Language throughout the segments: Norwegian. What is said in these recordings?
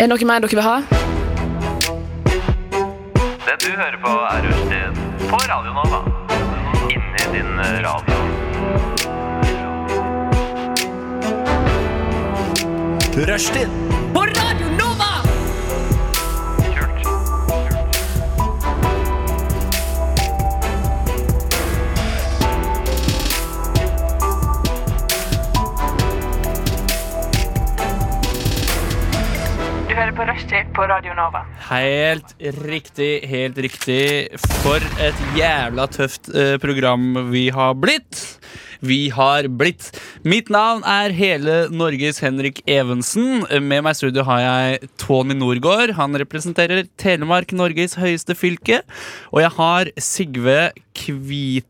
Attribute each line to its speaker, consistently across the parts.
Speaker 1: Er det noe mer dere vil ha?
Speaker 2: Det du hører på er Rushtid på Radio Nova. Inni din radio.
Speaker 3: Rushtid
Speaker 2: Kult.
Speaker 4: Du hører på Rushtid på Radio Nova.
Speaker 5: Helt riktig, helt riktig. For et jævla tøft eh, program vi har blitt. Vi har blitt. Mitt navn er hele Norges Henrik Evensen. Med meg i studio har jeg Tony Norgård. Han representerer Telemark, Norges høyeste fylke. Og jeg har Sigve Kvitvik.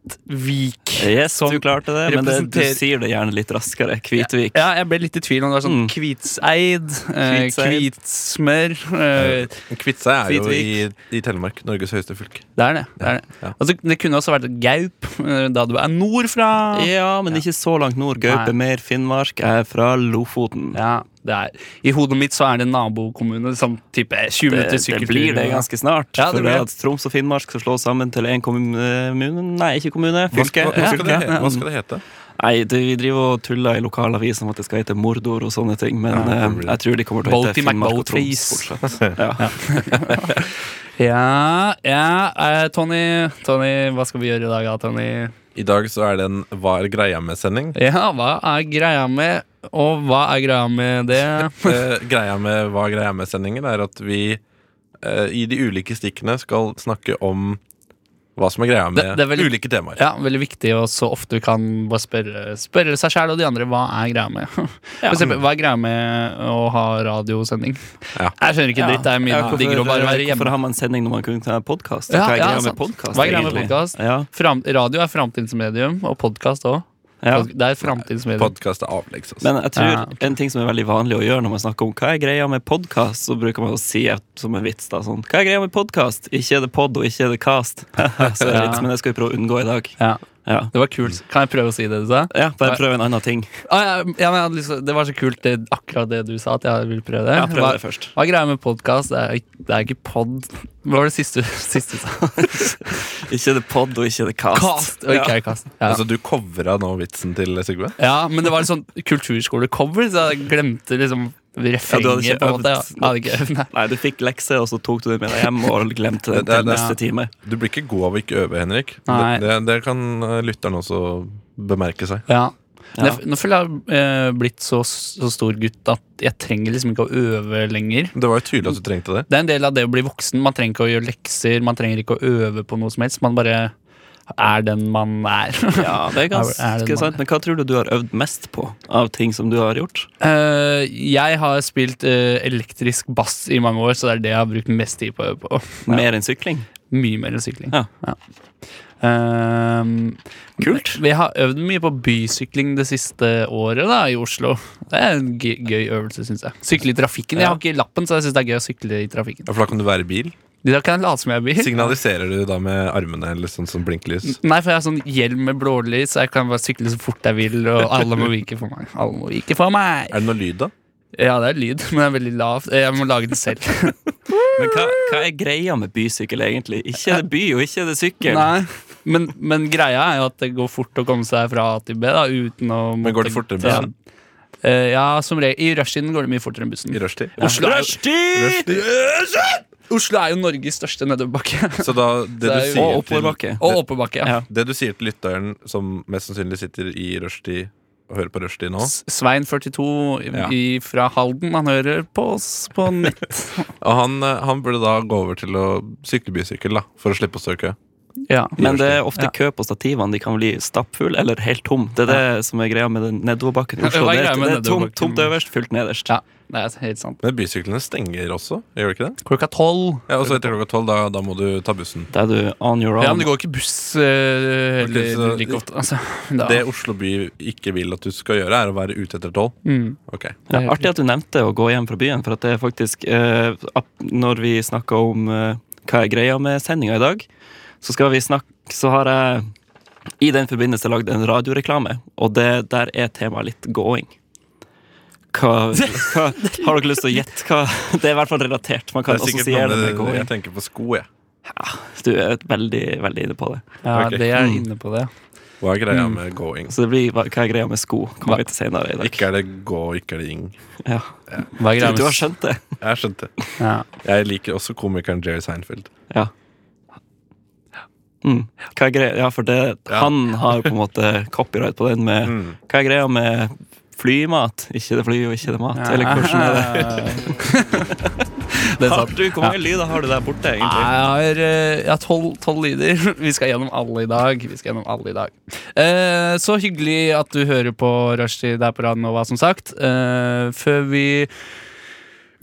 Speaker 3: Yes, du klarte det, men det, du
Speaker 5: representerer-
Speaker 3: sier det gjerne litt raskere. Kvitvik.
Speaker 5: Ja, jeg ble litt i tvil om det var sånn
Speaker 3: Mm.
Speaker 5: Kvitseid, eh,
Speaker 3: Kvitseid.
Speaker 5: Kvitsmør eh,
Speaker 6: Kvitse er jo i,
Speaker 5: Kvitvik.
Speaker 6: i Telemark, Norges høyeste fylke.
Speaker 5: Det er det. det, er det.
Speaker 6: Ja.
Speaker 5: Altså, det kunne også vært Gaup, eh, da du er nordfra.
Speaker 3: Ja, men ikke så langt nord. Gaupe,
Speaker 5: Nei.
Speaker 3: mer Finnmark. Jeg er fra Lofoten.
Speaker 5: Ja, det er. I hodet mitt så er det nabokommune, sånn type 20
Speaker 3: Eh, Det,
Speaker 5: minutter
Speaker 3: det
Speaker 5: sykkeltur.
Speaker 3: blir det ganske snart.
Speaker 5: Ja, det
Speaker 3: for
Speaker 5: blir det.
Speaker 3: at Troms og Finnmark skal slås sammen til én kommune Nei, ikke kommune.
Speaker 6: Hva, hva,
Speaker 3: Fylke.
Speaker 6: hva, skal det
Speaker 3: Ja,
Speaker 6: hete,
Speaker 3: ja.
Speaker 6: hva skal det hete?
Speaker 3: Nei, det, vi driver og tuller i lokalaviser om at det skal hete Mordor og sånne ting, men eh, jeg tror de kommer til å
Speaker 5: Bolty
Speaker 3: hete Finnmark og Troms
Speaker 5: McBoatface.
Speaker 3: fortsatt. Ja.
Speaker 5: Ja, ja. eh, Tony, Tony, hva skal vi gjøre i dag, da, Tony?
Speaker 6: I dag så er det en Hva er greia med-sending.
Speaker 5: Ja, hva er greia med Og hva er greia med det?
Speaker 6: Eh, greia med Hva er greia med-sendingen er at vi eh, i de ulike stikkene skal snakke om hva som er greia med
Speaker 5: Det- det er vel-
Speaker 6: ulike temaer.
Speaker 5: Ja, veldig viktig, og så ofte du kan bare spørre, spørre seg sjæl og de andre hva er greia med. For eksempel, hva er greia med å ha radiosending?
Speaker 6: Ja.
Speaker 5: Jeg skjønner ikke dritt. Det er mye
Speaker 3: Ja, hvorfor-
Speaker 5: diggere å bare være
Speaker 3: Hvorfor
Speaker 5: hjemme.
Speaker 3: har man sending når man kunne ta podkast?
Speaker 5: Ja,
Speaker 3: Hva er
Speaker 5: ja,
Speaker 3: greia med
Speaker 5: sant.
Speaker 3: podkast?
Speaker 5: Hva er greia med
Speaker 3: egentlig?
Speaker 5: podcast?
Speaker 3: Ja,
Speaker 5: Fram, radio er framtidsmedium, og podkast òg.
Speaker 3: ja.
Speaker 5: Det er et framtidsmedium.
Speaker 6: Podkast er avleggs. Altså.
Speaker 3: Men jeg tror
Speaker 5: Ja, ok.
Speaker 3: en ting som er veldig vanlig å gjøre når man snakker om hva er greia med podkast, så bruker man å si et- som en vits da, sånn Hva er greia med podkast? Ikke er det pod, og ikke er det cast. så det er
Speaker 5: Ja.
Speaker 3: litt, men det skal vi prøve å unngå i dag.
Speaker 5: Ja,
Speaker 3: Ja,
Speaker 5: det var kult. Kan jeg prøve å si det du sa?
Speaker 3: ja bare prøv en annen ting.
Speaker 5: Ah, ja, ja, men jeg hadde lyst, til- det var så kult, det, akkurat det du sa, at jeg vil prøve det.
Speaker 3: Ja, prøv det
Speaker 5: hva,
Speaker 3: først.
Speaker 5: hva er greia med podkast? Det, er ikke- det er ikke pod. Hva var det siste siste du sa?
Speaker 3: Ikke er det pod, og ikke er det cast.
Speaker 5: Cast! Og ikke
Speaker 3: Ja.
Speaker 5: er cast. Ja.
Speaker 6: Altså, du covra nå vitsen til Sigve?
Speaker 5: ja, men det var en sånn kulturskolecover, så jeg glemte liksom refrenget.
Speaker 3: Ja, du hadde ikke
Speaker 5: på en måte. Ja,
Speaker 3: øvd
Speaker 5: jeg hadde ikke øvd, nei.
Speaker 3: Nei, du fikk lekse, og så tok du det med deg hjem og glemte det
Speaker 6: Det- det-
Speaker 3: til
Speaker 6: det-
Speaker 3: neste time.
Speaker 6: Du blir ikke god av å ikke øve, Henrik.
Speaker 5: Nei.
Speaker 6: Det, det kan eh, lytteren også bemerke seg.
Speaker 5: Ja. Men
Speaker 3: Ja.
Speaker 5: Jeg, nå føler jeg jeg har eh, blitt så, så stor gutt at jeg trenger liksom ikke å øve lenger.
Speaker 6: Det var jo tydelig at du trengte det.
Speaker 5: Det er en del av det å bli voksen. Man trenger ikke å gjøre lekser, man trenger ikke å øve på noe som helst. Man bare er den man er.
Speaker 3: Ja, det er
Speaker 5: Er det
Speaker 3: ganske
Speaker 5: noe?
Speaker 3: sant. Men hva tror du du har øvd mest på av ting som du har gjort?
Speaker 5: Eh, jeg har spilt eh, elektrisk bass i mange år, så det er det jeg har brukt mest tid på å øve på.
Speaker 3: Mer enn sykling?
Speaker 5: Mye mer enn sykling.
Speaker 3: Ja.
Speaker 5: Ehm,
Speaker 3: Kult.
Speaker 5: Vi har øvd mye på bysykling det siste året da, i Oslo. Det er en gøy, gøy øvelse, syns jeg. Sykle i trafikken. Jeg har ikke lappen, så jeg syns det er gøy å sykle i trafikken.
Speaker 6: Ja, For da kan du være i bil.
Speaker 5: Da kan jeg late som jeg er i bil.
Speaker 6: Signaliserer du da med armene eller sånn som blinklys?
Speaker 5: Nei, for jeg har sånn hjelm med blålys, så jeg kan bare sykle så fort jeg vil, og alle må vike for meg. Alle må vike for meg!
Speaker 6: Er det noe lyd, da?
Speaker 5: Ja, det er lyd, men det er veldig lavt. Jeg må lage den selv.
Speaker 3: Men hva, hva er greia med bysykkel, egentlig? Ikke er det by, og ikke er det sykkel.
Speaker 5: Nei. Men, men greia er jo at det går fort å komme seg fra A til B, da, uten å
Speaker 6: Men går det fortere med bussen?
Speaker 5: Ja, Eh, ja som regel. I rushtiden går det mye fortere enn bussen.
Speaker 6: I rushtid?
Speaker 5: Oslo er, jo,
Speaker 3: Rushtid!
Speaker 5: Oslo er jo Norges største nedoverbakke.
Speaker 6: Så da, det
Speaker 5: Det
Speaker 6: du
Speaker 5: er jo-
Speaker 6: sier
Speaker 3: Og
Speaker 6: til
Speaker 3: oppoverbakke.
Speaker 5: Og oppoverbakke, ja.
Speaker 3: Ja.
Speaker 6: Det du sier til lytteren som mest sannsynlig sitter i rushtid og hører på rushtid nå
Speaker 5: S- Svein42
Speaker 6: Ja.
Speaker 5: i- fra Halden, han hører på oss på nett.
Speaker 6: Og han, eh, han burde da gå over til å sykle bysykkel, da, for å slippe å stå i kø.
Speaker 5: Ja.
Speaker 3: Men det er ofte
Speaker 5: Ja.
Speaker 3: kø på stativene. De kan bli stappfulle eller helt tom. Det er det som er greia med den nedoverbakken i Oslo.
Speaker 5: Hva er
Speaker 3: Det
Speaker 5: greia
Speaker 3: er,
Speaker 5: med
Speaker 3: det er tomt,
Speaker 5: nedoverbakken?
Speaker 3: tomt øverst, fullt nederst.
Speaker 5: ja, det er helt sant.
Speaker 6: Men bysyklene stenger også, gjør de ikke det?
Speaker 5: Klokka tolv.
Speaker 6: Ja, Og så etter klokka tolv, da, da må du ta bussen.
Speaker 3: Da er du on your
Speaker 5: Ja, men
Speaker 3: own.
Speaker 5: det går ikke buss eh, heller
Speaker 6: Ok, så-
Speaker 5: like ofte. Altså, da.
Speaker 6: Det Oslo by ikke vil at du skal gjøre, er å være ute etter tolv.
Speaker 5: Mm.
Speaker 6: Ok.
Speaker 3: Ja, artig at du nevnte å gå hjem fra byen, for at det er faktisk eh, ap- Når vi snakker om eh, hva er greia med sendinga i dag, så skal vi snakke Så har jeg i den forbindelse lagd en radioreklame, og det der er temaet litt gåing. hva, hva Har dere lyst til å gjette hva Det er i hvert fall relatert. Man kan
Speaker 6: Det er sikkert
Speaker 3: assosiere det
Speaker 6: noe
Speaker 3: med
Speaker 6: med-
Speaker 3: Koi.
Speaker 6: Jeg tenker på sko, jeg.
Speaker 3: Du er veldig, veldig inne på det.
Speaker 5: Ja,
Speaker 6: Ok.
Speaker 5: det er inne på det.
Speaker 6: Hva er greia med going?
Speaker 3: Så det blir hva hva er greia med sko? Kommer vi til senere
Speaker 5: Mm.
Speaker 3: i dag.
Speaker 6: Ikke er det gå, ikke er det ing.
Speaker 3: Ja.
Speaker 5: Hva er
Speaker 3: Du,
Speaker 5: greia
Speaker 3: du
Speaker 5: med
Speaker 3: har skjønt det?
Speaker 6: Jeg skjønte.
Speaker 5: ja.
Speaker 6: Jeg liker også komikeren Jerry Seinfeld.
Speaker 3: Ja. Mm. Hva er greia? Ja, for det,
Speaker 6: Ja.
Speaker 3: han har på en måte copyright på den med
Speaker 6: Mm.
Speaker 3: Hva er greia med flymat? Ikke det fly og ikke det mat? Eller hvordan er det?
Speaker 5: det? det er
Speaker 3: Har
Speaker 5: sant.
Speaker 3: du, hvor mange lyder har du der borte, egentlig?
Speaker 5: Jeg har, eh, jeg har tolv, tolv lyder. Vi skal gjennom alle i dag. Vi skal gjennom alle i dag eh, Så hyggelig at du hører på Rushdie der på Radio Nova, som sagt. Eh, før vi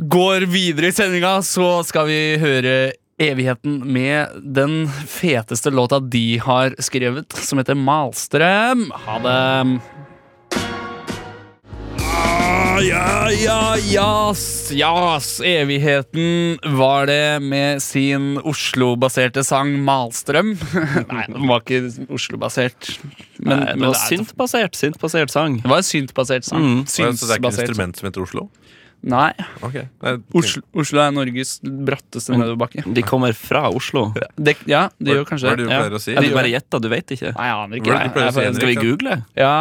Speaker 5: går videre i sendinga, så skal vi høre Evigheten med den feteste låta de har skrevet, som heter Malstrøm. Ha det! Ah, Ja, ja, jas, jas. Evigheten var det med sin Oslo-baserte sang Malstrøm. Nei, den var ikke Oslo-basert. Men,
Speaker 3: Nei,
Speaker 5: men
Speaker 3: det var
Speaker 5: er-
Speaker 3: syntbasert, syntbasert sang.
Speaker 5: Det var en syntbasert sang.
Speaker 3: Mm.
Speaker 6: Så det er ikke et
Speaker 5: Synsbasert.
Speaker 6: instrument som heter Oslo?
Speaker 5: Nei.
Speaker 6: Ok. Nei, tenk-
Speaker 5: Oslo, Oslo er Norges bratteste nedoverbakke.
Speaker 3: De kommer fra Oslo.
Speaker 5: Det, ja, det gjør
Speaker 6: Hva
Speaker 5: kanskje
Speaker 6: er det du
Speaker 5: det.
Speaker 3: Ja.
Speaker 6: pleier å si?
Speaker 3: Ja, du bare gjetta, du vet ikke.
Speaker 5: Nei, jeg aner
Speaker 6: Hva er det du pleier å si,
Speaker 5: ikke.
Speaker 3: Skal vi
Speaker 6: Henrik?
Speaker 3: google?
Speaker 5: Jeg- Ja,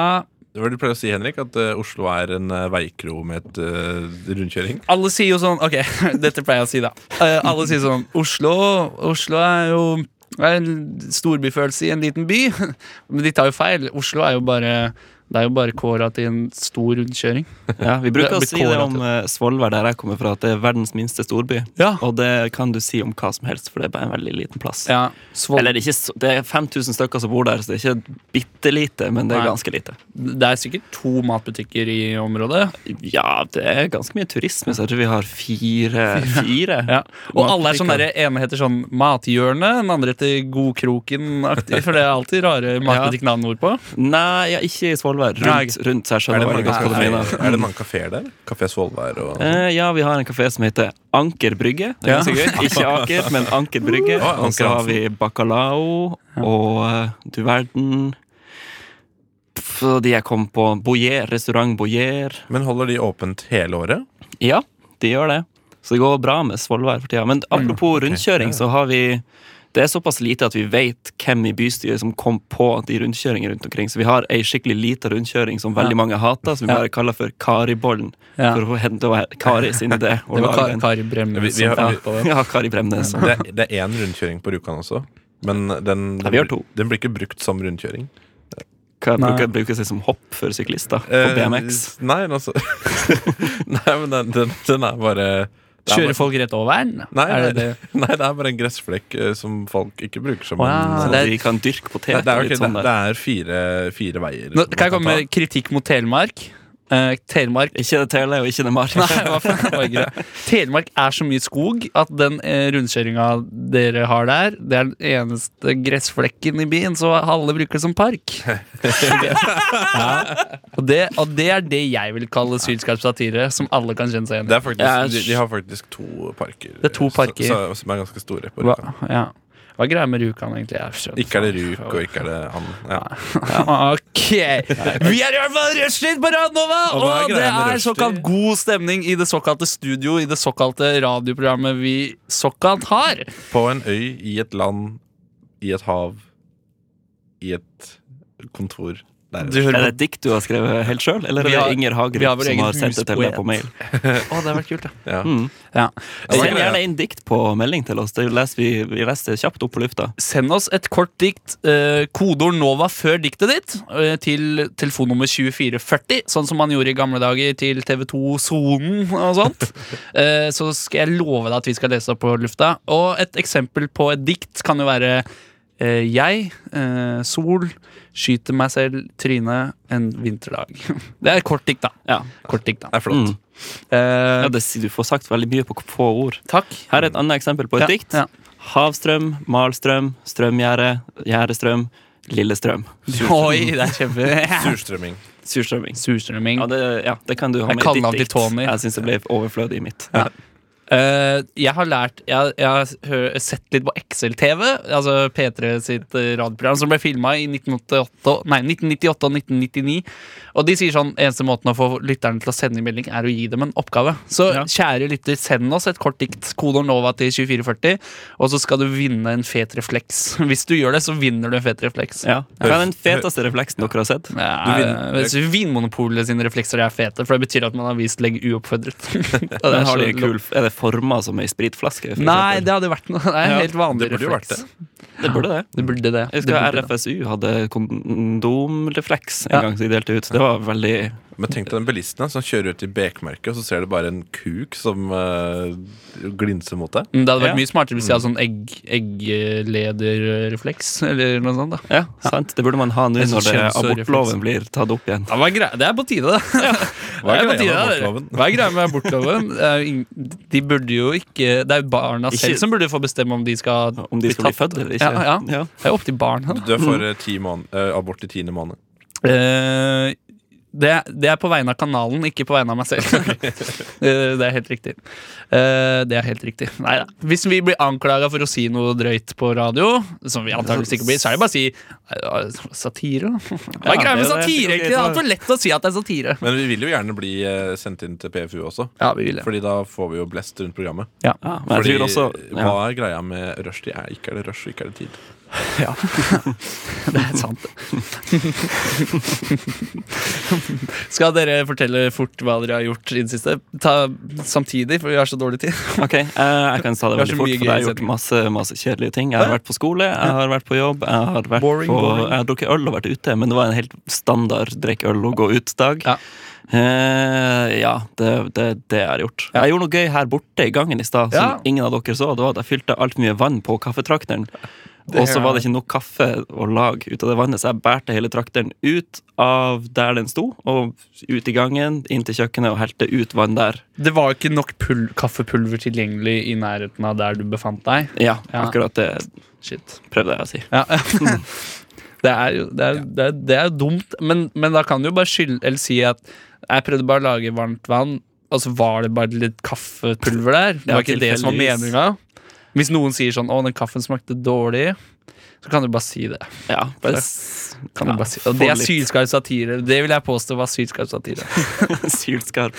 Speaker 6: Hva er det du pleier å si, Henrik? At eh, Oslo er en eh, veikro med et eh, rundkjøring?
Speaker 5: alle sier jo sånn Ok, dette pleier jeg å si, da. Eh, alle sier sånn Oslo, Oslo er jo er en storbyfølelse i en liten by. Men de tar jo feil. Oslo er jo bare det er jo bare kåra til en stor rundkjøring.
Speaker 3: Ja, vi bruker å
Speaker 5: Det blir
Speaker 3: si det
Speaker 5: kåret
Speaker 3: om eh, Svolvær, der jeg kommer fra, at det er verdens minste storby.
Speaker 5: Ja.
Speaker 3: Og det kan du si om hva som helst, for det er bare en veldig liten plass.
Speaker 5: ja Svol
Speaker 3: Eller det er, ikke, så- det er 5000 stykker som bor der, så det er ikke bitte lite, men det er
Speaker 5: Nei.
Speaker 3: ganske lite.
Speaker 5: det er sikkert to matbutikker i området.
Speaker 3: Ja, det er ganske mye turisme, så jeg tror vi har fire. fire.
Speaker 5: Ja. Og alle er sånn
Speaker 3: matbutikker.
Speaker 5: der, ene heter sånn Mathjørnet, den andre heter Godkroken-aktig. For det er alltid rare matbutikknavn nordpå.
Speaker 3: Nei, ja, ikke i Svolvær.
Speaker 5: Nei.
Speaker 3: Rundt, rundt, så jeg
Speaker 6: Er
Speaker 3: skjønner
Speaker 6: det
Speaker 3: veldig
Speaker 6: mange
Speaker 3: godt hva du
Speaker 6: kafeer-
Speaker 3: mener.
Speaker 6: er det mange kafeer der? Kafé Svolvær og Å,
Speaker 3: Eh, ja, vi har en kafé som heter Anker Brygge. Det er
Speaker 5: Ja.
Speaker 3: ganske gøy. Ikke Aker, men Anker Brygge.
Speaker 6: Å, Anker
Speaker 3: Og så har vi Bacalao og eh, du verden Pff, og de jeg kom på. Boyer, restaurant Boyer.
Speaker 6: Men holder de åpent hele året?
Speaker 3: Ja, de gjør det. Så det går bra med Svolvær for tida. Men
Speaker 5: Mm.
Speaker 3: apropos rundkjøring, så har vi Det er såpass lite at vi vet hvem i bystyret som kom på de rundkjøringene rundt omkring. Så vi har ei skikkelig lita rundkjøring som veldig
Speaker 5: Ja.
Speaker 3: mange hater, som vi
Speaker 5: Ja.
Speaker 3: bare kaller for Karibollen.
Speaker 5: Ja.
Speaker 3: For å hente det var Kari sin idé. å
Speaker 5: Det var
Speaker 3: lage
Speaker 5: Kar
Speaker 3: den.
Speaker 5: Kari Bremnes
Speaker 6: Vi- vi har-
Speaker 5: som fant på det.
Speaker 3: Ja, Kari Bremnes.
Speaker 6: Det, er- det er én rundkjøring på Rjukan også. Men den,
Speaker 3: Ja, vi har to.
Speaker 6: den blir ikke brukt som rundkjøring.
Speaker 3: Hva
Speaker 5: Nei.
Speaker 3: bruker, bruker seg som hopp for syklister på
Speaker 6: Eh,
Speaker 3: BMX.
Speaker 6: Nei, men altså Nei, men den, den, den er bare det er
Speaker 5: Kjører
Speaker 6: bare-
Speaker 5: folk rett over den?
Speaker 6: Nei,
Speaker 5: er det
Speaker 6: nei,
Speaker 5: det?
Speaker 6: nei, det er bare en gressflekk eh, som folk ikke bruker som
Speaker 5: Å, ja,
Speaker 6: en
Speaker 3: Sånn
Speaker 5: det
Speaker 3: at
Speaker 5: er-
Speaker 3: vi kan dyrke
Speaker 6: Det,
Speaker 3: poteter.
Speaker 6: det, er, ok,
Speaker 3: litt sånn
Speaker 6: det,
Speaker 3: der.
Speaker 6: det er fire, fire veier.
Speaker 5: Nå,
Speaker 6: som
Speaker 5: kan
Speaker 6: man
Speaker 5: jeg komme
Speaker 6: ta.
Speaker 5: med kritikk mot Telemark? Eh, Telemark
Speaker 3: Ikke det Tele og ikke det Mari.
Speaker 5: Nei, hva faen, det var ikke det. Telemark er så mye skog at den eh, rundkjøringa dere har der, det er den eneste gressflekken i byen, så alle bruker det som park. ja. og, det, og det er det jeg vil kalle sylskarp satire, som alle kan kjenne seg igjen i.
Speaker 6: Det er faktisk,
Speaker 3: Jeg er-
Speaker 6: de, de har faktisk to parker.
Speaker 5: Det er to
Speaker 6: eh,
Speaker 5: parker.
Speaker 6: Så, så, som er ganske store. På
Speaker 5: Hva,
Speaker 6: Rjukan.
Speaker 5: ja. hva er greia med Rjukan, egentlig? Jeg skjønner
Speaker 6: Ikke er det
Speaker 5: faen
Speaker 6: Rjuk, og ikke er det and. Ja.
Speaker 5: Ok! Vi er i hvert fall rushtid på Radnova,
Speaker 6: Og
Speaker 5: og,
Speaker 6: hva er
Speaker 5: det
Speaker 6: greia med
Speaker 5: er
Speaker 6: rushtid?
Speaker 5: såkalt god stemning i det såkalte studio, i det såkalte radioprogrammet vi såkalt har.
Speaker 6: På en øy, i et land, i et hav, i et kontor der.
Speaker 5: Du
Speaker 3: Er det
Speaker 5: hører på
Speaker 3: et dikt du har skrevet helt sjøl, eller
Speaker 5: Vi
Speaker 3: er det
Speaker 5: har-
Speaker 3: Inger
Speaker 5: vi har
Speaker 3: Hagerup
Speaker 5: vår
Speaker 3: som
Speaker 5: egen
Speaker 3: har sendt det til deg
Speaker 5: huspoet.
Speaker 3: på mail?
Speaker 5: Å, det har vært kult, da.
Speaker 6: Ja.
Speaker 3: Mm.
Speaker 5: Ja.
Speaker 3: Send gjerne inn dikt på melding til oss. Det leser vi, vi leser det kjapt opp på lufta.
Speaker 5: Send oss et kort dikt, eh, kodeord NOVA før diktet ditt, eh, til telefonnummer 2440, sånn som man gjorde i gamle dager til TV2 Sonen og sånt. Eh, så skal jeg love deg at vi skal lese det opp på lufta. Og et eksempel på et dikt kan jo være eh, Jeg, eh, sol, skyter meg selv, trynet, en vinterdag. Det er et kort dikt, da.
Speaker 3: Ja.
Speaker 5: Kort dikt, da.
Speaker 6: Det er flott.
Speaker 3: Mm.
Speaker 5: Eh,
Speaker 3: Ja, det, du får sagt veldig mye på få ord.
Speaker 5: takk.
Speaker 3: Her er et annet eksempel på et
Speaker 5: Ja,
Speaker 3: dikt.
Speaker 5: ja.
Speaker 3: Havstrøm, malstrøm, strømgjerde, gjerdestrøm, lillestrøm.
Speaker 5: Oi, det er kjempe...
Speaker 6: Surstrømming.
Speaker 3: Surstrømming.
Speaker 5: Surstrømming.
Speaker 3: Ja det, ja, det kan du ha
Speaker 5: Jeg
Speaker 3: med i
Speaker 5: kaller
Speaker 3: ditt
Speaker 5: han til
Speaker 3: dikt.
Speaker 5: Tony.
Speaker 3: Jeg syns det ble overflødig i mitt.
Speaker 5: Eh, jeg har lært Jeg, har- jeg har hø- sett litt på Excel-TV, altså P3 sitt eh, radioprogram, som ble filma i 1988, nei, 1998 og 1999. Og de sier sånn eneste måten å få lytterne til å sende inn melding, er å gi dem en oppgave. Så
Speaker 3: Ja.
Speaker 5: kjære lytter, send oss et kort dikt, kodeord NOVA til 2440, og så skal du vinne en fet refleks. Hvis du gjør det, så vinner du en fet refleks.
Speaker 3: Ja. Hva er den feteste refleksen dere har sett?
Speaker 5: Ja,
Speaker 6: vinner-
Speaker 5: jeg synes Vinmonopolet sine reflekser er fete, for det betyr at man har vist legg uoppfordret. Og det
Speaker 3: Den
Speaker 5: er
Speaker 3: har de
Speaker 5: så
Speaker 3: kul, er det forma som ei spritflaske? for
Speaker 5: Nei,
Speaker 3: eksempel?
Speaker 5: det hadde vært noe. Det er en
Speaker 3: Ja,
Speaker 5: helt vanlig
Speaker 6: det burde jo
Speaker 5: refleks.
Speaker 6: vært
Speaker 3: det burde det.
Speaker 5: Det burde det.
Speaker 3: Jeg
Speaker 5: Det
Speaker 3: husker
Speaker 5: burde det.
Speaker 3: RFSU hadde kondomrefleks en
Speaker 5: Ja.
Speaker 3: gang som de delte ut. Det var veldig
Speaker 6: Men tenk deg den bilisten da, som kjører ut i bekmerket, og så ser du bare en kuk som eh, glinser mot deg.
Speaker 5: Men det hadde vært
Speaker 3: Ja.
Speaker 5: mye smartere hvis jeg hadde sånn egg, egglederrefleks eller noe sånt. da
Speaker 3: ja, sant. Det burde man ha nå
Speaker 5: En sånn
Speaker 3: når det-
Speaker 5: kjønnsorefleks.
Speaker 3: abortloven blir tatt opp igjen.
Speaker 5: Ja, hva er grei- Det er på tide, det.
Speaker 6: Hva er
Speaker 5: Det på
Speaker 6: greia med
Speaker 5: tide,
Speaker 6: abortloven?
Speaker 5: det. Hva er greia med abortloven? Det er jo ing- De burde jo ikke Det er jo barna
Speaker 3: Ikke-
Speaker 5: selv som burde få bestemme om de skal
Speaker 3: Om de skal bli
Speaker 5: tatt.
Speaker 3: født eller ikke.
Speaker 5: Ja, ja. Det er opp til barna.
Speaker 6: Du er for eh, ti måned, eh, abort i tiende måned.
Speaker 5: Eh, det, det er på vegne av kanalen, ikke på vegne av meg selv. Eh, det er helt riktig. Eh, det er helt riktig. Nei da. Hvis vi blir anklaga for å si noe drøyt på radio, som vi antakeligvis ikke blir, så er det bare å si eh, satire. da. Hva
Speaker 3: Ja,
Speaker 5: er greia med
Speaker 3: det er det.
Speaker 5: satire, egentlig? Det er altfor lett å si at det er satire.
Speaker 6: Men vi vil jo gjerne bli eh, sendt inn til PFU også.
Speaker 5: Ja, vi vil det.
Speaker 6: Fordi da får vi jo blest rundt programmet.
Speaker 3: Ja, men jeg
Speaker 6: Fordi
Speaker 3: tror også ja.
Speaker 6: Hva er greia med rushtid? Er- Ikke er det rush, ikke er det tid.
Speaker 5: Ja. det er sant. Skal dere fortelle fort hva dere har gjort i det siste? Ta samtidig, for vi har så dårlig tid.
Speaker 3: Ok, eh, jeg kan ta det
Speaker 5: Vi har så
Speaker 3: veldig fort,
Speaker 5: mye
Speaker 3: for jeg har
Speaker 5: gøy
Speaker 3: gjort masse, masse kjedelige ting. Jeg har vært på skole, jeg har vært på jobb, jeg har, vært
Speaker 5: Boring,
Speaker 3: på,
Speaker 5: boring.
Speaker 3: jeg har drukket øl og vært ute, men det var en helt standard drikk øl og gå ut-dag.
Speaker 5: Ja.
Speaker 3: Eh, ja, det, det, det jeg har gjort. Jeg gjorde noe gøy her borte i gangen i stad som
Speaker 5: Ja.
Speaker 3: ingen av dere så. Det var at jeg fylte altfor mye vann på kaffetrakteren. Og så var det ikke nok kaffe å lage ut av det vannet, så jeg bærte hele trakteren ut av der den sto, og ut i gangen, inn til kjøkkenet og helte ut vann der.
Speaker 5: Det var ikke nok pul kaffepulver tilgjengelig i nærheten av der du befant deg.
Speaker 3: Ja,
Speaker 5: Ja.
Speaker 3: akkurat det
Speaker 5: Shit.
Speaker 3: prøvde jeg å si.
Speaker 5: Ja. det er jo det er, det er, det er jo dumt, men, men da kan du jo bare skylde Eller si at jeg prøvde bare å lage varmt vann, og så var det bare litt kaffepulver der. Det
Speaker 3: Ja,
Speaker 5: var ikke det som var
Speaker 3: tilfeldigvis.
Speaker 5: meninga. Hvis noen sier sånn 'Å, den kaffen smakte dårlig', så kan du bare si det.
Speaker 3: Ja, bare
Speaker 5: Så-
Speaker 3: s-
Speaker 5: Kan du
Speaker 3: Ja,
Speaker 5: bare si. Og
Speaker 3: få
Speaker 5: det er
Speaker 3: litt
Speaker 5: sylskarp satire. Det vil jeg påstå var sylskarp satire.
Speaker 3: sylskarp.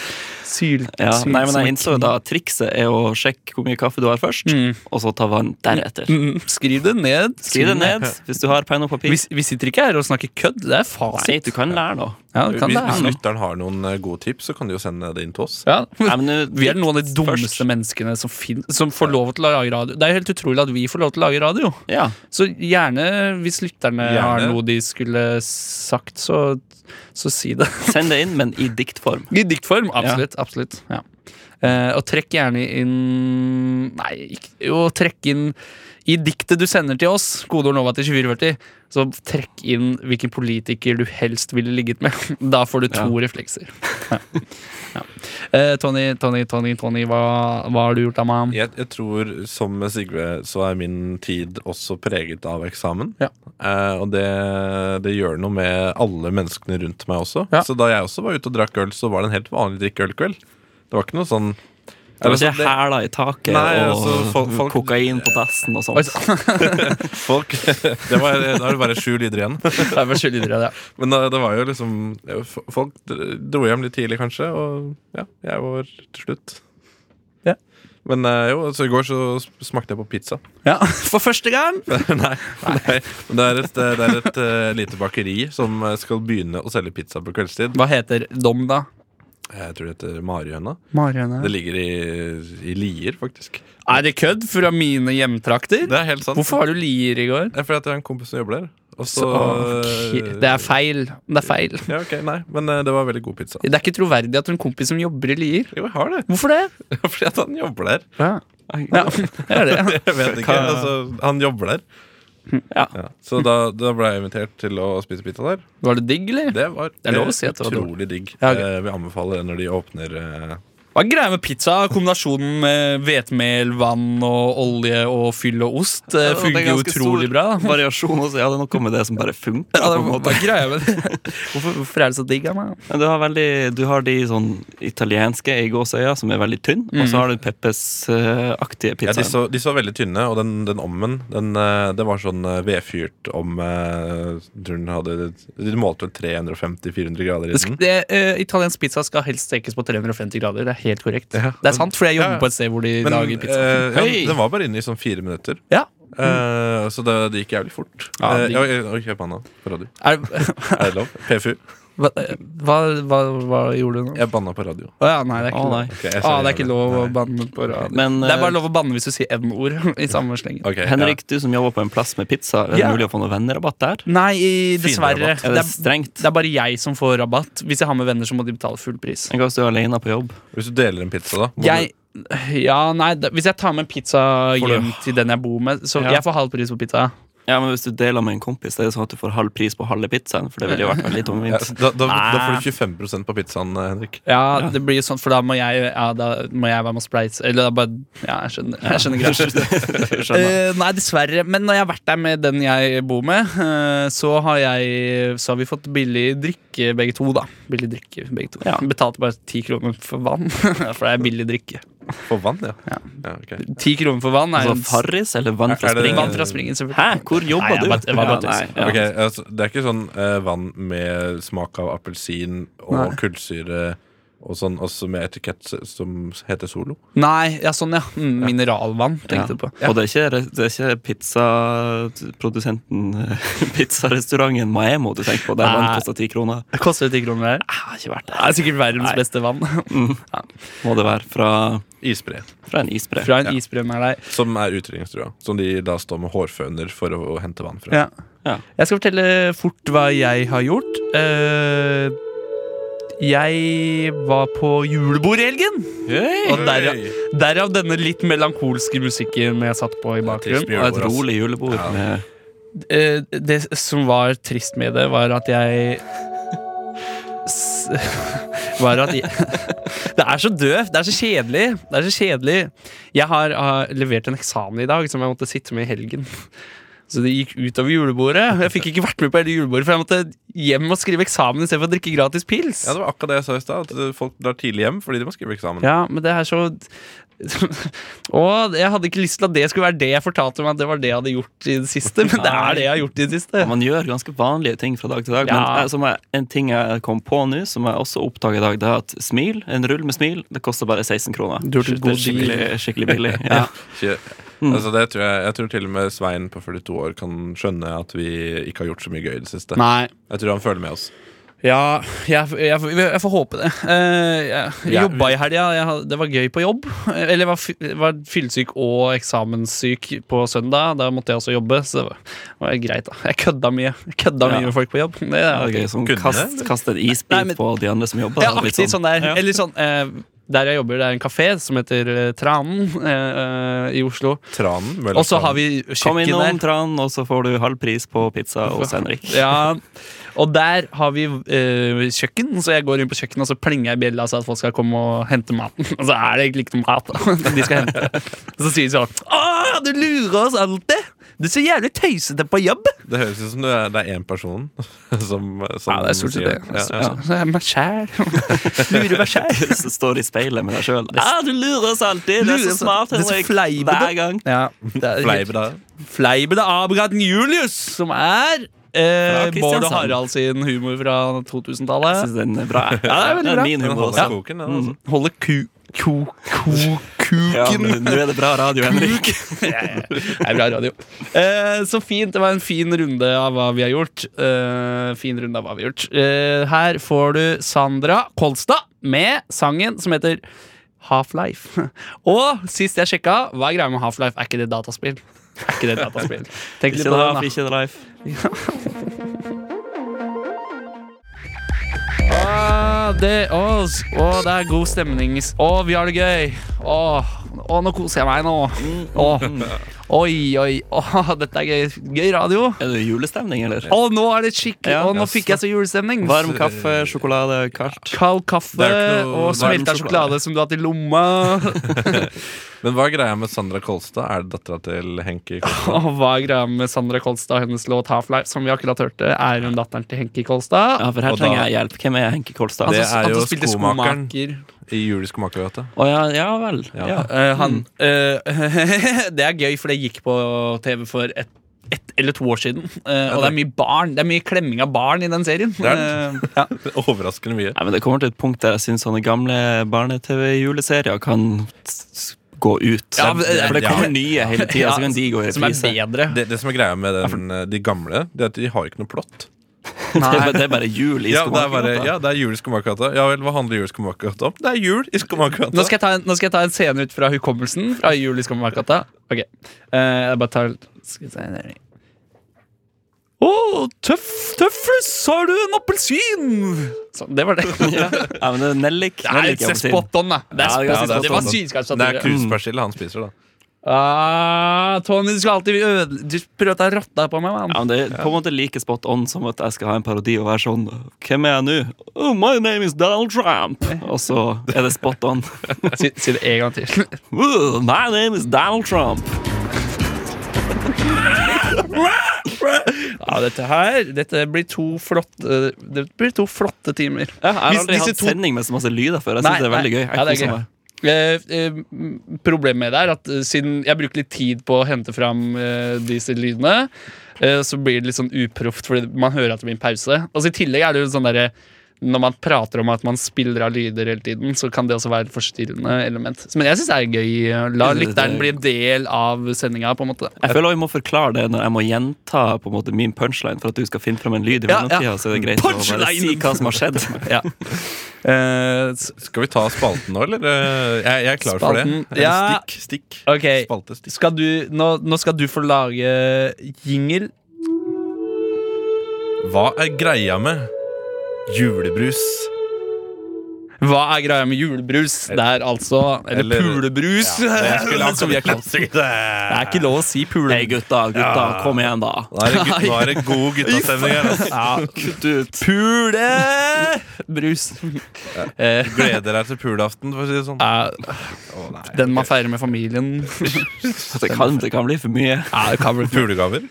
Speaker 5: Syl,
Speaker 3: Ja,
Speaker 5: syl
Speaker 3: nei, men
Speaker 5: som
Speaker 3: jeg
Speaker 5: en
Speaker 3: innså
Speaker 5: kniv.
Speaker 3: da at trikset er å sjekke hvor mye kaffe du har først,
Speaker 5: Mm.
Speaker 3: og så ta vann deretter.
Speaker 5: Mm, Skriv det ned.
Speaker 3: Skriv det ned hvis du har penn og papir.
Speaker 5: Vi, vi sitter ikke her og snakker kødd. Det er fasit.
Speaker 3: Nei, du kan lære noe.
Speaker 5: Ja, det kan
Speaker 6: hvis
Speaker 5: det
Speaker 6: hvis
Speaker 5: er noe.
Speaker 6: lytteren har noen eh, gode tips, så kan de jo sende det inn til oss.
Speaker 5: Ja.
Speaker 3: Nei, men, eh,
Speaker 5: Vi er noen av de
Speaker 3: dikt
Speaker 5: dummeste
Speaker 3: først.
Speaker 5: menneskene som, fin som får lov til å lage radio. Det er helt utrolig at vi får lov til å lage radio.
Speaker 3: Ja,
Speaker 5: Så gjerne, hvis lytterne
Speaker 6: Gjerne.
Speaker 5: har noe de skulle sagt, så, så si det.
Speaker 3: Send det inn, men i diktform.
Speaker 5: I diktform, absolutt. absolutt ja. Eh, og trekk gjerne inn Nei, ikke, jo, trekk inn I diktet du sender til oss, kodeord NOVA til 2440, så trekk inn hvilken politiker du helst ville ligget med. Da får du to reflekser. Ja. Ja. Eh, Tony, Tony, Tony, Tony hva, hva har du gjort, Amma?
Speaker 6: Jeg, jeg tror, som med Sigve, så er min tid også preget av eksamen.
Speaker 5: Ja.
Speaker 6: Eh, og det, det gjør noe med alle menneskene rundt meg også.
Speaker 5: Ja.
Speaker 6: Så da jeg også var ute og drakk øl, så var det en helt vanlig drikkeølkveld. Det var ikke noe sånn
Speaker 3: Det var
Speaker 6: Altså,
Speaker 3: ikke hæla i taket
Speaker 6: Nei,
Speaker 3: og
Speaker 6: altså, folk- folk-
Speaker 3: kokain på dassen og
Speaker 5: Oi,
Speaker 3: sånt.
Speaker 5: så-
Speaker 6: folk, det var, Da er det bare sju lyder igjen.
Speaker 5: Det er vel skyldig dere det.
Speaker 6: Men det, det var jo liksom f- Folk dr- dro hjem litt tidlig, kanskje, og ja, jeg var til slutt.
Speaker 5: Ja.
Speaker 6: Men eh, jo, så i går så smakte jeg på pizza.
Speaker 5: Ja, for første gang!
Speaker 6: Nei. Nei. Men det er et, det er et eh, lite bakeri som eh, skal begynne å selge pizza på kveldstid.
Speaker 5: Hva heter Dom, da?
Speaker 6: Jeg tror det heter Marihøna.
Speaker 5: Marianne.
Speaker 6: Det ligger i, i Lier, faktisk.
Speaker 5: Er det kødd fra mine hjemtrakter?
Speaker 6: Det er helt sant.
Speaker 5: Hvorfor var du lier i går?
Speaker 6: Det er fordi at jeg har en kompis som jobber der. Og så, øh, eh,
Speaker 5: Så, ok, Det er feil. Det er feil.
Speaker 6: Ja, ok, nei, Men eh, det var veldig god pizza.
Speaker 5: Det er ikke troverdig at en kompis som jobber i Lier
Speaker 6: Jo, jeg har det.
Speaker 5: Hvorfor det?
Speaker 6: Fordi at han jobber der.
Speaker 5: Ja, det er det.
Speaker 6: Jeg vet ikke,
Speaker 5: Hva-
Speaker 6: altså, Han jobber der.
Speaker 3: Ja.
Speaker 6: Så da, da ble jeg invitert til å spise pizza der.
Speaker 5: Var det digg, eller?
Speaker 6: Det var
Speaker 5: Det er lov å si at det var
Speaker 6: utrolig digg.
Speaker 5: Ja, ok.
Speaker 6: Eh, Vi anbefaler det når de åpner eh,
Speaker 5: Hva er greia med pizza? Kombinasjonen med hvetemel, vann og olje og fyll og ost eh,
Speaker 3: Og
Speaker 5: funker jo utrolig bra. da.
Speaker 3: variasjon også. Jeg hadde noe med det som bare funker.
Speaker 5: Ja,
Speaker 3: på
Speaker 5: det
Speaker 3: en
Speaker 5: var
Speaker 3: måte.
Speaker 5: bare greia med det. Hvorfor, hvorfor er det så digg av meg?
Speaker 3: Men du har, veldig, du har de sånn italienske i gåseøya som er veldig tynn, og så har du Peppes-aktige
Speaker 6: Ja, de,
Speaker 3: pizzaer.
Speaker 6: så, de så veldig tynne, og den, den ommen den, eh, Det var sånn eh, vedfyrt om eh, jeg tror den hadde, De målte vel 350-400 grader i
Speaker 5: Det,
Speaker 6: den.
Speaker 5: det, eh, italiensk pizza skal helst stekes på 350 grader. Det er helt korrekt.
Speaker 6: Ja.
Speaker 5: Det er sant, for jeg jobber
Speaker 6: Ja.
Speaker 5: på et sted hvor de
Speaker 6: Men
Speaker 5: lager pizza.
Speaker 6: eh, ja,
Speaker 3: Hei!
Speaker 6: den var bare inne i sånn fire minutter.
Speaker 5: Ja.
Speaker 6: Eh, så det, det gikk jævlig fort.
Speaker 5: Ja,
Speaker 6: Eh,
Speaker 5: digg.
Speaker 6: oi, oi, oi, kjøp han da. På radio.
Speaker 5: Er,
Speaker 6: Er det lov? PFU.
Speaker 5: hva, hva, hva, hva gjorde du nå?
Speaker 6: Jeg banna på radio.
Speaker 5: Å ja, nei, det er ikke
Speaker 3: Å,
Speaker 5: lov.
Speaker 3: nei.
Speaker 6: Ok, jeg
Speaker 5: Ah,
Speaker 6: ser
Speaker 5: det er ikke
Speaker 6: det.
Speaker 5: lov å
Speaker 6: Nei.
Speaker 5: banne på radio.
Speaker 3: Men,
Speaker 5: det er
Speaker 3: eh,
Speaker 5: bare lov å banne hvis du sier N-ord i samme slengen.
Speaker 6: Ok,
Speaker 3: Henrik, du som jobber på en plass med pizza, er det
Speaker 5: Ja.
Speaker 3: mulig å få noe vennerabatt der?
Speaker 5: Nei, i- dessverre.
Speaker 6: rabatt.
Speaker 3: Er
Speaker 5: Det
Speaker 3: det
Speaker 5: er,
Speaker 3: strengt?
Speaker 5: det er bare jeg som får rabatt. Hvis jeg har med venner, så må de betale full pris.
Speaker 3: Enn hvis du er alene på jobb?
Speaker 6: Ja. Hvis du deler en pizza, da. må
Speaker 5: Jeg, ja, nei, da, hvis jeg tar med en pizza
Speaker 6: Får du-
Speaker 5: hjem til den jeg bor med, så
Speaker 3: Ja.
Speaker 5: jeg får halv pris på pizza.
Speaker 3: Ja, men Hvis du deler med en kompis, det er jo sånn at du får halv pris på halve pizzaen. For det ville jo vært veldig
Speaker 6: du, ja,
Speaker 3: tungvint.
Speaker 6: så da, da, da får
Speaker 5: Nei.
Speaker 6: du 25 på pizzaen, eh, Henrik.
Speaker 5: Ja, det blir jo sånn, for da må jeg, ja, da må jeg være med og spleise. Eller da bare Ja, jeg skjønner. Jeg skjønner greit.
Speaker 3: Skjønner.
Speaker 5: Eh, nei, dessverre. Men når jeg har vært der med den jeg bor med, eh, så, har jeg, så har vi fått billig drikke begge to, da. Billig drikke begge to.
Speaker 3: Ja.
Speaker 5: Betalte bare ti kroner for vann, for det er billig drikke.
Speaker 6: For vann, ja.
Speaker 5: Ja.
Speaker 6: Ja, ok.
Speaker 5: Ti kroner for vann er
Speaker 3: Altså
Speaker 5: en s-
Speaker 3: Farris eller vann fra
Speaker 6: Er det-
Speaker 5: vann
Speaker 3: springen?
Speaker 5: fra springen, selvfølgelig.
Speaker 3: Hæ, hvor
Speaker 5: Nei,
Speaker 3: jobber
Speaker 5: jeg
Speaker 3: du?
Speaker 5: bare- jeg bare
Speaker 3: Ja,
Speaker 5: tøyser.
Speaker 3: nei, ja.
Speaker 6: Ok, altså, det er ikke sånn eh, vann med smak av appelsin og
Speaker 5: Nei.
Speaker 6: kullsyre og sånn, også med etikett s- som heter Solo?
Speaker 5: Nei, ja, sånn, ja. Mm, mineralvann, tenkte jeg på.
Speaker 3: Og det er ikke, det er ikke pizzaprodusenten eh, Pizzarestauranten Maemo du tenker på? Der vann
Speaker 5: Nei.
Speaker 3: koster ti kroner?
Speaker 5: Det koster ti kroner der.
Speaker 3: Jeg har ikke vært
Speaker 5: Ah, Det er sikkert verdens
Speaker 3: Nei.
Speaker 5: beste vann.
Speaker 3: Må det være fra,
Speaker 6: Isbre.
Speaker 3: fra en isbre?
Speaker 5: Fra en isbrønnmeier der.
Speaker 6: Som er utrydningstrua. Som de da står med hårføner for å, å hente vann fra.
Speaker 5: Ja.
Speaker 3: Ja.
Speaker 5: Jeg skal fortelle fort hva jeg har gjort. Eh, jeg var på julebord i helgen.
Speaker 3: Hey!
Speaker 5: Og derav, derav denne litt melankolske musikken jeg satt på i bakgrunnen.
Speaker 3: Og et
Speaker 5: altså.
Speaker 3: rolig julebord
Speaker 6: Ja.
Speaker 3: med
Speaker 5: Eh, det som var trist med det, var at jeg s- Var at jeg Det er så døvt! Det er så kjedelig! Det er så kjedelig Jeg har har levert en eksamen i dag som jeg måtte sitte med i helgen. Så det gikk utover julebordet. Jeg fikk ikke vært med på hele julebordet, for jeg måtte hjem og skrive eksamen istedenfor å drikke gratis pils.
Speaker 6: Ja, det var akkurat det jeg sa i stad. At eh, folk drar tidlig hjem fordi de må skrive eksamen.
Speaker 5: Ja, men det er så Og jeg hadde ikke lyst til at det skulle være det jeg fortalte meg at det var det jeg hadde gjort i det siste, men det er det jeg har gjort i det siste.
Speaker 3: Man gjør ganske vanlige ting fra dag til dag.
Speaker 5: Ja.
Speaker 3: Men eh, som jeg, en ting jeg kom på nå, som jeg også oppdaga i dag, det er at smil, en rull med smil, det koster bare 16 kroner.
Speaker 5: Du har gjort et
Speaker 3: Det
Speaker 5: god
Speaker 3: er skikkelig, skikkelig billig. Ja.
Speaker 6: Ikke,
Speaker 5: Mm.
Speaker 6: altså, det tror jeg, jeg tror til og med Svein på 42 år kan skjønne at vi ikke har gjort så mye gøy i det siste.
Speaker 5: Nei.
Speaker 6: Jeg tror han føler med oss.
Speaker 5: Ja, jeg, jeg, jeg, får håpe det. Eh, jeg
Speaker 6: Ja,
Speaker 5: jobba i helga. Jeg, had- det var gøy på jobb. Eh, Eller jeg var, fy- jeg var fyllesyk og eksamenssyk på søndag. Da måtte jeg også jobbe, så det var, var greit. da Jeg kødda mye Jeg kødda
Speaker 3: Ja.
Speaker 5: mye med folk på jobb. Det
Speaker 3: Det
Speaker 5: er
Speaker 3: er gøy, sånn
Speaker 6: Kunne,
Speaker 3: kast,
Speaker 6: eller?
Speaker 3: kast en isbit
Speaker 5: Nei, men-
Speaker 3: på de andre som jobber.
Speaker 5: Ja,
Speaker 3: da, litt
Speaker 5: aktig sånn der.
Speaker 3: Ja.
Speaker 5: Eller sånn eh, Der jeg jobber, det er en kafé som heter eh, Tranen eh, eh, i Oslo.
Speaker 6: Tranen. Møller
Speaker 5: Og så har vi
Speaker 3: Kom
Speaker 5: kjøkken
Speaker 3: innom,
Speaker 5: der.
Speaker 3: Tran, og så får du halv pris på pizza hos Henrik.
Speaker 5: Ja, og der har vi eh, kjøkken, så jeg går inn på kjøkkenet og så plenger jeg i bjella så at folk skal komme og hente maten. Og så er det egentlig ikke noe mat. da. Men de skal hente det. Og så sier de sånn Å, du lurer oss alltid! Du er så jævlig tøysete på jobb!
Speaker 6: Det høres ut som det er- det er én person som, som
Speaker 5: Ja, det er stort sett det. altså.
Speaker 6: sier-
Speaker 5: Så,
Speaker 6: Ja, ja.
Speaker 5: så er jeg meg sjæl. Lurer meg sjæl.
Speaker 3: Som står i speilet med deg sjøl.
Speaker 5: Ja,
Speaker 3: du lurer oss alltid!
Speaker 5: Du er så smart, Henrik. Hver
Speaker 3: gang.
Speaker 5: Ja, det er helt-
Speaker 6: Fleiber da.
Speaker 5: Fleibede Abraten Julius, som er eh,
Speaker 3: Fra Kristiansand.
Speaker 5: Bård og Harald sin humor fra 2000-tallet.
Speaker 3: Jeg syns den er bra.
Speaker 5: Ja, det er veldig bra.
Speaker 3: min
Speaker 6: Den
Speaker 3: humor
Speaker 6: holder
Speaker 3: også.
Speaker 6: koken, den, altså.
Speaker 5: Holde ku... Ko... Ko...
Speaker 3: Ja,
Speaker 5: Kuken
Speaker 3: men Nå er det bra radio, Henrik.
Speaker 5: Det er bra radio. Eh, så fint. Det var en fin runde av hva vi har gjort. Eh, fin runde av hva vi har gjort. Eh, her får du Sandra Kolstad med sangen som heter Half-Life. Og sist jeg sjekka, hva er greia med Half-Life? Er ikke det dataspill? Er ikke det dataspill? Tenk litt på
Speaker 3: Ikke det,
Speaker 5: den, da.
Speaker 3: ikke det life.
Speaker 5: Å, det, å, s- å, det er god stemning. Å, vi har det gøy. Å, Å, nå koser jeg meg nå. Å, oi, oi. Å, dette er gøy, gøy radio.
Speaker 3: Er det julestemning, eller?
Speaker 5: Å, nå er det skikkelig
Speaker 3: Ja.
Speaker 5: Å, nå fikk jeg så julestemning.
Speaker 3: Varm
Speaker 5: eh,
Speaker 3: kaffe, sjokolade, kaldt.
Speaker 5: Kald kaffe
Speaker 6: Det er ikke noe
Speaker 5: og smelta
Speaker 3: varm
Speaker 5: sjokolade
Speaker 3: sjokolade.
Speaker 5: som du har hatt i lomma.
Speaker 6: Men hva er greia med Sandra Kolstad? Er det dattera til Henki Kolstad?
Speaker 5: Og hva er greia med Sandra Kolstad og hennes låt 'Half-Life'? Som vi akkurat hørte, er hun datteren til Henki Kolstad?
Speaker 3: Ja, for her
Speaker 6: Og da-
Speaker 3: trenger jeg hjelp. Hvem er Henke Kolstad?
Speaker 5: Han
Speaker 6: Det
Speaker 5: som-
Speaker 6: er
Speaker 5: han
Speaker 6: jo
Speaker 5: som spilte
Speaker 6: skomakeren.
Speaker 5: skomaker.
Speaker 6: I Julisk Makergata.
Speaker 3: Å ja, ja vel.
Speaker 6: Ja.
Speaker 3: Ja.
Speaker 5: Eh, han, eh, det er gøy, for det gikk på TV for ett ett eller to år siden. Eh, og det er mye barn Det er mye klemming av barn i den serien.
Speaker 6: er
Speaker 5: Eh, ja.
Speaker 6: Overraskende mye.
Speaker 3: Nei, men Det kommer til et punkt der jeg syns sånne gamle barne-TV-juleserier kan s- s- gå ut.
Speaker 5: Ja, men-
Speaker 3: for det
Speaker 6: ja.
Speaker 3: kommer nye hele tida, så kan de gå i
Speaker 5: Som er
Speaker 3: reprise.
Speaker 5: bedre.
Speaker 6: Det, det som er greia med den, eh, de gamle, det er at de har ikke noe plott.
Speaker 3: Det er bare- det er bare jul i
Speaker 6: Ja, det er, bare,
Speaker 3: skomakergata.
Speaker 6: ja, det er jul i Skomakergata. Ja vel, hva handler jul i Skomakergata om? Det er jul i Skomakergata!
Speaker 5: Nå skal, jeg ta en, nå skal jeg ta en scene ut fra hukommelsen fra Julie Skammermarkata. Ok, Eh, jeg bare tar Skal vi se der. Å, tøff, tøffes, har du en appelsin? Sånn, det var det.
Speaker 3: Ja, men det er Nellik.
Speaker 5: Nei,
Speaker 3: Nellik
Speaker 5: det
Speaker 3: er
Speaker 5: er
Speaker 3: på sin.
Speaker 5: spot on, da. Det, er
Speaker 3: Ja,
Speaker 5: spot
Speaker 3: ja,
Speaker 5: on.
Speaker 3: det er
Speaker 5: det
Speaker 6: spot
Speaker 5: var Mm.
Speaker 6: on. Det er
Speaker 5: sydskapsstatue.
Speaker 6: kruspersille han spiser, da.
Speaker 5: Ah, Tony, du skal alltid øde- Du prøver å ta rotta på meg, mann.
Speaker 3: Ja, men Det er på en måte like spot on som at jeg skal ha en parodi og være sånn Hvem er jeg nå? Oh, my name is Donald Trump. Og så er det spot on.
Speaker 5: Si, si det en gang til.
Speaker 3: Oh, my name is Donald Trump.
Speaker 5: Ja, dette her Dette blir to flotte Det blir to flotte timer.
Speaker 3: Ja, jeg har
Speaker 5: Hvis
Speaker 3: aldri
Speaker 5: disse
Speaker 3: hatt
Speaker 5: to-
Speaker 3: sending med så masse lyder før. Jeg
Speaker 5: Nei,
Speaker 3: synes det er veldig
Speaker 5: nei.
Speaker 3: gøy.
Speaker 5: Ja,
Speaker 3: Jeg
Speaker 5: det er
Speaker 3: koser
Speaker 5: gøy.
Speaker 3: meg.
Speaker 5: Eh, eh, problemet med det er at eh, siden jeg bruker litt tid på å hente fram eh, disse lydene, eh, så blir det litt sånn uproft, fordi man hører at det blir en pause. Og så I tillegg er det jo sånn derre når man prater om at man spiller av lyder hele tiden, så kan det også være et forstyrrende element. Men jeg syns det er gøy. La
Speaker 3: Det- det-
Speaker 5: lytteren bli en del av sendinga, på en måte.
Speaker 3: Jeg føler også vi må forklare det når jeg må gjenta på en måte min punchline for at du skal finne fram en lyd i
Speaker 5: Ja, ja.
Speaker 3: mellomtida. Så er det greit å bare
Speaker 5: Punchline!
Speaker 3: si hva som har skjedd.
Speaker 5: Ja. Eh, s-
Speaker 6: Skal vi ta spalten nå, eller? Eh, Jeg, jeg er klar
Speaker 5: Spalten,
Speaker 6: for det. Eller
Speaker 5: ja.
Speaker 6: Stikk, stikk.
Speaker 5: Ok.
Speaker 6: Spalte, stikk.
Speaker 5: skal du, nå, nå skal du få lage jingle.
Speaker 6: Hva er greia med julebrus?
Speaker 5: Hva er greia med julebrus? Det er altså Eller,
Speaker 6: Eller-
Speaker 5: pulebrus, som vi har kalt det.
Speaker 6: det.
Speaker 5: Det er ikke lov å si pule.
Speaker 3: Hei, gutta, gutta, kom igjen, da.
Speaker 6: Nå er det, gu- nå er det god guttastemning her. altså.
Speaker 5: Ja, kutt ut. Pulebrus. Eh,
Speaker 6: Gleder deg til pulaften, for å si det sånn.
Speaker 5: ja,
Speaker 6: Å, nei.
Speaker 5: den man feirer med familien.
Speaker 3: Det kan, det kan bli for mye.
Speaker 5: Ja, det kan bli-
Speaker 6: Pulegaver?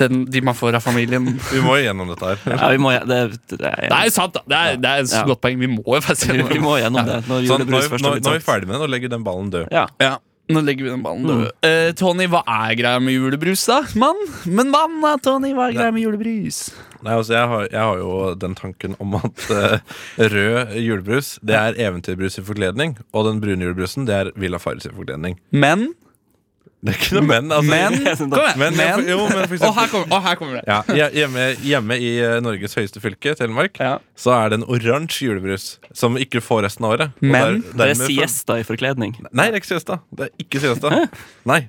Speaker 5: Den, de man får av familien.
Speaker 6: Vi må gjennom dette her.
Speaker 3: Ja, vi må, det, det,
Speaker 5: Det er jo sant, da. Det er, det er et
Speaker 3: Ja.
Speaker 5: godt poeng. Vi må jo faktisk
Speaker 3: Vi må gjennom det
Speaker 6: Sånn,
Speaker 3: når
Speaker 6: nå,
Speaker 3: julebrus
Speaker 6: er vi-
Speaker 3: først
Speaker 6: nå,
Speaker 3: har blitt
Speaker 6: nå er vi
Speaker 3: sagt.
Speaker 6: ferdig med den og legger den ballen død.
Speaker 3: Ja.
Speaker 5: Ja, nå legger vi den ballen død. Eh, Tony, hva er greia med julebrus, da? Mann? Men mann, da, Tony, hva er greia med julebrus?
Speaker 6: Nei, altså, jeg har, jeg har jo den tanken om at eh, rød julebrus Det er eventyrbrus i forkledning, og den brune julebrusen det er Villa Farris i forkledning.
Speaker 5: Men
Speaker 6: Det er ikke noe men. Altså,
Speaker 5: Men, kom igjen,
Speaker 6: Men, ja,
Speaker 5: men.
Speaker 6: for- jo, men for
Speaker 5: Å, her
Speaker 6: eksempel,
Speaker 5: kommer, å, her kommer det.
Speaker 6: ja, hje- hjemme, hjemme i eh, Norges høyeste fylke, Telemark,
Speaker 5: Ja.
Speaker 6: så er det en oransje julebrus som vi ikke får resten av året. Og der-
Speaker 5: Men,
Speaker 3: Det er
Speaker 6: dermed-
Speaker 3: siesta i forkledning.
Speaker 6: Nei, det er ikke siesta. Det er ikke siesta. Nei.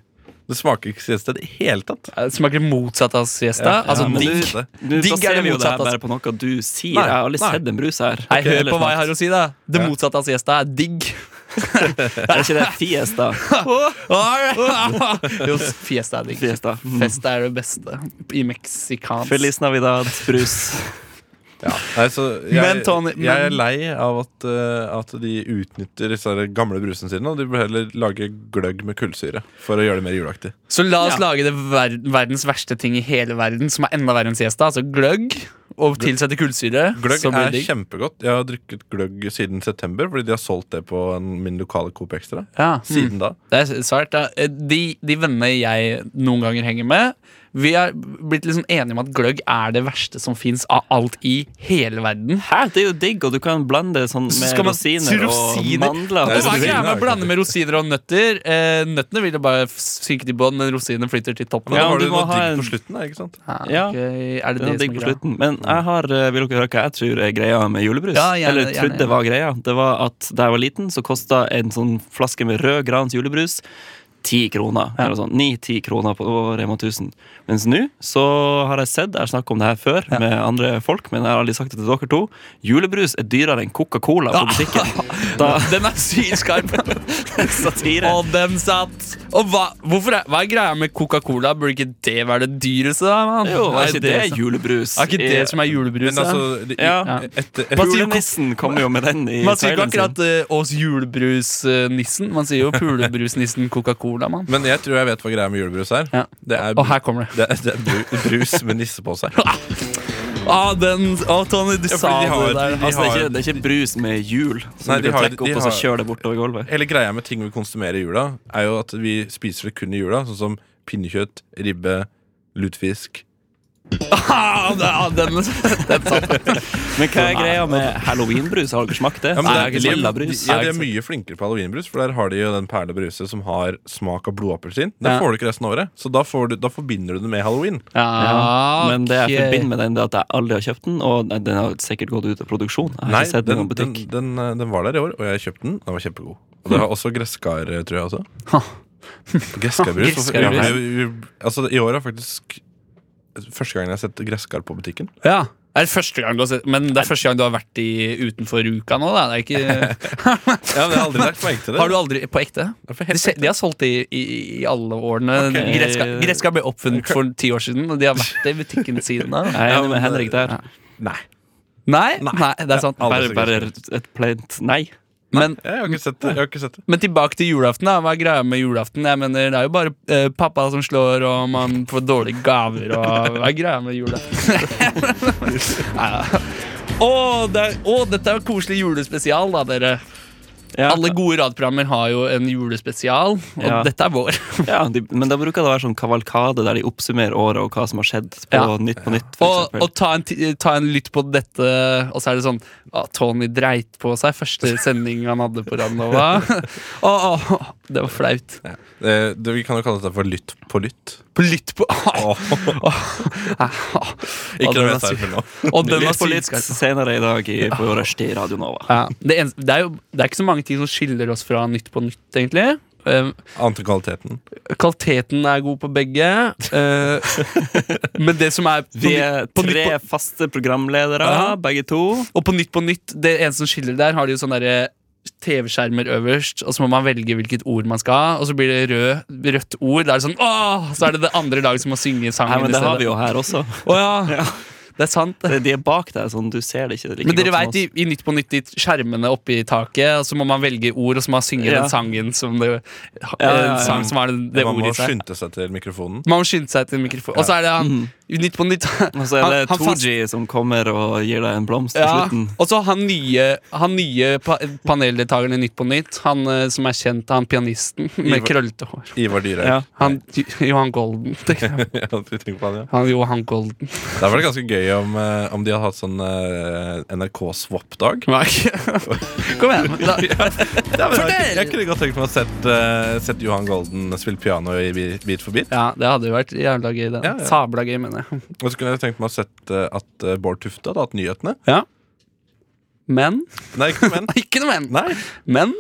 Speaker 6: Det smaker ikke siesta i det hele tatt.
Speaker 5: Eh, Det smaker motsatt av siesta. altså,
Speaker 3: men
Speaker 5: digg.
Speaker 6: du-
Speaker 3: Nå
Speaker 5: Digg er
Speaker 3: baserer
Speaker 5: det
Speaker 3: vi jo det her
Speaker 5: motsatte,
Speaker 3: bare på noe du sier.
Speaker 6: Nei,
Speaker 3: Jeg har aldri
Speaker 6: nei.
Speaker 3: sett en brus her.
Speaker 5: Nei,
Speaker 3: Ok,
Speaker 5: hør
Speaker 3: ellers
Speaker 5: på hva jeg
Speaker 3: mat.
Speaker 5: har å si, da. Det
Speaker 6: Ja.
Speaker 5: motsatte av siesta er digg.
Speaker 3: Er ikke det fiesta?
Speaker 5: jo, fiesta er digg.
Speaker 3: fiesta. Mm.
Speaker 5: Fest er det beste i meksikansk
Speaker 3: Feliz Navidad, brus.
Speaker 6: Ja. Nei, så jeg,
Speaker 5: Men, Tony, men-
Speaker 6: jeg er lei av at, eh, at de utnytter disse her gamle brusene sine. Og de bør heller lage gløgg med kullsyre for å gjøre det mer juleaktig.
Speaker 5: Så la oss
Speaker 3: Ja.
Speaker 5: lage det ver verdens verste ting i hele verden, som er enda verre enn siesta. Altså gløgg og tilsette kullsyre.
Speaker 6: Gløgg
Speaker 5: så blir
Speaker 6: er
Speaker 5: det digg.
Speaker 6: kjempegodt. Jeg har drukket gløgg siden september, fordi de har solgt det på en, min lokale Coop Extra.
Speaker 5: Ja. Mm.
Speaker 6: Siden da.
Speaker 5: Det er svært, ja. Eh, De, de vennene jeg noen ganger henger med, vi er blitt liksom enige om at gløgg er det verste som fins av alt i hele verden.
Speaker 3: Hæ, det er jo digg, og du kan blande det sånn
Speaker 5: Så
Speaker 3: med
Speaker 5: skal man-
Speaker 3: rosiner,
Speaker 5: rosiner?
Speaker 3: og mandler.
Speaker 5: Og
Speaker 6: Nei,
Speaker 5: hva er
Speaker 6: rosiner
Speaker 5: greia
Speaker 6: er
Speaker 5: med å
Speaker 6: ikke
Speaker 5: blande med rosiner og nøtter? Eh, nøttene vil jo bare f- synke til bånn, men rosinene flytter til toppen.
Speaker 6: Men
Speaker 3: Ja,
Speaker 6: da
Speaker 3: men
Speaker 6: har
Speaker 3: du
Speaker 6: du
Speaker 3: må
Speaker 6: noe
Speaker 3: ha
Speaker 6: digg
Speaker 3: en-
Speaker 6: på slutten, da, ikke sant?
Speaker 5: Ja,
Speaker 3: Ja.
Speaker 5: ok. Er det
Speaker 3: Det er
Speaker 5: det,
Speaker 3: noe
Speaker 5: som
Speaker 3: digg
Speaker 5: er
Speaker 3: på
Speaker 5: greia?
Speaker 3: slutten. Men jeg har, eh, vil dere høre hva jeg tror er greia med julebrus?
Speaker 5: Ja, gjerne,
Speaker 3: Eller
Speaker 5: gjerne,
Speaker 3: trodde det var greia. Det var at da jeg var liten, så kosta en sånn flaske med rød Grans julebrus 10 kroner. eller sånn, 9-10 kroner på Rema 1000. Mens nå så har jeg sett, jeg har snakket om det her før med andre folk, men jeg har aldri sagt det til dere to, julebrus er dyrere enn Coca-Cola på butikken. Da,
Speaker 5: Den er sylskarp!
Speaker 3: satire.
Speaker 5: Og den satt! Og hva, hvorfor er, hva er greia med Coca-Cola? Burde ikke det være det dyreste? da, mann?
Speaker 3: Jo,
Speaker 5: Er
Speaker 3: er ikke det
Speaker 5: som-
Speaker 3: julebrus?
Speaker 5: Er ikke det som er julebrus?
Speaker 6: Men
Speaker 5: da?
Speaker 6: altså det-
Speaker 3: Ja.
Speaker 6: et- et- et-
Speaker 5: Man sier jo-
Speaker 3: Julenissen kommer jo med den i
Speaker 5: man sier ikke
Speaker 3: traileren sin.
Speaker 5: akkurat eh, oss julebrusnissen. Man sier jo pulebrusnissen Coca-Cola, mann.
Speaker 6: Men jeg tror jeg vet hva greia med julebrus er.
Speaker 5: Ja.
Speaker 6: Det er,
Speaker 5: Og her kommer det.
Speaker 6: det er, det er bru- brus med nisse på seg.
Speaker 5: Ah, den, ah, Tony, du sa
Speaker 6: de har
Speaker 5: det
Speaker 6: et-
Speaker 5: der.
Speaker 6: de-
Speaker 3: Altså, det, er
Speaker 6: har-
Speaker 3: ikke, det er ikke brus med hjul som
Speaker 6: Nei,
Speaker 3: du
Speaker 6: de
Speaker 3: kan
Speaker 6: har-
Speaker 3: trekke
Speaker 6: de
Speaker 3: opp og så
Speaker 6: har-
Speaker 3: kjøre det bortover gulvet.
Speaker 6: Hele greia med ting vi konsumerer i jula, er jo at vi spiser det kun i jula. Sånn som pinnekjøtt, ribbe, lutefisk.
Speaker 5: Ah, det- ah, den, den satt.
Speaker 3: Men hva er greia med halloweenbrus? Har dere smakt det?
Speaker 6: Ja, men
Speaker 3: Nei,
Speaker 6: det
Speaker 3: det
Speaker 6: er-
Speaker 3: er lilla
Speaker 6: de-
Speaker 3: brus.
Speaker 6: Ja, de er mye flinkere på halloweenbrus, for der har de jo den perlebruset som har smak av blodappelsin. Det
Speaker 5: Ja.
Speaker 6: får du ikke resten av året, så da, får du, da forbinder du det med halloween.
Speaker 5: Ja,
Speaker 3: Men det jeg
Speaker 5: ok.
Speaker 3: forbinder med den, det er at jeg aldri har kjøpt den, og den- den har sikkert gått ut av produksjon. Jeg har
Speaker 6: Nei,
Speaker 3: ikke sett den i
Speaker 6: den,
Speaker 3: noen
Speaker 6: den,
Speaker 3: butikk.
Speaker 6: den, eh, den var der i år, og jeg kjøpte den. Den var kjempegod. Og det var også gresskar, eh, tror jeg også.
Speaker 5: Hm. Ha.
Speaker 6: Gresskarbrus. hvorfor-
Speaker 5: Gresskarbrus.
Speaker 6: Ja, vi- vi- altså, I år er faktisk første gangen jeg har sett gresskar på butikken.
Speaker 5: Ja. Er det første gang du har sett Men det er første gang du har vært i utenfor uka nå, da. Det er ikke,
Speaker 6: Ja, men jeg har aldri lagt merke til det.
Speaker 5: har du aldri På ekte?
Speaker 6: Ja, for
Speaker 5: De,
Speaker 6: helt-
Speaker 5: se- de har solgt det i, i, i alle årene.
Speaker 6: Ok.
Speaker 5: Gresskar Gresskar ble oppfunnet for ti år siden, og de har vært i butikken siden da.
Speaker 3: Jeg er
Speaker 6: Ja, men
Speaker 3: enig
Speaker 6: det-
Speaker 3: med Henrik der.
Speaker 6: Nei.
Speaker 5: Nei, nei, det er sant.
Speaker 6: Ja, aldri.
Speaker 3: Bare, bare et plaint nei.
Speaker 5: Men,
Speaker 6: Jeg har ikke sett det. Jeg har ikke sett det.
Speaker 5: men tilbake til julaften. da Hva er greia med julaften? Jeg mener, Det er jo bare eh, pappa som slår, og man får dårlige gaver. Og Hva er greia med julaften? Neida. Å, det er, å, dette er jo koselig julespesial, da, dere.
Speaker 3: Ja,
Speaker 5: Alle gode radioprogrammer har jo en julespesial, og
Speaker 3: Ja.
Speaker 5: dette er vår.
Speaker 3: ja, de, men da bruker det å være sånn kavalkade der de oppsummerer året og hva som har skjedd på
Speaker 5: Ja.
Speaker 3: Nytt på Nytt. For
Speaker 5: Og,
Speaker 3: eksempel.
Speaker 5: og ta, en, ti- ta en lytt på dette, og så er det sånn ah, Tony dreit på seg første sending han hadde på Radnova. Å, å, å, det var flaut.
Speaker 6: Eh, det. Vi kan jo kalle dette for lytt på lytt.
Speaker 5: På lytt på
Speaker 6: Åh,
Speaker 5: Og
Speaker 6: ikke noe
Speaker 5: den er
Speaker 6: jeg tar
Speaker 5: syk.
Speaker 6: for nå.
Speaker 5: Og den var
Speaker 3: Litt på litt
Speaker 5: sylskarp.
Speaker 3: senere i dag i, på Rushdie Radio Nova.
Speaker 5: Ja, det, eneste- det, er jo, det er ikke så mange ting som skiller oss fra Nytt på nytt, egentlig. Eh,
Speaker 6: Annet enn kvaliteten.
Speaker 5: Kvaliteten er god på begge. eh, men det som er på
Speaker 3: Vi
Speaker 5: Nytt-
Speaker 3: er
Speaker 5: på Nytt på-
Speaker 3: tre faste programledere,
Speaker 5: Ja.
Speaker 3: begge to.
Speaker 5: Og på Nytt på Nytt, det eneste som skiller der, har de jo sånne derre TV-skjermer øverst, og så må man velge hvilket ord man skal ha, og så blir det rød, rødt ord. Da er det sånn åh! Så er det det andre laget som må synge sangen
Speaker 3: Nei,
Speaker 5: i
Speaker 3: men Det har
Speaker 5: stedet.
Speaker 3: vi jo her også.
Speaker 5: Å ja. Det er sant. det.
Speaker 3: Det- De er bak deg, sånn du ser det ikke like
Speaker 5: Men dere
Speaker 3: godt
Speaker 5: veit, i,
Speaker 3: som oss.
Speaker 5: i Nytt på Nytt, de skjermene oppi taket, og så må man velge ord, og så må man synge
Speaker 3: Ja.
Speaker 5: den sangen som det, eh,
Speaker 3: ja, ja.
Speaker 5: En sang som har det, det
Speaker 6: Eh, Man må
Speaker 5: ordet i seg.
Speaker 6: skynde seg til mikrofonen.
Speaker 5: Man må skynde seg til mikrofonen. Og så er det han i Nytt på Nytt.
Speaker 3: Mhm. Og så er det
Speaker 5: han- han fast-
Speaker 3: Tooji som kommer og gir deg en blomst til
Speaker 5: Ja,
Speaker 3: slutten.
Speaker 5: og så han nye, han nye pa paneldeltakeren i Nytt på Nytt, han eh, som er kjent, han pianisten med
Speaker 6: Ivar-
Speaker 5: krøllete hår.
Speaker 6: Ivar Dyrhaug.
Speaker 3: Ja.
Speaker 5: Han, Johan Golden. tenkte jeg.
Speaker 6: Ja, du tenker på han, ja.
Speaker 5: Han, Johan Golden.
Speaker 6: Det hadde vært ganske gøy om, eh, om de hadde hatt sånn NRK-swap-dag.
Speaker 5: Nei. Kom igjen. Da, for
Speaker 6: Jeg
Speaker 5: dere!
Speaker 6: kunne godt tenkt meg å sett, eh, sett Johan Golden spille piano i Bi- Beat for beat.
Speaker 5: Ja, det hadde jo vært jævla gøy. Det.
Speaker 6: Ja, ja.
Speaker 5: Sabla gøy, mener jeg.
Speaker 6: Og så kunne jeg tenkt meg å sett eh, at eh, Bård Tufte hadde hatt nyhetene.
Speaker 5: Men
Speaker 6: Nei, ikke menn.
Speaker 5: Ikke noe men.
Speaker 6: Nei.
Speaker 5: Men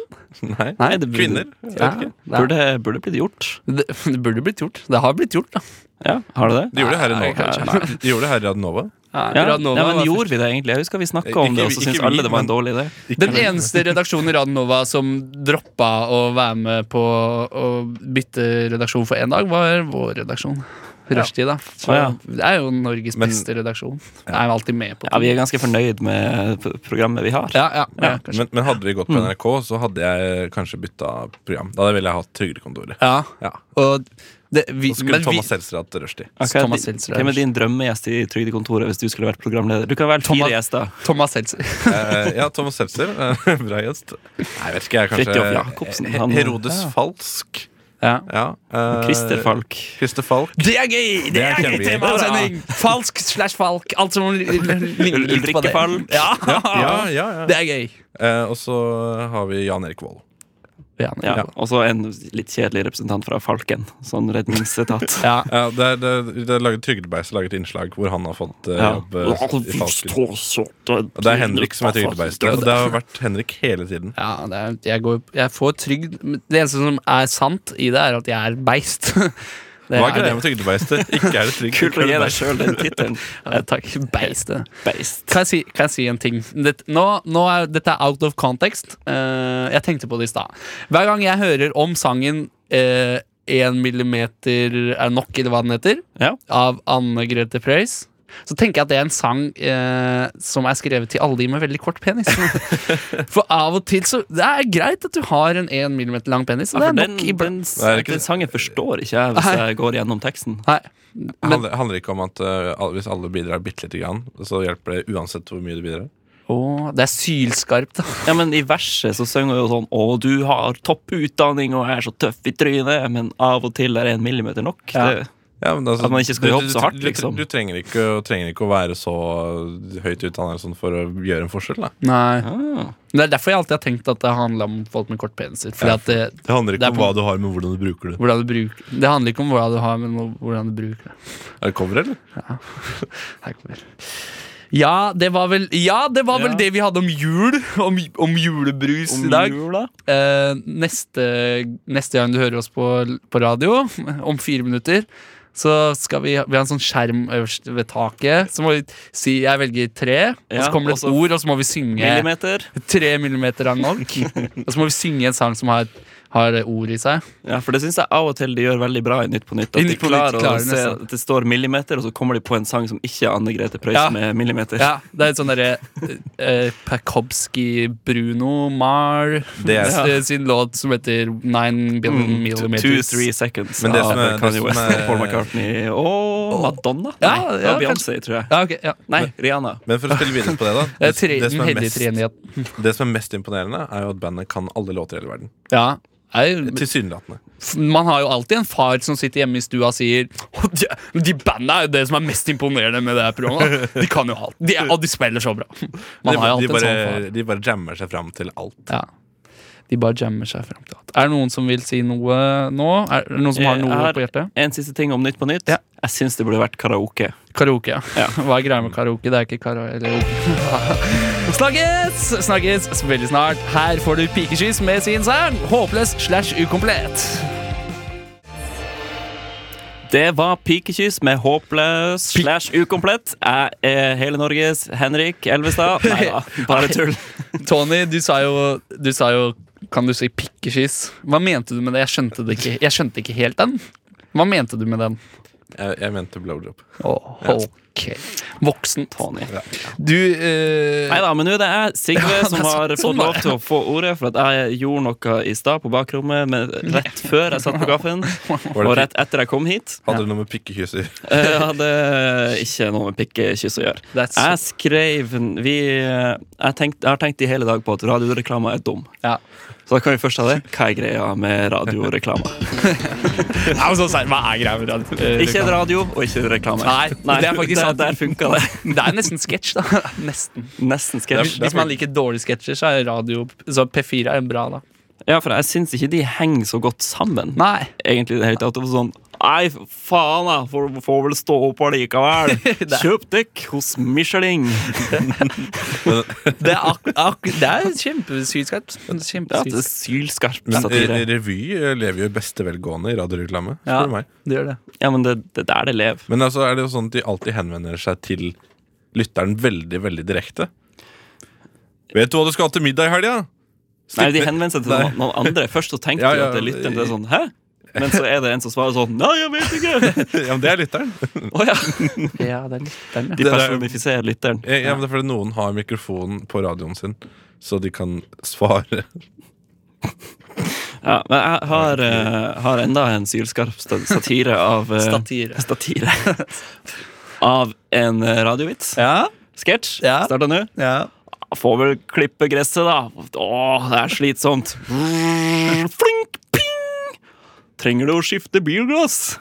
Speaker 6: Nei.
Speaker 5: Nei, det
Speaker 6: Kvinner. Jeg
Speaker 5: Ja,
Speaker 6: vet ikke.
Speaker 5: det,
Speaker 3: Burde, burde blitt gjort.
Speaker 5: det, det burde blitt gjort. Det har blitt gjort, da.
Speaker 3: Ja, Har det det?
Speaker 6: De gjorde det her i
Speaker 5: Nei,
Speaker 6: Nova.
Speaker 5: kanskje.
Speaker 6: Nei, De gjorde det her i Radnova.
Speaker 3: Ja,
Speaker 5: Radnova
Speaker 3: Nei,
Speaker 5: var
Speaker 3: men Gjorde vi det egentlig? Jeg husker vi snakka om
Speaker 6: Ikke
Speaker 3: det, og
Speaker 6: vi-
Speaker 3: så
Speaker 6: ikke
Speaker 3: syntes
Speaker 6: vi,
Speaker 3: alle det var en
Speaker 6: men-
Speaker 3: dårlig idé.
Speaker 5: Den eneste redaksjonen i Radionova som droppa å være med på å bytte redaksjon for én dag, var vår redaksjon. Rushtid, da. Så
Speaker 3: Å, ja.
Speaker 5: Det er jo Norges
Speaker 6: Men-
Speaker 5: beste redaksjon. Jeg er jo alltid med på
Speaker 3: Ja, Vi
Speaker 5: ting.
Speaker 3: er ganske fornøyd med p- programmet vi har.
Speaker 5: Ja, ja, ja, kanskje.
Speaker 6: Men, men hadde vi gått på
Speaker 5: Mm.
Speaker 6: NRK, så hadde jeg kanskje bytta program. Da ville jeg hatt Trygdekontoret.
Speaker 5: ja.
Speaker 6: Ja.
Speaker 5: Og det, vi,
Speaker 6: Så skulle
Speaker 5: men
Speaker 6: Thomas
Speaker 5: vi,
Speaker 6: Seltzer hatt rushtid.
Speaker 3: Ja, Hva
Speaker 5: Thomas
Speaker 3: er, din-
Speaker 5: Seltzer er-
Speaker 3: hvem er din drømmegjest i Trygdekontoret hvis du skulle vært programleder? Du kan velge fire
Speaker 5: Thomas-
Speaker 3: gjester.
Speaker 5: Thomas Seltzer.
Speaker 6: Eh, ja, Thomas Seltzer. eh, Bra gjest. Nei, vet ikke jeg,
Speaker 3: Fridtjof
Speaker 6: kanskje
Speaker 3: Jacobsen.
Speaker 6: He-
Speaker 3: han-
Speaker 6: Herodes
Speaker 3: ja.
Speaker 6: Falsk.
Speaker 5: Ja.
Speaker 6: Ja. eh,
Speaker 3: Christer Falk.
Speaker 6: Christer Falk.
Speaker 5: Det er gøy! Det,
Speaker 6: Det er
Speaker 5: er gøy
Speaker 6: kjempegøy.
Speaker 5: tema!
Speaker 6: Bra.
Speaker 5: sending. Falsk slash falk. Alt som ligner litt på
Speaker 3: Ulrikke
Speaker 5: det.
Speaker 3: Falk.
Speaker 5: Ja.
Speaker 6: Ja, ja, ja.
Speaker 5: Det er gøy.
Speaker 6: Eh, og så har vi Jan Erik Vold.
Speaker 5: Ja,
Speaker 3: Ja.
Speaker 6: Ja.
Speaker 3: Og så en litt kjedelig representant fra Falken. Sånn redningsetat.
Speaker 5: ja.
Speaker 6: Ja, det er, det er, det er laget Trygdebeist har laget innslag hvor han har fått eh,
Speaker 3: Ja.
Speaker 6: jobb. eh, i Falken. Og det er Henrik som er Trygdebeist. Og det har vært Henrik hele tiden.
Speaker 5: ja det er, jeg, går, jeg får trygd men Det eneste som er sant i det, er at jeg er beist. Det
Speaker 6: Hva er
Speaker 5: er
Speaker 6: greia med Trygdebeister? Ikke er det trygg
Speaker 3: Kult å gi deg
Speaker 6: Trygdebeist.
Speaker 3: sjøl den tittelen.
Speaker 5: Ja, takk. Beistet.
Speaker 3: Beist.
Speaker 5: Kan jeg si, kan jeg si en ting? Dette, nå, nå er, dette er out of context. Eh, jeg tenkte på det i stad. Hver gang jeg hører om sangen eh, 'Én millimeter er nok', eller hva den heter,
Speaker 3: Ja.
Speaker 5: av Anne Grete Preus, så tenker jeg at det er en sang eh, som er skrevet til alle de med veldig kort penis. For av og til så Det er greit at du har en 1 millimeter lang penis.
Speaker 3: Ja,
Speaker 5: Det
Speaker 3: for
Speaker 5: er
Speaker 3: den,
Speaker 5: nok
Speaker 6: Nei,
Speaker 5: iblant.
Speaker 3: den,
Speaker 6: det er ikke-
Speaker 3: den sangen forstår ikke jeg hvis
Speaker 5: Nei.
Speaker 3: jeg går gjennom teksten.
Speaker 5: Nei. Men,
Speaker 6: Handler, handler ikke om at eh, al- hvis alle bidrar bitte lite grann, så hjelper det uansett hvor mye du bidrar?
Speaker 5: å, det er sylskarpt, da.
Speaker 3: Ja, men I verset så synger hun jo sånn Å, du har topp utdanning og er så tøff i trynet, men av og til er en millimeter nok.
Speaker 5: Ja.
Speaker 3: Det,
Speaker 6: Ja, men altså,
Speaker 3: At man ikke skal
Speaker 6: du-
Speaker 3: jobbe
Speaker 6: du-
Speaker 3: så hardt,
Speaker 6: du-
Speaker 3: liksom.
Speaker 6: Du, du trenger, ikke, trenger ikke å være så høyt utdannet eller sånn for å gjøre en forskjell. Da.
Speaker 5: Nei.
Speaker 3: ah.
Speaker 5: Men Det er derfor jeg alltid har tenkt at det handla om folk med kort peniser. Fordi
Speaker 6: Ja.
Speaker 5: at det,
Speaker 6: Det handler
Speaker 5: Det
Speaker 6: ikke
Speaker 5: er
Speaker 6: om
Speaker 5: på-
Speaker 6: hva du har, men hvordan du bruker det.
Speaker 5: hvordan du bruker, det handler ikke om hva du har, men om hvordan du bruker det.
Speaker 6: Er det cover, eller?
Speaker 5: Her kommer ja, det var vel, ja, det, var vel
Speaker 3: Ja.
Speaker 5: det vi hadde om jul. Om, om julebrus i
Speaker 3: Om
Speaker 5: dag.
Speaker 3: jula?
Speaker 5: Eh, neste, neste gang du hører oss på, på radio, om fire minutter, så skal vi, ha- vi ha en sånn skjerm øverst ved taket. Så må vi si 'jeg velger tre', og
Speaker 3: Ja,
Speaker 5: så kommer det et
Speaker 3: og så-
Speaker 5: ord, og så må vi synge
Speaker 3: Millimeter?
Speaker 5: tre millimeter er nok. og så må vi synge en sang som har, har ord i seg.
Speaker 3: Ja, for det syns jeg av og til de gjør veldig bra i Nytt på Nytt. At
Speaker 5: I
Speaker 3: de
Speaker 5: Nytt på Nytt
Speaker 3: klarer,
Speaker 5: klarer
Speaker 3: å se
Speaker 5: nesten.
Speaker 3: at det står millimeter, og så kommer de på en sang som ikke er Anne Grete Preus
Speaker 5: Ja.
Speaker 3: med millimeter.
Speaker 5: Ja, Det er et sånn derre eh, Pakowski Bruno Mar
Speaker 6: Det er-
Speaker 5: s- eh, sin låt som heter Nine Billion
Speaker 3: Mm, two- Two,
Speaker 5: Millimeters.
Speaker 3: three seconds
Speaker 6: Men det
Speaker 3: av
Speaker 6: som er- det
Speaker 3: Kanye
Speaker 6: som
Speaker 3: West,
Speaker 6: er-
Speaker 3: Paul McCartney og Madonna.
Speaker 5: Ja,
Speaker 3: Nei, det
Speaker 5: ja,
Speaker 3: var Beyoncé, tror jeg.
Speaker 5: Ja, ok, ja.
Speaker 3: Nei, Rihanna.
Speaker 6: Men for å spille videre på det, da.
Speaker 5: Det er
Speaker 6: Det,
Speaker 5: tre,
Speaker 6: det, som,
Speaker 5: den
Speaker 6: er
Speaker 5: heldige
Speaker 6: mest,
Speaker 5: treenigheten.
Speaker 6: det som er mest imponerende, er jo at bandet kan alle låter i hele verden.
Speaker 5: Ja. er jo-
Speaker 6: Tilsynelatende.
Speaker 5: f- man har jo alltid en far som sitter hjemme i stua og sier «Å, de, de bandene er jo det som er mest imponerende med det her programmet. De kan jo alt. De, er- og de spiller så bra. Man
Speaker 6: De,
Speaker 5: har jo
Speaker 6: de,
Speaker 5: alltid en
Speaker 6: bare,
Speaker 5: sånn far.
Speaker 6: de bare jammer seg fram til alt.
Speaker 5: Ja. De bare jammer seg fram til alt. Er det noen som vil si noe nå? Er det noen som har
Speaker 3: Jeg
Speaker 5: noe
Speaker 3: har-
Speaker 5: på hjertet?
Speaker 3: En siste ting om Nytt på Nytt.
Speaker 5: Ja.
Speaker 3: Jeg syns det burde vært karaoke.
Speaker 5: Karaoke, ja. Hva er greia med karaoke? Det er ikke karaoke eller Snakkes! Snakkes veldig snart. Her får du pikeskyss med sin sang. Håpløs slash ukomplett.
Speaker 3: Det var Pikekyss med Håpløs slash Ukomplett. Jeg er hele Norges Henrik Elvestad. Nei da, bare tull.
Speaker 5: Tony, du sa jo, du sa jo Kan du si pikeskyss? Hva mente du med det? Jeg skjønte det ikke, jeg skjønte ikke helt den. Hva mente du med den?
Speaker 6: Jeg, jeg mente blowjob.
Speaker 5: Åh, ok. Voksen Tony. Du eh,
Speaker 3: Nei da, men nå er det jeg, Sigve,
Speaker 5: Ja, det er
Speaker 3: som har
Speaker 5: sånn- sånn
Speaker 3: fått
Speaker 5: var
Speaker 3: lov
Speaker 5: det.
Speaker 3: til å få ordet for at jeg gjorde noe i stad på bakrommet men rett før jeg satt på gaffen,
Speaker 6: Var
Speaker 3: og
Speaker 6: det
Speaker 3: rett etter jeg kom hit.
Speaker 6: Hadde du noe med pikkekysser?
Speaker 3: Jeg hadde ikke noe med pikkekyss å gjøre.
Speaker 5: That's-
Speaker 3: Jeg skrev vi, jeg, tenkte- jeg har tenkt i hele dag på at radioreklame er dum.
Speaker 5: ja.
Speaker 3: Så da kan vi først ha det. Hva er greia med radioreklame?
Speaker 5: Nei, men sånn seriøst, Hva er greia med radio? Eh,
Speaker 3: Ikke radio og ikke reklame.
Speaker 5: Nei, det er faktisk
Speaker 3: der,
Speaker 5: sant.
Speaker 3: Der funka det.
Speaker 5: Det er nesten sketsj, da. Nesten.
Speaker 3: Nesten
Speaker 5: Hvis,
Speaker 3: sketsj.
Speaker 5: hvis man liker dårlige sketsjer, så er radio Så P4 er bra, da.
Speaker 3: Ja, for jeg syns ikke de henger så godt sammen.
Speaker 5: Nei.
Speaker 3: Egentlig i det hele tatt. Det var sånn Nei, faen, jeg får, får vel stå opp allikevel. Kjøp dekk hos Michelin.
Speaker 5: Det er, ak ak det er kjempesylskarpt.
Speaker 3: Ja, det er
Speaker 5: Kjempesylskarpt.
Speaker 3: sylskarp
Speaker 6: Men eh,
Speaker 3: satire.
Speaker 6: re- revy lever jo i beste velgående i radioreklame.
Speaker 5: Ja,
Speaker 6: Spør du meg.
Speaker 5: det gjør det.
Speaker 3: Ja, men det det er der det lever.
Speaker 6: Men altså, er det jo sånn at de alltid henvender seg til lytteren veldig, veldig direkte? Vet du hva du skal ha til middag i helga?
Speaker 3: Nei, de henvender seg til
Speaker 6: Nei.
Speaker 3: noen, noen andre. Først så tenker
Speaker 6: Ja,
Speaker 3: du
Speaker 6: ja,
Speaker 3: at det er lytteren. Det er sånn, hæ? Men så er det en som svarer sånn Nei, jeg vet ikke!
Speaker 6: Ja, men det er lytteren.
Speaker 3: Å ja.
Speaker 5: Ja, det er litt den,
Speaker 3: De
Speaker 6: Det Eh. der-
Speaker 3: personifiserer lytteren.
Speaker 6: Ja, ja, men det er fordi noen har mikrofonen på radioen sin, så de kan svare.
Speaker 3: Ja, men jeg har, eh, har enda en sylskarp sta- satire av eh,
Speaker 5: Statire.
Speaker 3: Statire. Av en eh, radiovits.
Speaker 5: Ja,
Speaker 3: Sketsj.
Speaker 5: Ja.
Speaker 3: Starta nå.
Speaker 5: ja.
Speaker 3: Får vel klippe gresset, da. Åh, det er slitsomt. Flink, ping! Trenger du å skifte bilglass?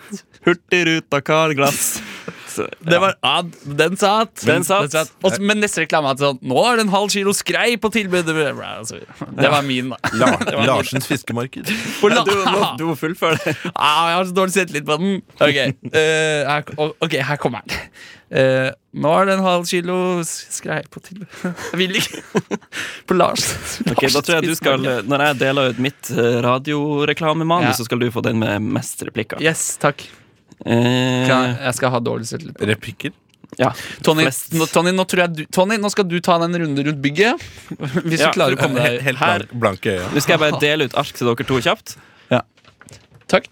Speaker 3: Hurtigruta Carl Glass. Så, ja.
Speaker 5: Det var, ja, den satt.
Speaker 3: Den satt.
Speaker 5: Og så- men neste reklame er sånn Nå er det en halv kilo skrei på tilbudet. Altså, Det var min, da.
Speaker 6: La, Larsens fiskemarked.
Speaker 5: På la-
Speaker 3: Du, må- du må fullføre det.
Speaker 5: Ah, jeg har så dårlig selvtillit på den. Ok, eh, her, ok, her kommer den. Eh, nå er det en halv kilo skrei på tilbud. Jeg vil ikke. På Lars.
Speaker 3: Ok, da tror jeg du skal Når jeg deler ut mitt eh, radioreklamemanus,
Speaker 5: Ja.
Speaker 3: så skal du få den med mest replikker.
Speaker 5: Yes, takk. Kan,
Speaker 3: Eh,
Speaker 5: jeg skal ha dårlig selvtillit. på den.
Speaker 6: Repikker.
Speaker 3: ja.
Speaker 5: Tony,
Speaker 3: Flest.
Speaker 5: nå, Tony, nå tror jeg du, Tony, nå skal du ta den runde rundt bygget. Hvis
Speaker 3: Ja,
Speaker 5: du klarer å komme
Speaker 6: He-
Speaker 5: deg
Speaker 6: Helt blank, blanke øyne.
Speaker 3: Nå skal jeg bare dele ut ark til dere to kjapt.
Speaker 5: Takk.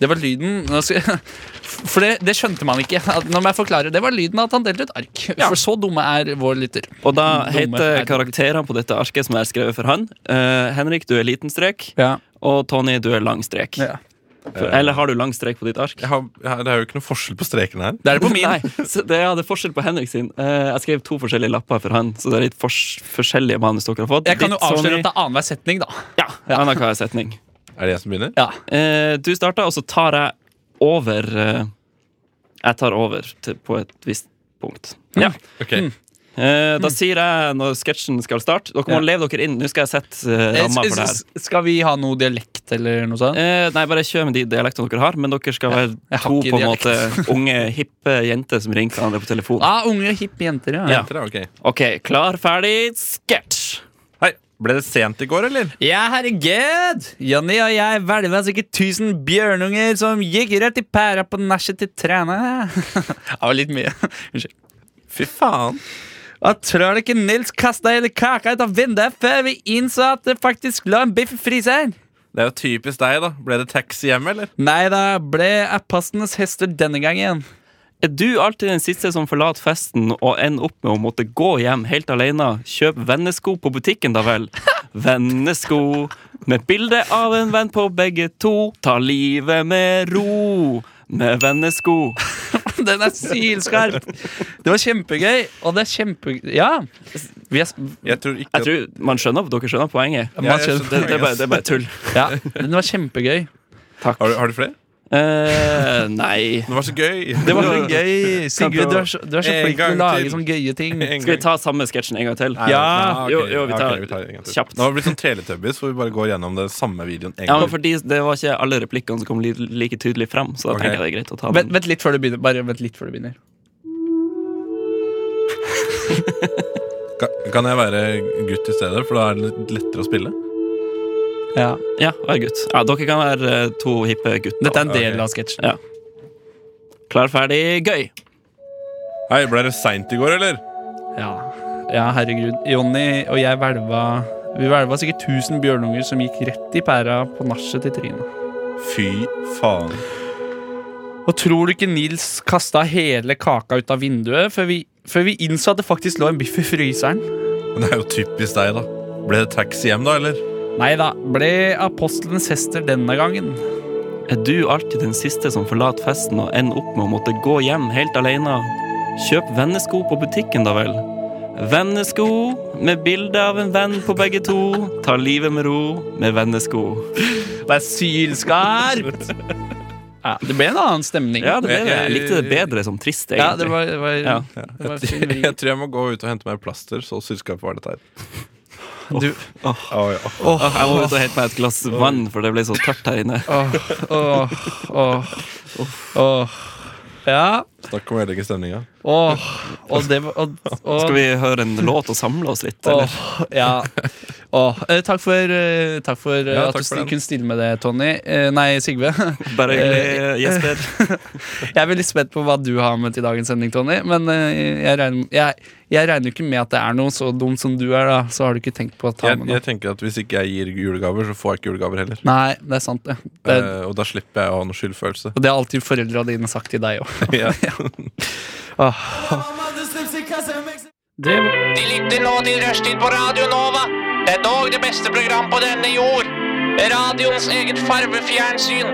Speaker 5: Det var lyden Nå skal jeg- For det, det skjønte man ikke. At, nå må jeg forklare. Det var lyden av at han delte ut ark. For så dumme er vår lytter.
Speaker 3: Og da
Speaker 5: Dumme
Speaker 3: heter
Speaker 5: er-
Speaker 3: karakterene på dette arket som jeg har skrevet for han. eh, Henrik, du er liten strek.
Speaker 5: Ja.
Speaker 3: Og Tony, du er lang strek.
Speaker 5: Ja.
Speaker 3: For, eller har du lang strek på ditt ark?
Speaker 6: Jeg har, jeg har- det er jo ikke noe forskjell på strekene her.
Speaker 5: Det er det på min.
Speaker 3: Nei, så det, ja, det er forskjell på Henrik sin. Eh, jeg skrev to forskjellige lapper for han, så det er litt fors forskjellige manus dere har fått.
Speaker 5: Jeg kan jo
Speaker 3: Ditt,
Speaker 5: avsløre
Speaker 3: Tony-
Speaker 5: at det er annenhver setning, da.
Speaker 3: Ja, annenhver setning.
Speaker 6: Er det jeg som begynner?
Speaker 5: Ja.
Speaker 3: Eh, du starter, og så tar jeg over eh, Jeg tar over til, på et visst punkt. Ja.
Speaker 6: Ok.
Speaker 3: Eh, da sier jeg når sketsjen skal starte. Dere må
Speaker 5: Mm. Ja.
Speaker 3: leve dere inn. Nå skal jeg sette eh, ramma for det her.
Speaker 5: Skal vi ha noe dialekt eller noe sånt?
Speaker 3: Eh, nei, bare kjør med de dialektene dere har, men dere skal være
Speaker 5: jeg har
Speaker 3: to
Speaker 5: ikke
Speaker 3: på en måte
Speaker 5: dialekt.
Speaker 3: unge, hippe jenter som ringer hverandre på telefon.
Speaker 5: Ah, unge, hippe jenter, ja.
Speaker 3: Ja.
Speaker 6: Heter det? Ok.
Speaker 3: Ok, klar, ferdig, sketsj!
Speaker 6: Hei, ble det sent i går, eller?
Speaker 5: Ja, herregud! Jonny og jeg hvelva sikkert 1000 bjørnunger som gikk rett i pæra på nachet til Træna. Det var litt mye. Unnskyld.
Speaker 6: Fy faen.
Speaker 5: At trølleken Nils kasta hele kaka ut av vinduet før vi innså at det faktisk lå en biff i fryseren.
Speaker 6: Det er jo typisk deg, da. Ble det taxi hjem, eller?
Speaker 5: Nei da, ble appastenes hester denne gangen.
Speaker 3: Er du alltid den siste som forlater festen og ender opp med å måtte gå hjem helt alene? Kjøp vennesko på butikken, da vel. Vennesko med bilde av en venn på begge to. Ta livet med ro med vennesko.
Speaker 5: Den er sylskarp! Det var kjempegøy, og det er kjempe... Ja! Vi er,
Speaker 6: Jeg tror ikke
Speaker 3: Jeg tror man skjønner, Dere skjønner poenget.
Speaker 5: man
Speaker 6: jeg
Speaker 5: skjønner-
Speaker 6: skjønner.
Speaker 3: Det, det, er, bare, det er bare tull.
Speaker 5: ja, den var kjempegøy.
Speaker 3: Takk.
Speaker 6: Har du, har du flere?
Speaker 3: Eh, nei.
Speaker 6: Det var så gøy.
Speaker 5: Det var så gøy. Sigurd, du er så, du er så
Speaker 6: En
Speaker 5: flink til
Speaker 6: gang
Speaker 5: å lage
Speaker 6: til.
Speaker 5: sånne gøye ting.
Speaker 6: En
Speaker 3: Skal vi
Speaker 6: gang.
Speaker 3: ta samme sketsjen en gang til?
Speaker 6: Nei,
Speaker 5: Ja.
Speaker 6: nei, ok.
Speaker 3: Jo, jo, vi
Speaker 6: Ja, ok,
Speaker 3: tar-
Speaker 6: en gang til.
Speaker 3: kjapt.
Speaker 6: Nå har vi blitt sånn Teletubbies, hvor vi bare går gjennom det samme videoen en
Speaker 3: Ja,
Speaker 6: gang.
Speaker 3: men fordi Det var ikke alle replikkene som kom li like tydelig frem. Så da
Speaker 6: Ok.
Speaker 3: tenker jeg det er greit å ta
Speaker 5: Vent,
Speaker 3: den.
Speaker 5: vent litt før du begynner. Bare vent litt før du begynner.
Speaker 6: Ka- Kan jeg være gutt i stedet, for da er det litt lettere å spille?
Speaker 5: Ja.
Speaker 3: Ja, vær gutt. Ja, dere kan være eh, to hippe gutter.
Speaker 5: Dette er en del
Speaker 6: Ok.
Speaker 5: av sketsjen.
Speaker 3: Ja. Klar, ferdig, gøy!
Speaker 6: Hei, ble det seint i går, eller?
Speaker 5: Ja. ja, herregud. Jonny og jeg hvelva Vi hvelva sikkert 1000 bjørnunger som gikk rett i pæra på nachet til Trine.
Speaker 6: Fy faen.
Speaker 5: Og tror du ikke Nils kasta hele kaka ut av vinduet før vi, før vi innså at det faktisk lå en biff i fryseren?
Speaker 6: Men det er jo typisk deg, da. Ble det taxi hjem, da, eller?
Speaker 5: Nei da, ble apostelens hester denne gangen.
Speaker 3: Er du alltid den siste som forlater festen og ender opp med å måtte gå hjem helt alene? Kjøp vennesko på butikken, da vel. Vennesko med bilde av en venn på begge to. Ta livet med ro med vennesko.
Speaker 5: Det er sylskarpt! Ja, det ble en annen stemning.
Speaker 3: Ja, det ble det. Jeg likte det bedre som trist, egentlig.
Speaker 5: Ja, det var, det var,
Speaker 3: Ja.
Speaker 5: Det var fin vri.
Speaker 6: Jeg tror jeg må gå ut og hente meg plaster, så sylskarp var dette her. Å,
Speaker 5: Du-
Speaker 6: ja.
Speaker 3: Åh, Jeg må ut og hente meg et glass vann, for det ble så tørt her inne.
Speaker 5: Åh, åh, åh, åh. Ja.
Speaker 6: Snakk om å ødelegge stemninga.
Speaker 5: Åh. Og det var og, og,
Speaker 3: Skal vi høre en låt og samle oss litt, eller?
Speaker 5: Åh, ja. Åh, eh, takk for, eh, takk for eh,
Speaker 6: Ja,
Speaker 5: at
Speaker 6: takk
Speaker 5: du
Speaker 6: for
Speaker 5: sti-
Speaker 6: den.
Speaker 5: kunne stille med det, Tony. Eh, nei, Sigve.
Speaker 3: Bare
Speaker 5: eh,
Speaker 3: hyggelig, Jesper.
Speaker 5: Jeg er veldig spent på hva du har med til dagens sending, Tony. Men eh, jeg regner, jeg, jeg regner jo ikke med at det er noe så dumt som du er, da. Så har du ikke tenkt på å ta
Speaker 6: Jeg,
Speaker 5: med noe.
Speaker 6: jeg tenker at Hvis ikke jeg gir julegaver, så får jeg ikke julegaver heller.
Speaker 5: Nei, det er sant, det. det
Speaker 6: Eh, og da slipper jeg å ha noen skyldfølelse.
Speaker 5: og det har alltid foreldra dine sagt til deg òg.
Speaker 6: Ja.
Speaker 5: Det
Speaker 1: De lytter nå til Rushtid på Radio Nova. Det er dog det beste program på denne jord. Radioens eget farvefjernsyn.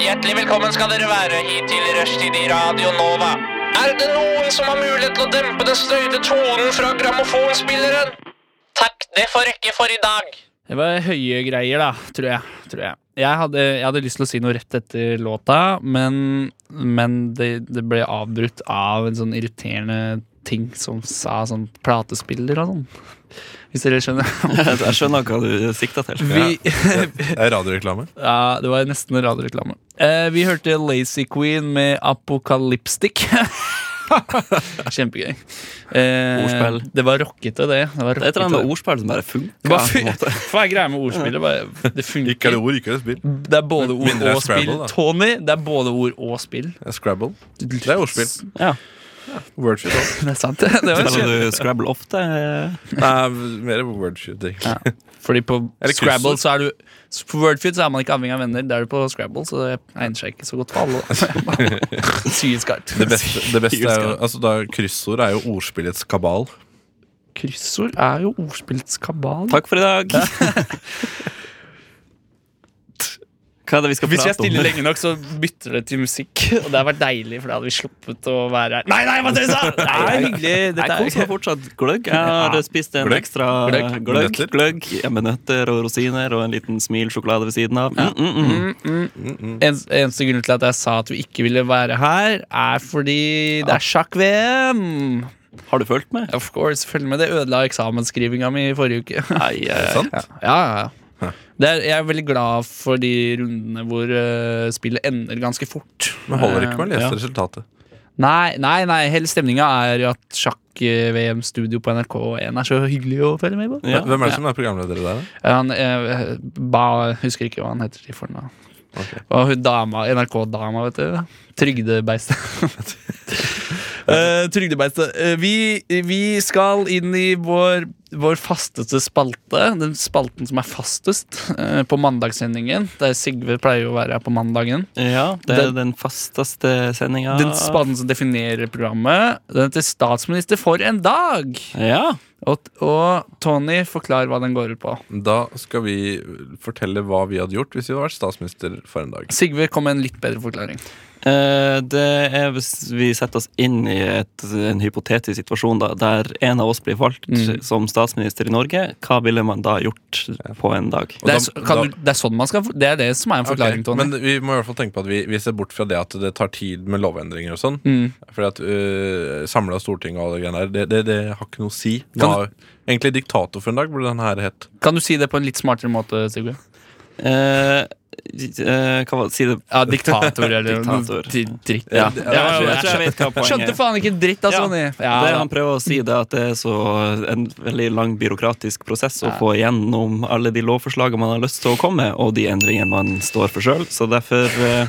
Speaker 1: Hjertelig velkommen skal dere være hit til Rushtid i Radio Nova. Er det noen som har mulighet til å dempe den støyte tonen fra grammofonspilleren? Takk, det får rekke for i dag.
Speaker 5: var høye greier, da, tror jeg. Tror jeg. jeg hadde, jeg hadde lyst til å si noe rett etter låta, men, men det, det ble avbrutt av en sånn irriterende ting som sa sånn platespiller og sånn. Hvis dere skjønner.
Speaker 3: Jeg skjønner hva du sikta til.
Speaker 5: Vi,
Speaker 6: Det er radioreklame.
Speaker 5: ja, det var nesten en radioreklame. Eh, vi hørte Lazy Queen med Apokalypstic. Kjempegøy. Eh,
Speaker 3: Ordspill.
Speaker 5: Det var rockete, det. Det var
Speaker 3: Det er et eller
Speaker 5: rockete,
Speaker 3: annet
Speaker 5: det.
Speaker 3: med ordspill som bare
Speaker 5: Det
Speaker 3: funker.
Speaker 5: bare
Speaker 3: på en måte.
Speaker 5: Hva er greia med ordspillet? Bare, det
Speaker 6: Ikke er
Speaker 5: funker.
Speaker 6: det ord, ikke er det spill.
Speaker 5: Det er både ord
Speaker 6: Mindre
Speaker 5: og spill.
Speaker 6: Scrabble, da.
Speaker 5: Tony, det er både ord og spill.
Speaker 6: Det er Scrabble. Det er ordspill.
Speaker 3: Ja.
Speaker 6: Wordshit.
Speaker 5: Det er sant. Det var kjent.
Speaker 3: Spiller du Scrabble ofte? eh,
Speaker 6: Nei, mer wordshit. egentlig.
Speaker 5: Fordi på
Speaker 6: Eller
Speaker 5: Scrabble
Speaker 6: kryssord.
Speaker 5: så er du På Wordfeud så er man ikke avhengig av venner. Det er du på Scrabble, så det egner seg ikke så godt for alle. Syet skarpt.
Speaker 6: Det beste, det beste er jo altså da, Kryssord er jo ordspillets kabal.
Speaker 5: Kryssord er jo ordspillets kabal.
Speaker 3: Takk for i dag. Hva er det vi skal
Speaker 5: Hvis vi er
Speaker 3: prate
Speaker 5: stille
Speaker 3: om?
Speaker 5: lenge nok, så bytter det til musikk. Og det hadde vært deilig, for da hadde vi sluppet å være her. Nei, nei, hva dere sa! Det er hyggelig.
Speaker 3: Jeg
Speaker 5: Dette
Speaker 3: koser meg
Speaker 5: er
Speaker 3: fortsatt gløgg. Jeg har spist en
Speaker 6: Gløgg.
Speaker 3: ekstra
Speaker 5: Gløgg.
Speaker 3: gløgg,
Speaker 6: Nøtter.
Speaker 3: gløgg ja, med nøtter og rosiner og en liten smilsjokolade ved siden av. Mm, mm, mm.
Speaker 5: Mm, mm. En, eneste grunnen til at jeg sa at vi ikke ville være her, er fordi det er sjakk-VM.
Speaker 3: Har du fulgt med?
Speaker 5: Of course, Følg med. Det ødela eksamensskrivinga mi i forrige uke.
Speaker 3: Nei, eh,
Speaker 6: Sant?
Speaker 5: Ja, ja, ja. Det er, jeg er veldig glad for de rundene hvor eh, spillet ender ganske fort. Eh,
Speaker 6: Men holder ikke med å lese
Speaker 3: Ja.
Speaker 6: resultatet.
Speaker 5: Nei, nei, nei, hele stemninga er jo at sjakk-VM-studio på NRK1 er så hyggelig å følge med på.
Speaker 3: Ja.
Speaker 6: Hvem er det som er programleder der? da?
Speaker 5: Han eh, ba, husker ikke hva han heter til fornavn.
Speaker 6: Ok.
Speaker 5: Og hun dama, NRK-dama, vet du. Trygdebeistet. Eh, Trygdebeistet. Eh, vi, vi skal inn i vår, vår fasteste spalte. Den spalten som er fastest eh, på mandagssendingen. Der Sigve pleier jo å være her på mandagen.
Speaker 3: ja, det er
Speaker 5: Den-
Speaker 3: den fasteste sendinga.
Speaker 5: Den spalten som definerer programmet. Den heter Statsminister for en dag.
Speaker 3: Ja.
Speaker 5: Og, og Tony, forklar hva den går ut på.
Speaker 6: Da skal vi fortelle hva vi hadde gjort hvis vi hadde vært statsminister for en dag.
Speaker 5: Sigve kom med en litt bedre forklaring.
Speaker 3: Eh, Det er hvis vi setter oss inn i et, en hypotetisk situasjon da, der en av oss blir valgt
Speaker 5: Mm.
Speaker 3: som statsminister i Norge. Hva ville man da gjort på en dag?
Speaker 6: Og
Speaker 5: Det
Speaker 6: da-
Speaker 5: er, så- kan
Speaker 6: da-
Speaker 5: du, det er sånn man skal Det er det som er en forklaring,
Speaker 6: Ok,
Speaker 5: Tony.
Speaker 6: Men vi må i hvert fall tenke på at vi, vi ser bort fra det at det tar tid med lovendringer og sånn.
Speaker 5: Mm.
Speaker 6: Fordi at uh, Samla storting og alle de greiene der, det, det, det har ikke noe å si. Det
Speaker 5: Kan-
Speaker 6: var egentlig diktator for en dag, burde den her hett.
Speaker 5: Kan du si det på en litt smartere måte, Sigurd?
Speaker 3: Eh, eh, hva var det? Si det
Speaker 5: Ja, diktator eller noe
Speaker 3: Diktator.
Speaker 5: di- dritt.
Speaker 3: Ja,
Speaker 5: Ja.
Speaker 3: jeg,
Speaker 5: Ja,
Speaker 3: tror- jeg
Speaker 5: ja,
Speaker 3: tror jeg
Speaker 5: ja.
Speaker 3: vet hva poenget
Speaker 5: Skjønte
Speaker 3: er.
Speaker 5: faen ikke en dritt av
Speaker 3: Ja.
Speaker 5: Sonny!
Speaker 3: Det
Speaker 5: Ja,
Speaker 3: han prøver å si, det er at det er så en veldig lang byråkratisk prosess å
Speaker 5: Ja.
Speaker 3: få igjennom alle de lovforslagene man har lyst til å komme med, og de endringene man står for sjøl. Så derfor eh,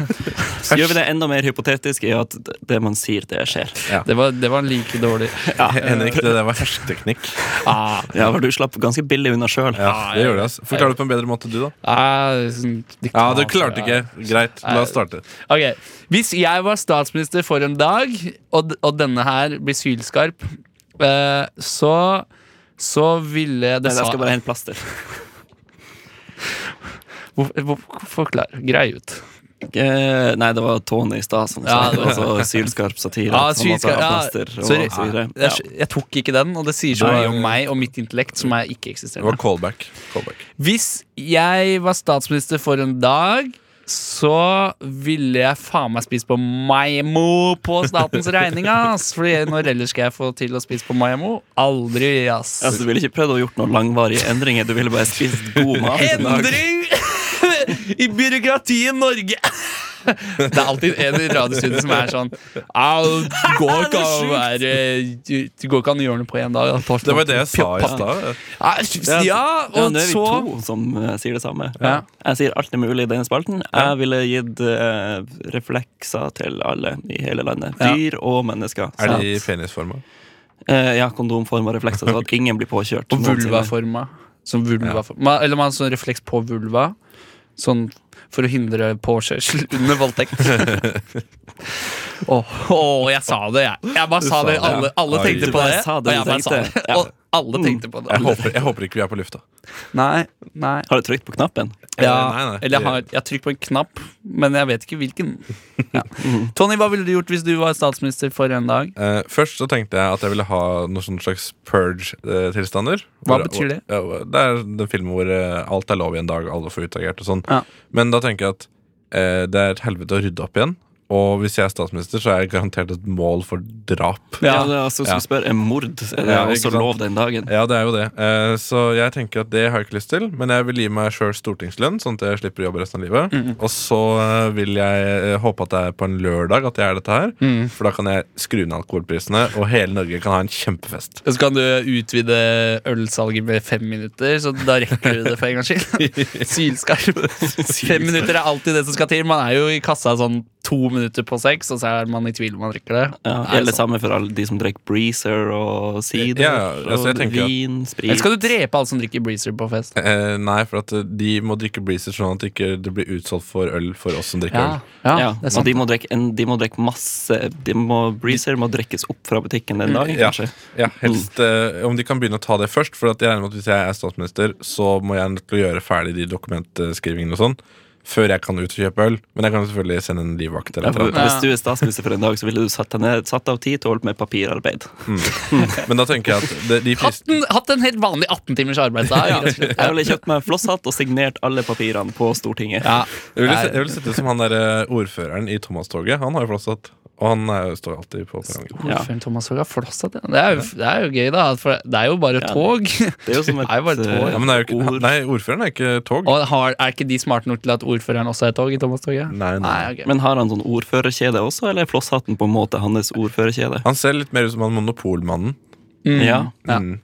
Speaker 3: så gjør vi det enda mer hypotetisk i at det man sier, det skjer.
Speaker 5: det var, det var like dårlig.
Speaker 6: Henrik, det der var hersketeknikk.
Speaker 5: Ah,
Speaker 3: Ja, for du slapp ganske billig unna sjøl.
Speaker 6: Ja, det gjør det, altså. Forklar det på en bedre måte, du, da.
Speaker 5: ah, sånn
Speaker 6: Ja,
Speaker 5: diktator,
Speaker 6: du klarte
Speaker 5: ja.
Speaker 6: ikke. Greit, la oss starte.
Speaker 5: Ok, Hvis jeg var statsminister for en dag, og, d- og denne her blir sylskarp, eh, så så ville det
Speaker 3: Jeg skal bare
Speaker 5: sa...
Speaker 3: hente plaster.
Speaker 5: Hvor- hvor- Forklar. Grei ut.
Speaker 3: Eh, nei, det var Tony i stad som sa
Speaker 5: Ja, det
Speaker 3: det.
Speaker 5: var-
Speaker 3: Altså sylskarp satire.
Speaker 5: Ja,
Speaker 3: at han måtte
Speaker 5: sylskarp-
Speaker 3: ha
Speaker 5: ja,
Speaker 3: plaster og
Speaker 5: sorry.
Speaker 3: så videre.
Speaker 5: Jeg, sk- jeg tok ikke den, og det sier
Speaker 6: Du
Speaker 5: så mye
Speaker 6: er-
Speaker 5: om meg og mitt intellekt som er
Speaker 6: Det var
Speaker 5: ikke-eksisterende.
Speaker 6: callback. callback.
Speaker 5: Hvis jeg var statsminister for en dag, så ville jeg faen meg spise på Maimo på statens regning, ass! Fordi når ellers skal jeg få til å spise på Maimo? Aldri, ass.
Speaker 3: Altså, du ville ikke prøvd å gjort noen langvarige endringer, du ville bare spist god mat. en dag.
Speaker 5: Endring i byråkratiet Norge! Det er alltid en i radiostudiet som er sånn Au, det går ikke an å være Det går ikke an å gjøre noe på én dag. da.
Speaker 6: Det var jo det jeg sa i stad.
Speaker 5: Ja, Ja,
Speaker 3: ja,
Speaker 5: og
Speaker 3: nå er vi
Speaker 5: så
Speaker 3: to som eh, sier det samme.
Speaker 5: Ja.
Speaker 3: Jeg sier alt er mulig i denne spalten. Jeg ville gitt eh, reflekser til alle i hele landet.
Speaker 5: Ja.
Speaker 3: Dyr og mennesker.
Speaker 6: Er
Speaker 3: Sant.
Speaker 6: de i penisforma?
Speaker 3: Eh, ja, kondomform og reflekser, så at ingen blir påkjørt.
Speaker 5: Og vulvaforma. Som vulvaforma. Eller man har sånn refleks på vulva. Sånn for å hindre påkjørsel under voldtekt. Åh, åh, jeg sa det, jeg. Jeg bare sa
Speaker 6: sa
Speaker 5: det.
Speaker 6: det, ja.
Speaker 5: Alle, alle
Speaker 6: Oi.
Speaker 5: tenkte på
Speaker 3: Du bare
Speaker 5: det.
Speaker 3: sa det
Speaker 5: og
Speaker 3: du
Speaker 5: jeg bare sa
Speaker 3: tenkte.
Speaker 5: det.
Speaker 3: Ja.
Speaker 5: Og alle tenkte på
Speaker 6: Jeg
Speaker 5: det.
Speaker 6: håper, jeg håper ikke vi er på lufta.
Speaker 5: Nei, nei.
Speaker 3: Har du trykt på knappen?
Speaker 5: Eh,
Speaker 6: Nei, nei,
Speaker 5: Ja,
Speaker 6: det-
Speaker 5: eller jeg har, jeg har trykt på en knapp, men jeg vet ikke hvilken. Ja. Tony, hva ville du gjort hvis du var statsminister for en dag?
Speaker 6: Eh, først så tenkte jeg at jeg ville ha noen sånn slags purge-tilstander.
Speaker 5: Hva betyr det?
Speaker 6: Ja, det er den filmen hvor eh, alt er lov i en dag, alle får utagert og sånn.
Speaker 5: Ja.
Speaker 6: Men da tenker jeg at eh, det er et helvete å rydde opp igjen. Og hvis jeg er statsminister, så er jeg garantert et mål for drap.
Speaker 5: Ja.
Speaker 3: Ja, det er altså,
Speaker 6: Ja.
Speaker 3: Som spør, er mord er det
Speaker 6: Ja, ikke
Speaker 3: også
Speaker 6: sant?
Speaker 3: lov den dagen?
Speaker 6: Ja, det er jo det. Eh, så jeg tenker at det har jeg ikke lyst til. Men jeg vil gi meg sjøl stortingslønn, sånn at jeg slipper å jobbe resten av livet.
Speaker 3: Mm.
Speaker 6: Og så eh, vil jeg eh, håpe at det er på en lørdag at jeg er dette her.
Speaker 3: Mm.
Speaker 6: For da kan jeg skru ned alkoholprisene, og hele Norge kan ha en kjempefest.
Speaker 5: Så kan du utvide ølsalget med fem minutter, så da rekker du det for en gangs skyld. Sylskarp. Fem minutter er alltid det som skal til. Man er jo i kassa sånn to minutter på seks, og så er man i tvil om man rekker det.
Speaker 3: Ja,
Speaker 5: Det er
Speaker 3: Gjelder
Speaker 5: sånn.
Speaker 3: samme for alle de som drikker breezer og sider
Speaker 6: Ja, ja, altså, jeg
Speaker 3: og
Speaker 6: tenker at-
Speaker 3: vin, sprit
Speaker 5: Eller skal du drepe alle som drikker Breezer på fest?
Speaker 6: Eh, nei, for at eh, de må drikke Breezer sånn at ikke det ikke blir utsolgt for øl for oss som drikker øl.
Speaker 5: ja,
Speaker 3: ja,
Speaker 5: det er
Speaker 3: og
Speaker 5: sant.
Speaker 3: de må, drikke en, de må drikke masse de må, Breezer må drikkes opp fra butikken den dagen,
Speaker 6: Ja.
Speaker 3: kanskje.
Speaker 6: Ja, helst
Speaker 3: Mm.
Speaker 6: eh, Om de kan begynne å ta det først. For at jeg regner med at hvis jeg er statsminister, så må jeg nødt til å gjøre ferdig de dokumentskrivingene og sånn før jeg kan ut og kjøpe øl. Men jeg kan selvfølgelig sende en livvakt. eller
Speaker 3: Ja,
Speaker 6: et eller
Speaker 3: for,
Speaker 6: annet.
Speaker 3: hvis du er statsminister for en dag, så ville du satt, deg ned, satt av tid til å holde på med papirarbeid.
Speaker 6: Men da tenker jeg at det, de pris-
Speaker 5: Hatt en, hatt en helt vanlig 18 timers arbeidsdag. rett og slett.
Speaker 3: Jeg ville kjøpt meg en flosshatt og signert alle papirene på Stortinget.
Speaker 5: Ja.
Speaker 6: jeg, vil, se- jeg vil sette det som han der eh, ordføreren i Thomas-toget. Han har jo flosshatt. Og han er, jo- står alltid på perrongen.
Speaker 3: Ja.
Speaker 5: Ordføreren Thomas Haag har flosshatt, ja. Det er, jo, det er jo gøy, da. For det er jo bare tog.
Speaker 3: Det er jo som et,
Speaker 5: Det er jo bare et
Speaker 3: eh,
Speaker 5: år.
Speaker 6: Ja, men det er jo ikke,
Speaker 3: ord.
Speaker 6: nei, ordføreren er ikke tog.
Speaker 5: Og har, er ikke de smarte nok til at ordføreren også er tog i Thomas-toget?
Speaker 3: Mm.
Speaker 6: Nei, nei.
Speaker 5: ok.
Speaker 3: Men har han sånn ordførerkjede også, eller er flosshatten på en måte hans ordførerkjede?
Speaker 6: Han ser litt mer ut som han monopolmannen.
Speaker 5: Mm.
Speaker 3: Ja.
Speaker 5: Ja.
Speaker 6: Mm.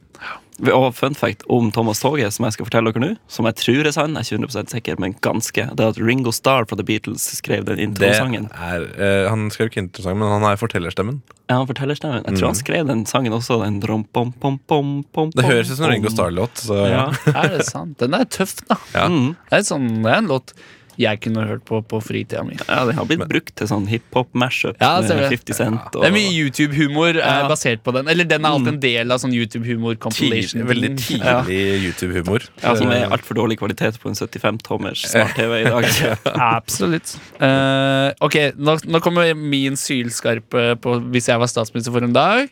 Speaker 3: Og fun fact om Thomas Toget, som jeg skal fortelle dere nå, som jeg tror er sann, jeg er ikke 100 sikker, men ganske, det er at Ringo Starr fra The Beatles skrev den
Speaker 6: Det
Speaker 3: introsangen.
Speaker 6: er, eh, han skrev ikke interessant, men han er fortellerstemmen.
Speaker 3: Ja, han forteller stemmen. Jeg
Speaker 5: Mm.
Speaker 3: tror han skrev den sangen også, den rom, pom, pom, pom, pom,
Speaker 6: Det
Speaker 3: pom,
Speaker 6: høres ut som en Ringo
Speaker 3: pom.
Speaker 6: Starr-låt. Så
Speaker 3: Ja.
Speaker 5: Er det sant? Den er tøff, da.
Speaker 6: Ja.
Speaker 3: Mm.
Speaker 5: Det er, sånn, det er en låt jeg kunne hørt på på fritida mi.
Speaker 3: ja, den har blitt brukt til sånn hiphop-mashup
Speaker 5: Ja,
Speaker 3: med
Speaker 5: ser du.
Speaker 3: 50 Cent.
Speaker 5: Det er mye YouTube-humor eh,
Speaker 3: Ja. Mm.
Speaker 5: basert på den. Eller den er alltid en del av sånn
Speaker 6: tidlig,
Speaker 5: YouTube-humor-compilation.
Speaker 6: veldig
Speaker 3: Ja.
Speaker 6: tidlig YouTube-humor. Eh,
Speaker 3: Ja, som er altfor dårlig kvalitet på en 75-tommers smart-TV i dag.
Speaker 5: Absolutt. Eh, ok, nå, nå kommer min sylskarpe på hvis jeg var statsminister for en dag.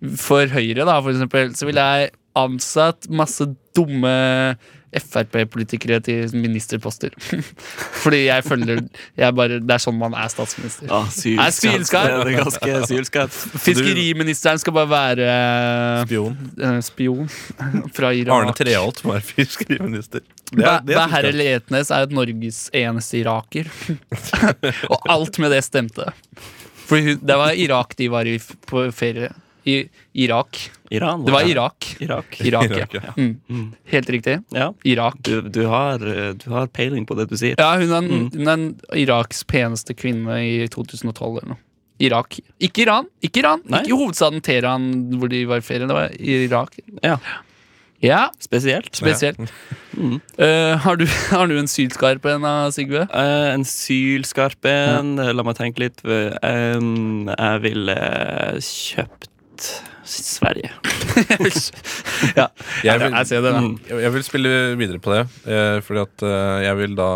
Speaker 5: For Høyre, da, for eksempel, så ville jeg ansatt masse dumme Frp-politikere til ministerposter. Fordi jeg føler jeg bare, Det er sånn man er statsminister.
Speaker 3: Ja,
Speaker 5: Er sylskarp.
Speaker 3: Det er ganske sylskarp.
Speaker 5: Fiskeriministeren skal bare være
Speaker 6: Spion.
Speaker 5: eh, spion fra Iran.
Speaker 6: Arne Treholt må være fiskeriminister. Det er- det er
Speaker 5: Beherre Letnes er jo Norges eneste iraker. og alt med det stemte. For hun, det var Irak de var i f- på ferie. I Irak.
Speaker 3: Iran.
Speaker 5: Det var
Speaker 3: ja.
Speaker 5: Irak.
Speaker 3: Irak.
Speaker 5: Irak, ja.
Speaker 6: Irak, ja.
Speaker 5: Mm. Helt riktig.
Speaker 3: Ja.
Speaker 5: Irak.
Speaker 3: Du, du, har, eh, du har peiling på det du sier.
Speaker 5: Ja, hun er,
Speaker 6: Mm.
Speaker 5: en- hun er en Iraks peneste kvinne i 2012 eller noe. Irak. Ikke Iran. Ikke Iran.
Speaker 3: Nei.
Speaker 5: Ikke hovedstaden Teheran, hvor de var i ferie. Det var i Irak.
Speaker 3: Ja.
Speaker 5: Ja,
Speaker 3: Spesielt.
Speaker 5: spesielt.
Speaker 6: Mm.
Speaker 5: Eh, har, du, har du en sylskarp en, da, Sigve?
Speaker 3: Eh, en sylskarp en. La meg tenke litt. Em, jeg ville kjøpt Sverige.
Speaker 5: ja.
Speaker 6: Jeg vil-
Speaker 5: jeg Mm. ser det, da.
Speaker 6: Jeg jeg vil spille videre på det, eh, fordi at eh, jeg vil da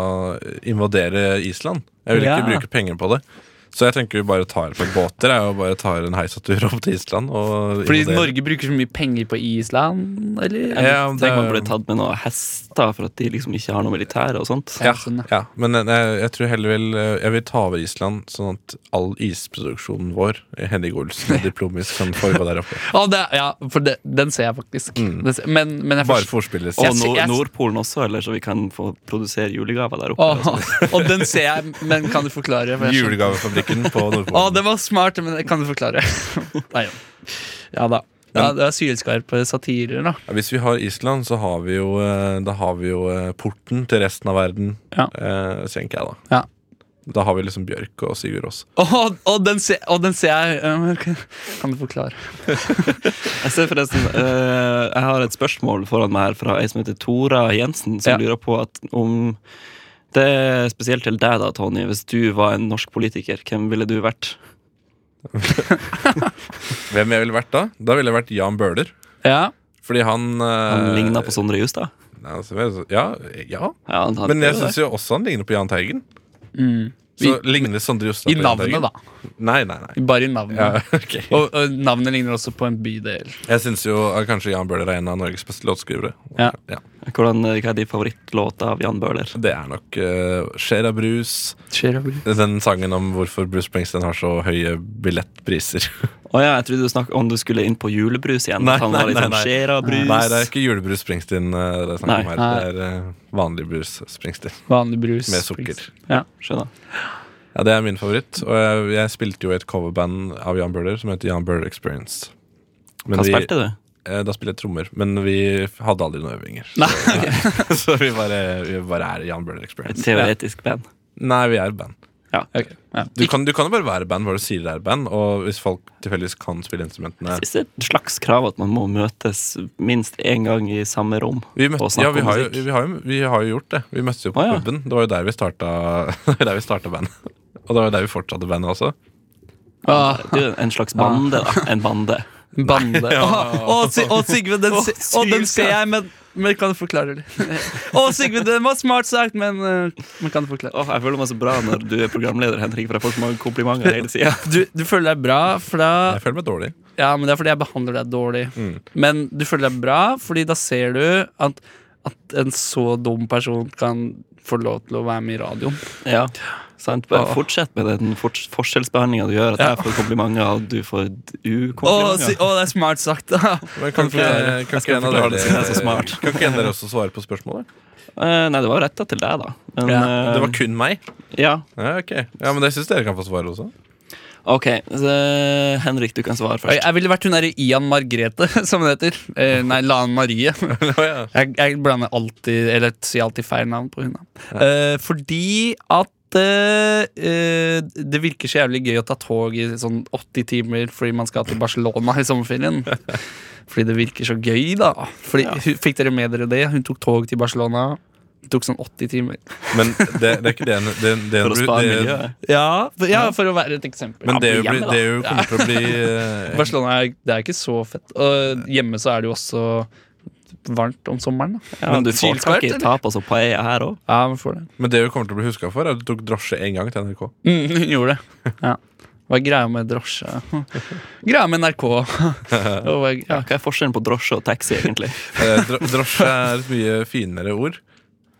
Speaker 6: invadere Island. Jeg vil ikke
Speaker 3: Ja.
Speaker 6: bruke penger på det. Så jeg tenker vi bare tar på båter jeg, og bare tar en heisatur opp til Island. Og
Speaker 5: Fordi
Speaker 6: invaderer.
Speaker 5: Norge bruker så mye penger på Island, eller?
Speaker 3: Jeg
Speaker 6: Ja, det-
Speaker 3: tenker man burde tatt med noen hester, for at de liksom ikke har noe militære og sånt.
Speaker 6: ja,
Speaker 5: Sånn,
Speaker 6: ja, men jeg, jeg tror heller vil eh, Jeg vil ta over Island, sånn at all isproduksjonen vår, Henning Olsen og Diplomis, kan foregå der oppe.
Speaker 5: Ja, det, ja for det, den ser jeg faktisk. Den ser, men, men jeg
Speaker 6: Mm. Bare
Speaker 5: forstår
Speaker 6: for ordspillet.
Speaker 3: Og
Speaker 5: Jeg ser-
Speaker 3: Nor
Speaker 5: jeg-
Speaker 3: Nordpolen også, eller så vi kan få produsere julegaver der oppe.
Speaker 5: Åh, Og den ser jeg, men kan du forklare? For jeg skjønner-
Speaker 6: Julegavefabrikken på Nordpolen.
Speaker 5: Å, det var smart, men det kan du forklare. Nei, ja. ja da. Ja, det er sylskarpe satirer, da.
Speaker 6: Ja, Hvis vi har Island, så har vi jo, eh, da har vi jo eh, porten til resten av verden,
Speaker 5: Ja.
Speaker 6: eh, tenker jeg da.
Speaker 5: Ja.
Speaker 6: Da har vi liksom Bjørk og Sigurd Aas.
Speaker 5: Og, og, den, ser, og den ser jeg eh, ok. Kan du forklare?
Speaker 3: Jeg ser forresten eh, Jeg har et spørsmål foran meg her fra ei som heter Tora Jensen, som
Speaker 5: Ja.
Speaker 3: lurer på at om det er spesielt til deg, da, Tony. Hvis du var en norsk politiker, hvem ville du vært?
Speaker 6: Hvem jeg ville vært da? Da ville jeg vært Jan Bøhler.
Speaker 5: Ja.
Speaker 6: Fordi han
Speaker 3: Han
Speaker 6: eh,
Speaker 3: ligna på Sondre Justad.
Speaker 6: Nei, altså, vel, så- Ja, ja.
Speaker 3: Ja, han- han-
Speaker 6: Men jeg syns jo også han ligner på Jahn Teigen. Så ligner Sondre Justad
Speaker 5: Mm. I
Speaker 6: på Jahn Teigen?
Speaker 5: navnet, da.
Speaker 6: Nei, nei, nei.
Speaker 5: Bare i navnet.
Speaker 6: Ja, ok.
Speaker 5: Og, og navnet ligner også på en bydel.
Speaker 6: Jeg syns jo eh, kanskje Jan Bøhler er en av Norges beste låtskrivere.
Speaker 5: Ja.
Speaker 3: Hvordan, eh, hva er din favorittlåt av Jan Bøhler?
Speaker 6: Det er nok uh, Skjer av brus.
Speaker 5: Chernobyl.
Speaker 6: Den sangen om hvorfor Bruce Springsteen har så høye billettpriser.
Speaker 3: Å ja, jeg trodde du snakket om du skulle inn på julebrus igjen. at han var litt sånn skjer av brus.
Speaker 6: Nei, det er ikke julebrus Springsteen eh, det er snakk om
Speaker 3: Nei.
Speaker 6: her. Det er eh, vanlig brus Springsteen
Speaker 5: Vanlig brus.
Speaker 6: med sukker.
Speaker 5: Ja.
Speaker 3: Skjønner.
Speaker 6: Ja, Det er min favoritt. Og jeg, jeg spilte jo i et coverband av Jan Bøhler som heter Jan Bøhler Experience. Men
Speaker 3: Hva
Speaker 6: vi-
Speaker 3: spilte du?
Speaker 6: eh, Da spilte jeg trommer, men vi hadde aldri noen øvinger. Så, så vi, bare, vi bare er Jan Bøhler
Speaker 3: Et
Speaker 6: Experience.
Speaker 3: teoretisk band.
Speaker 6: Nei, vi er et band.
Speaker 5: Ok, ja.
Speaker 6: Du kan, du kan jo bare være band hva du sier det er band, og hvis folk tilfeldigvis kan spille instrumentene
Speaker 3: Synes det er et slags krav at man må møtes minst én gang i samme rom
Speaker 6: Vi, møtte,
Speaker 3: og snakke
Speaker 6: ja, vi,
Speaker 3: om
Speaker 6: har jo,
Speaker 3: musikk.
Speaker 6: vi, har jo, vi har jo gjort det. Vi møttes jo på
Speaker 3: Å, ja.
Speaker 6: puben. Det var jo der vi starta, der vi starta bandet. Og det var jo der vi fortsatte bandet også.
Speaker 5: Ah,
Speaker 3: Du, en slags bande, da. En bande.
Speaker 5: bande. Ah, Å, Sig- å, Sigve, den, se, å, den ser jeg, men, men kan du forklare det? Å, Sigve, det var smart sagt, men, eh, men kan du forklare?
Speaker 3: Åh, jeg føler meg så bra når du er programleder, Henrik, for jeg får så mange komplimenter hele tida.
Speaker 5: Du, du føler deg bra, for da
Speaker 6: Jeg føler meg dårlig.
Speaker 5: Ja, men det er fordi jeg behandler deg dårlig. Men du føler deg bra, fordi da ser du at, at en så dum person kan få lov til å være med i radioen.
Speaker 3: Ja, sant? Bare fortsett med den fort forskjellsbehandlinga du gjør, at jeg får komplimenter, og du får
Speaker 5: Å, si,
Speaker 3: ukomplimenter.
Speaker 5: å, det er smart sagt, da!
Speaker 6: Men kan ikke,
Speaker 3: forklare.
Speaker 6: kan
Speaker 3: Jeg skal
Speaker 6: ikke en av
Speaker 3: forklare
Speaker 6: dere,
Speaker 3: det siden jeg er så smart.
Speaker 6: kan ikke en av dere også svare på spørsmålet?
Speaker 3: Eh, nei, det var retta til deg, da. Men,
Speaker 5: Ja,
Speaker 3: eh,
Speaker 6: Det var kun meg.
Speaker 3: ja.
Speaker 6: Ja, ok. ja Men jeg syns dere kan få svare også.
Speaker 3: OK. Så, Henrik, du kan svare
Speaker 5: Oi,
Speaker 3: først.
Speaker 5: Jeg ville vært hun derre Ian Margrethe, som det heter. Eh, nei, Lan Marie.
Speaker 6: Å, ja.
Speaker 5: Jeg, jeg blander alltid Eller sier alltid feil navn på hun. da. Eh, fordi at eh, eh, det virker så jævlig gøy å ta tog i sånn 80 timer fordi man skal til Barcelona i sommerferien. Fordi det virker så gøy, da. Fordi, hun- Fikk dere med dere det? Hun tok tog til Barcelona. Det tok sånn 80 timer.
Speaker 6: Men det, det er ikke det en- det, det,
Speaker 3: For å spare
Speaker 6: det,
Speaker 3: miljøet.
Speaker 5: Ja, for, ja, for å være et eksempel.
Speaker 6: Men det er jo,
Speaker 3: bli
Speaker 6: bli-
Speaker 3: hjemme, da.
Speaker 6: det er jo kommer til å bli eh,
Speaker 5: Barcelona er, det er ikke så fett. Og hjemme så er det jo også varmt om sommeren. da
Speaker 3: Ja, men du får
Speaker 5: Sylskarpt,
Speaker 3: tak i
Speaker 5: eller?
Speaker 3: tapas og paella her òg.
Speaker 5: Ja, man får det.
Speaker 6: Men det vi kommer til å bli huska for, er at du tok drosje én gang til NRK.
Speaker 5: Mm, hun gjorde det. Ja. Hva er greia med drosje? Greia med NRK. Og hva er-
Speaker 3: Ja,
Speaker 5: ja.
Speaker 3: hva er forskjellen på drosje og taxi, egentlig?
Speaker 6: Eh, dro- Drosje er et mye finere ord.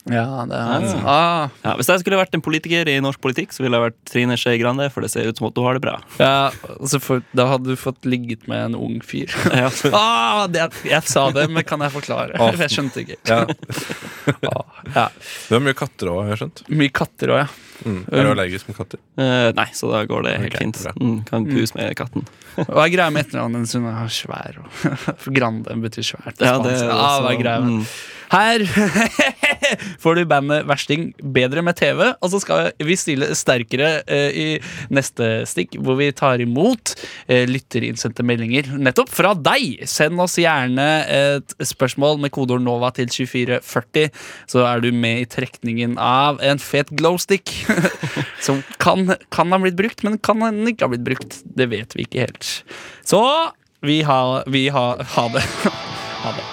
Speaker 5: ja, det er altså. ah,
Speaker 3: Ja, hvis jeg skulle vært en politiker i norsk politikk, så ville jeg vært Trine Skei Grande, for det ser ut som at du har det bra.
Speaker 5: ja, altså for, Da hadde du fått ligget med en ung fyr.
Speaker 3: Ja.
Speaker 5: Ah, det, jeg sa det, men kan jeg forklare?
Speaker 6: Ah.
Speaker 5: For jeg skjønte ikke.
Speaker 6: Ja.
Speaker 5: Ah, ja.
Speaker 6: Du har mye katter òg, har jeg skjønt.
Speaker 5: Mye katter òg, ja.
Speaker 6: Mm. Er du allergisk mot katter?
Speaker 3: Eh, nei, så da går det helt
Speaker 6: Ok,
Speaker 3: fint.
Speaker 6: bra.
Speaker 3: Mm, kan puse med katten.
Speaker 5: Hva er greia med etternavnet hennes? Hun er svær. Og, for Grande betyr svært. på
Speaker 3: Ja, det
Speaker 5: spansk.
Speaker 3: er
Speaker 5: ah,
Speaker 3: også-
Speaker 5: hva er greia med
Speaker 3: mm.
Speaker 5: Her får du bandet Versting bedre med TV, og så skal vi stille sterkere eh, i neste stikk, hvor vi tar imot eh, lytterinnsendte meldinger nettopp fra deg. Send oss gjerne et spørsmål med kodeord NOVA til 2440, så er du med i trekningen av en fet glowstick. som kan, kan ha blitt brukt, men kan den ikke ha blitt brukt. Det vet vi ikke helt. Så vi har vi har- ha det. ha det.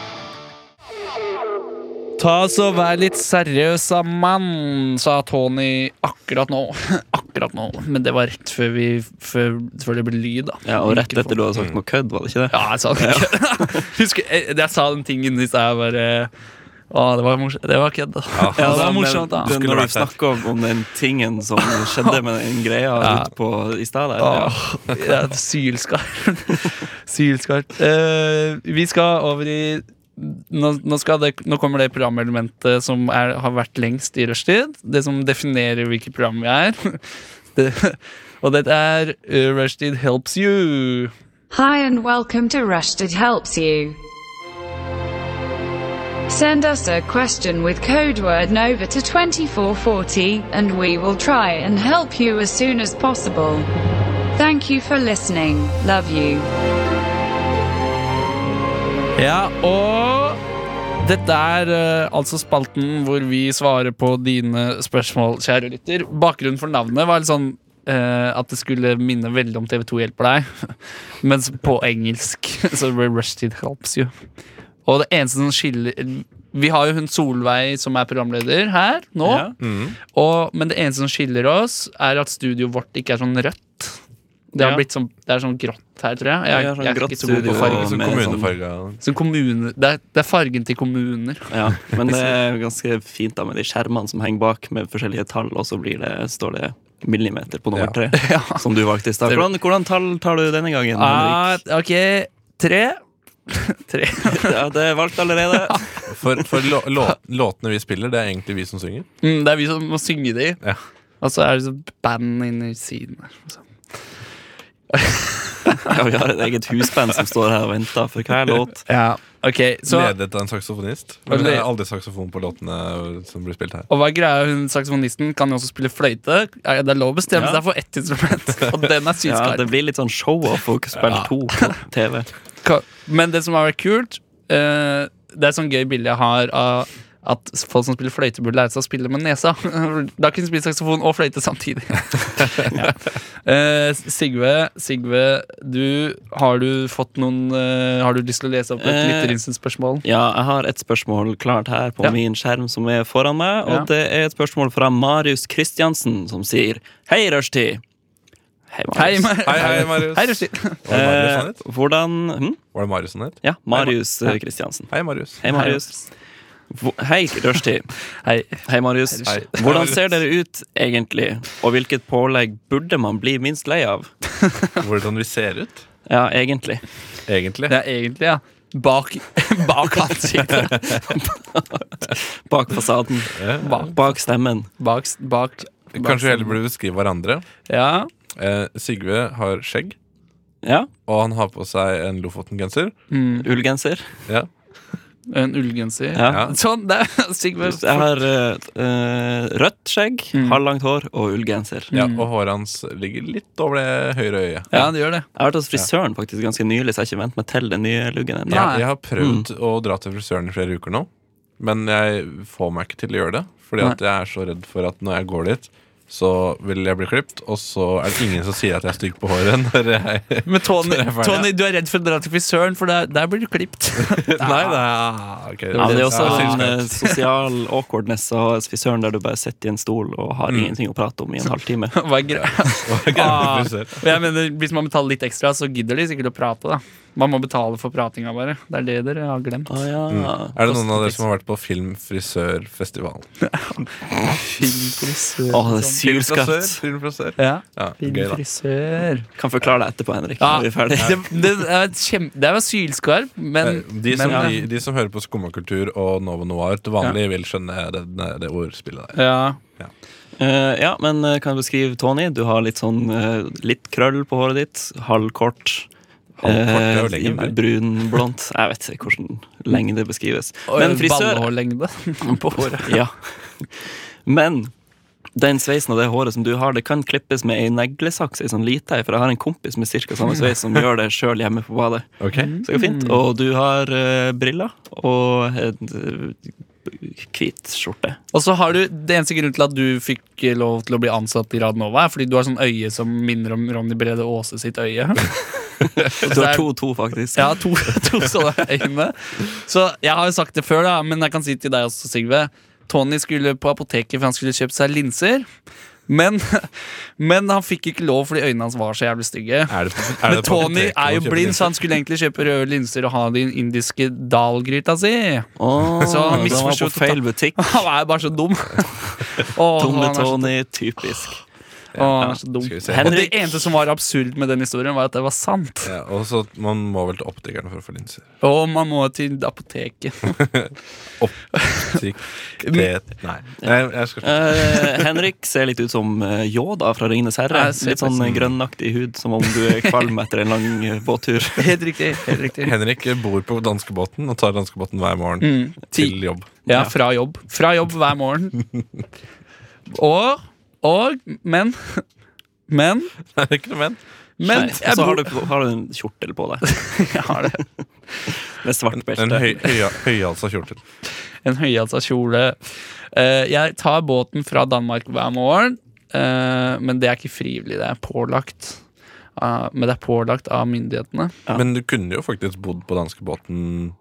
Speaker 5: Ta så vær litt seriøs, da, mann, sa Tony akkurat nå. Akkurat nå, men det var rett før, vi, før, før det ble lyd, da.
Speaker 3: Ja, og rett etter du hadde sagt noe kødd, var det ikke det?
Speaker 5: Ja, jeg sa det ikke. Husker, jeg, jeg sa den tingen i stad, jeg bare Å, det var morsomt. Det var kødd. Ja, det var morsomt, da.
Speaker 3: Men,
Speaker 6: Skulle
Speaker 3: når
Speaker 6: vært
Speaker 3: vi snakker om, om den tingen som skjedde med den greia
Speaker 5: Ja.
Speaker 3: ute på i stad der ja.
Speaker 5: Åh, det er Sylskarpt. Sylskarpt. Eh, vi skal over i nå, nå, skal det, nå kommer det programelementet som er, har vært lengst i rushtid. Det som definerer hvilket program vi er. Det, og dette er eh, Rushtid Helps You.
Speaker 7: Hi and welcome to Rushdid Helps You. Send us a question with code word NOVA to 2440, and we will try and help you as soon as possible. Thank you for listening. Love you.
Speaker 5: Ja, og dette er eh, altså spalten hvor vi svarer på dine spørsmål, kjære lytter. Bakgrunnen for navnet var litt sånn eh, at det skulle minne veldig om TV2 hjelper deg, mens på engelsk så blir Rushtid helps you. Og det eneste som skiller Vi har jo hun Solveig som er programleder her nå,
Speaker 3: Ja.
Speaker 5: og, men det eneste som skiller oss, er at studioet vårt ikke er sånn rødt. Det, har
Speaker 3: Ja.
Speaker 5: blitt sånn, det er sånn grått her, tror jeg. Jeg,
Speaker 3: Ja, sånn
Speaker 5: jeg er
Speaker 3: grått
Speaker 5: ikke så god
Speaker 3: studio.
Speaker 5: på farger.
Speaker 6: Sånn
Speaker 3: med
Speaker 6: kommunefarga.
Speaker 5: Så kommune, det, er, det er fargen til kommuner.
Speaker 3: Ja, men det er ganske fint da med de skjermene som henger bak med forskjellige tall, og så blir det, står det millimeter på nummer tre, som du valgte i stad.
Speaker 5: Det-
Speaker 3: Hvordan, hvordan tall tar du denne gangen?
Speaker 5: Ah,
Speaker 3: Henrik?
Speaker 5: ok, tre. tre.
Speaker 3: Ja, det er valgt allerede.
Speaker 6: For, for lå, lå, låtene vi spiller, det er egentlig vi som synger.
Speaker 5: Mm, det er vi som må synge de.
Speaker 6: Ja.
Speaker 5: Og så er det så band inni siden her. så.
Speaker 3: Ja, vi har et eget husband som står her og venter for hver låt.
Speaker 5: Ok, så
Speaker 6: Ledet av en saksofonist. Men det er aldri saksofon på låtene som blir spilt her.
Speaker 5: Og hva er greia, hun saksofonisten kan jo også spille fløyte. Er Det er lov å bestemme
Speaker 3: Ja.
Speaker 5: seg for ett instrument, og den er
Speaker 3: Ja,
Speaker 5: sylskarp.
Speaker 3: Det blir litt sånn show-off å spille to på TV.
Speaker 5: Ka- Men det som har vært kult eh, Det er et sånn gøy bilde jeg har av at folk som spiller fløyte, burde lære seg å spille med nesa. Da kan de spille saksofon og fløyte samtidig. Eh, Sigve, Sigve du, har du fått noen eh, Har du lyst til å lese opp et
Speaker 3: Eh,
Speaker 5: lytterinnsynsspørsmål?
Speaker 3: Ja, jeg har et spørsmål klart her på
Speaker 5: Ja.
Speaker 3: min skjerm som er foran meg, og
Speaker 5: Ja.
Speaker 3: det er et spørsmål fra Marius Kristiansen, som sier Hei, rushtid! Hei,
Speaker 5: Hei,
Speaker 3: Marius.
Speaker 5: Mar-
Speaker 6: Hei, hei, Marius.
Speaker 5: Hei, Rushdie.
Speaker 6: Var det Marius han het?
Speaker 3: Eh, hvordan hm?
Speaker 6: Var det Marius han het?
Speaker 3: Ja, Marius eh, Kristiansen.
Speaker 6: Hei, Marius.
Speaker 3: Hei, Marius. Hvor- Hei, Rushtid.
Speaker 5: Hei.
Speaker 3: Hei, Marius.
Speaker 6: Hei.
Speaker 3: Hvordan ser dere ut egentlig, og hvilket pålegg burde man bli minst lei av?
Speaker 6: Hvordan vi ser ut,
Speaker 3: Ja, egentlig.
Speaker 6: egentlig.
Speaker 5: Det er egentlig, ja. Bak, bak ansiktet.
Speaker 3: Bak fasaden.
Speaker 5: Bak,
Speaker 3: Bak stemmen.
Speaker 5: bak, bak
Speaker 6: Kanskje vi
Speaker 5: sånn-
Speaker 6: heller burde beskrive hverandre.
Speaker 5: Ja.
Speaker 6: Eh, Sigve har skjegg,
Speaker 3: Ja.
Speaker 6: og han har på seg en Lofoten-genser.
Speaker 3: Ullgenser.
Speaker 6: Ja.
Speaker 5: En ullgenser.
Speaker 3: Ja.
Speaker 5: Sånn, det er Sigve.
Speaker 3: Jeg har eh, eh, rødt skjegg,
Speaker 5: Mm.
Speaker 3: halvlangt hår og ullgenser. Jeg
Speaker 6: Ja, og håret hans ligger litt over det høyre øyet.
Speaker 5: Ja, det gjør det.
Speaker 3: har vært hos frisøren faktisk ganske nylig, så jeg har ikke vent meg til den nye luggen
Speaker 5: Ja.
Speaker 3: ennå.
Speaker 5: Nei. Mm.
Speaker 6: Jeg, jeg har prøvd å dra til frisøren i flere uker nå, men jeg får meg ikke til å gjøre det. Fordi at jeg er så redd for at når jeg går dit, så vil jeg bli klippet, og så er det ingen som sier at jeg er stygg på håret. Når jeg
Speaker 5: Men
Speaker 6: Så
Speaker 5: Tony,
Speaker 6: det er ferdig.
Speaker 5: Tony, du er redd for å dra til frisøren, for der, der blir du klipt.
Speaker 6: Nei, det er ok.
Speaker 3: Ja, men det er også
Speaker 6: Ja,
Speaker 3: en eh,
Speaker 6: synskapet.
Speaker 3: sosial awkwardness å ha frisøren der du bare sitter i en stol og har
Speaker 5: Mm.
Speaker 3: ingenting å prate om i en halvtime.
Speaker 5: Hva er greia?
Speaker 6: Hva er
Speaker 5: ah.
Speaker 6: greia med frisør?
Speaker 5: Og jeg mener, Hvis man betaler litt ekstra, så gidder de sikkert å prate. da Man må betale for pratinga, bare. Det er det dere har glemt.
Speaker 3: Å ja.
Speaker 5: Mm.
Speaker 6: Er det noen av dere som har vært på filmfrisørfestivalen?
Speaker 3: Å, det er
Speaker 6: Filmfrisør?
Speaker 3: sylskarpt.
Speaker 6: Filmfrisør?
Speaker 5: Ja.
Speaker 6: Ja,
Speaker 5: Fin
Speaker 6: gøy, da.
Speaker 5: frisør.
Speaker 3: Kan forklare deg etterpå, Henrik.
Speaker 5: Ja.
Speaker 3: Når vi er ferdig.
Speaker 5: Det, det, er et kjem, det var sylskarp, men,
Speaker 6: Eh, De som,
Speaker 5: men
Speaker 6: de, de som hører på Skummakultur og Novo Noir til vanlig, vil skjønne det, det ordspillet der.
Speaker 5: ja.
Speaker 3: Eh, ja, men eh, kan jeg beskrive Tony? Du har litt sånn eh, litt krøll på håret ditt. Halvkort. eh,
Speaker 6: Halvkort er jo lenge, nei.
Speaker 3: brun, blondt. Jeg vet ikke hvordan lenge det beskrives.
Speaker 5: Og
Speaker 3: Men frisør
Speaker 5: Ballehårlengde på håret.
Speaker 3: ja. Men den sveisen og det håret som du har, det kan klippes med ei neglesaks. Ei sånn lita ei, for jeg har en kompis med cirka
Speaker 5: Mm.
Speaker 3: samme sveis som gjør det sjøl hjemme på badet. Så det går fint. Og du har eh, briller og en eh, hvit skjorte.
Speaker 5: Og så har du, Det eneste grunnen til at du fikk lov til å bli ansatt i Radnova, er fordi du har sånn øye som minner om Ronny Brede Aase sitt øye.
Speaker 3: Du har to-to, faktisk.
Speaker 5: Jeg har to, to sånne øyne. Så jeg har jo sagt det før, da, men jeg kan si til deg også, Sigve. Tony skulle på apoteket for han skulle kjøpt seg linser. Men, men han fikk ikke lov fordi øynene hans var så jævlig stygge.
Speaker 6: Er det, er det
Speaker 5: Men
Speaker 6: på
Speaker 5: Tony
Speaker 6: apoteket
Speaker 5: er jo
Speaker 6: man kjøper
Speaker 5: blind,
Speaker 6: linser?
Speaker 5: så han skulle egentlig kjøpe røde linser og ha det i den indiske dalgryta si.
Speaker 3: Oh,
Speaker 5: Så han
Speaker 3: den var på
Speaker 5: misforsto
Speaker 3: feil butikk.
Speaker 5: Han er jo bare så dum. Åh,
Speaker 3: Tomme
Speaker 5: han er så,
Speaker 3: Tony, typisk.
Speaker 5: åh, han er så dum.
Speaker 6: Skal vi se.
Speaker 5: Og det eneste som var absurd med den historien, var at det var sant.
Speaker 6: Ja, og så Man må vel til optikeren for å få linser.
Speaker 5: Og man må til apoteket.
Speaker 6: Optik det, nei. nei, jeg skal slutte.
Speaker 3: Eh, Henrik ser litt ut som eh, Yoda fra Ringenes herre.
Speaker 5: Jeg ser
Speaker 3: Litt sånn eh, grønnaktig hud, som om du er kvalm etter en lang eh, båttur.
Speaker 5: Helt riktig. helt riktig
Speaker 6: Henrik bor på danskebåten og tar danskebåten hver morgen til jobb.
Speaker 5: Ja, fra jobb. Fra jobb hver morgen. Og Og Men Men
Speaker 6: Er det ikke noe men?
Speaker 5: Men
Speaker 3: Og
Speaker 5: jeg,
Speaker 3: så altså, har
Speaker 5: bor-
Speaker 3: du, har du en kjortel på deg
Speaker 5: jeg har det.
Speaker 3: med svart
Speaker 6: En
Speaker 3: belte.
Speaker 6: høy, høy, høyhalsa kjortel.
Speaker 5: En høyhalsa kjole. Eh, Jeg tar båten fra Danmark hver morgen. eh, eh, men det er ikke frivillig, det er pålagt. Ah, men det er pålagt av myndighetene.
Speaker 3: Ja.
Speaker 6: Men du kunne jo faktisk bodd på danskebåten.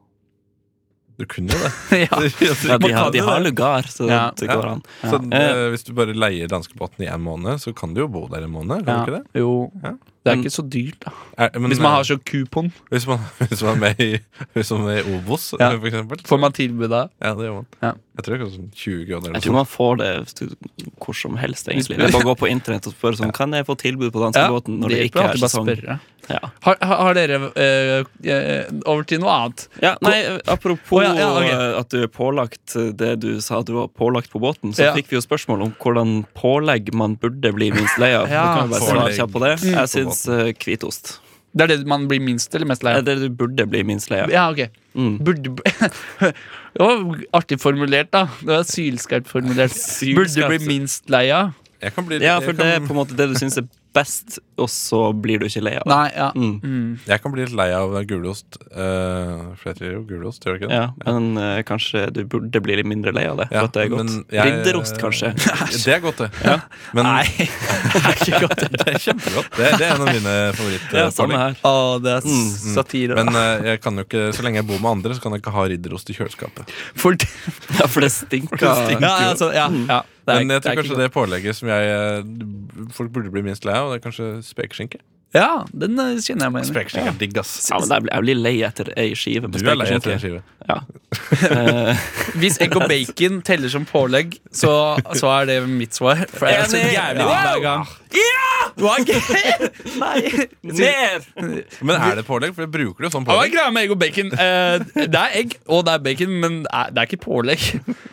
Speaker 6: Du kunne jo det.
Speaker 5: ja.
Speaker 3: Ja, de,
Speaker 6: Man
Speaker 3: har,
Speaker 6: kan
Speaker 3: de
Speaker 6: jo
Speaker 3: har
Speaker 6: det.
Speaker 3: lugar, så
Speaker 5: Ja.
Speaker 3: det
Speaker 6: Ja.
Speaker 3: går an.
Speaker 6: Så
Speaker 3: Eh.
Speaker 6: eh, hvis du bare leier danskebåten i en måned, så kan du jo bo der en måned. Kan
Speaker 5: Ja,
Speaker 6: du ikke det?
Speaker 5: Jo.
Speaker 6: Ja.
Speaker 5: Det er
Speaker 3: Men-
Speaker 5: ikke så dyrt, da.
Speaker 6: Er, men,
Speaker 5: Hvis man
Speaker 6: eh,
Speaker 5: har så kupon,
Speaker 6: hvis, man, hvis man er med i, hvis man er med i Obos,
Speaker 5: Ja.
Speaker 6: eh, for eksempel.
Speaker 5: får man tilbud da.
Speaker 6: Ja, det gjør man.
Speaker 5: Ja.
Speaker 6: Jeg tror det koster sånn 20 kroner. Eller
Speaker 3: Jeg tror
Speaker 6: noe sånt.
Speaker 3: man får det hvis du- hvor som helst, egentlig. Det er bare å gå på internett og spørre sånn, kan jeg få tilbud på danskebåten når det
Speaker 5: hjelper
Speaker 3: ikke er
Speaker 5: alltid bare
Speaker 3: sesong.
Speaker 5: spørre.
Speaker 3: Ja.
Speaker 5: Har, har har dere eh, eh, Over til noe annet.
Speaker 3: Ja, nei,
Speaker 5: Å,
Speaker 3: apropos
Speaker 5: ja, ja, ok.
Speaker 3: eh, at du er pålagt eh, det du sa du var pålagt på båten, så
Speaker 5: Ja.
Speaker 3: fikk vi jo spørsmål om hvordan pålegg man burde bli minst lei av.
Speaker 5: Ja.
Speaker 3: Du kan jo bare svare
Speaker 6: Pålegg.
Speaker 3: kjapt på det.
Speaker 6: Mm.
Speaker 3: Jeg syns eh, hvitost
Speaker 5: Det er det man blir minst eller mest lei
Speaker 3: er
Speaker 5: av?
Speaker 3: det du burde bli minst lei av.
Speaker 5: Ja, ok.
Speaker 3: Mm.
Speaker 5: Burde Det var artig formulert, da. Det var Sylskarpt formulert.
Speaker 3: Sylskarpt.
Speaker 5: Burde bli minst lei av?
Speaker 6: Jeg kan bli,
Speaker 3: Ja, for
Speaker 6: jeg
Speaker 3: det er
Speaker 6: kan,
Speaker 3: på en måte det du syns er best, og så blir du ikke lei av det.
Speaker 5: Nei, ja.
Speaker 3: Mm.
Speaker 5: Mm.
Speaker 6: jeg kan bli litt lei av gulost. eh, for jeg tror jo gulost, gjør jeg ikke det?
Speaker 3: Ja, men eh, kanskje du burde bli litt mindre lei av det, for
Speaker 6: Ja,
Speaker 3: at det er godt.
Speaker 6: men jeg- eh,
Speaker 3: Ridderost, kanskje.
Speaker 6: Det er godt, det. Men
Speaker 5: Nei, det er ikke godt.
Speaker 6: det er kjempegodt. Det, det er en av mine favoritter.
Speaker 3: Ja, samme her.
Speaker 5: Å, det er s-
Speaker 6: Mm.
Speaker 5: satire.
Speaker 6: Men eh, jeg kan jo ikke, så lenge jeg bor med andre, så kan jeg ikke ha ridderost i kjøleskapet.
Speaker 5: For det,
Speaker 3: Ja, for det stinker.
Speaker 5: ja, altså, ja, ja, det er-
Speaker 6: Men jeg
Speaker 5: det
Speaker 6: tror
Speaker 5: er ikke
Speaker 6: kanskje
Speaker 5: godt.
Speaker 6: det pålegget som jeg eh, folk burde bli minst lei av, det er kanskje spekeskinke.
Speaker 5: Ja, den eh, kjenner jeg meg igjen i.
Speaker 6: Spekeskinke er digg, ass.
Speaker 3: Ja, men jeg blir- jeg blir lei etter ei skive. med
Speaker 6: Du er lei
Speaker 3: spekeskinke.
Speaker 6: etter en skive.
Speaker 3: Ja. Eh,
Speaker 5: Hvis egg og bacon teller som pålegg, så, så er det mitt svar. For jeg er så
Speaker 3: Enig.
Speaker 5: jævlig digg hver gang. Ja! Nei. Mer!
Speaker 6: Men er det pålegg? For jeg bruker det jo sånn
Speaker 5: Hva er
Speaker 6: pålegg.
Speaker 5: greia med egg og bacon? Eh, det er egg, og det er bacon, men det er- det er ikke pålegg.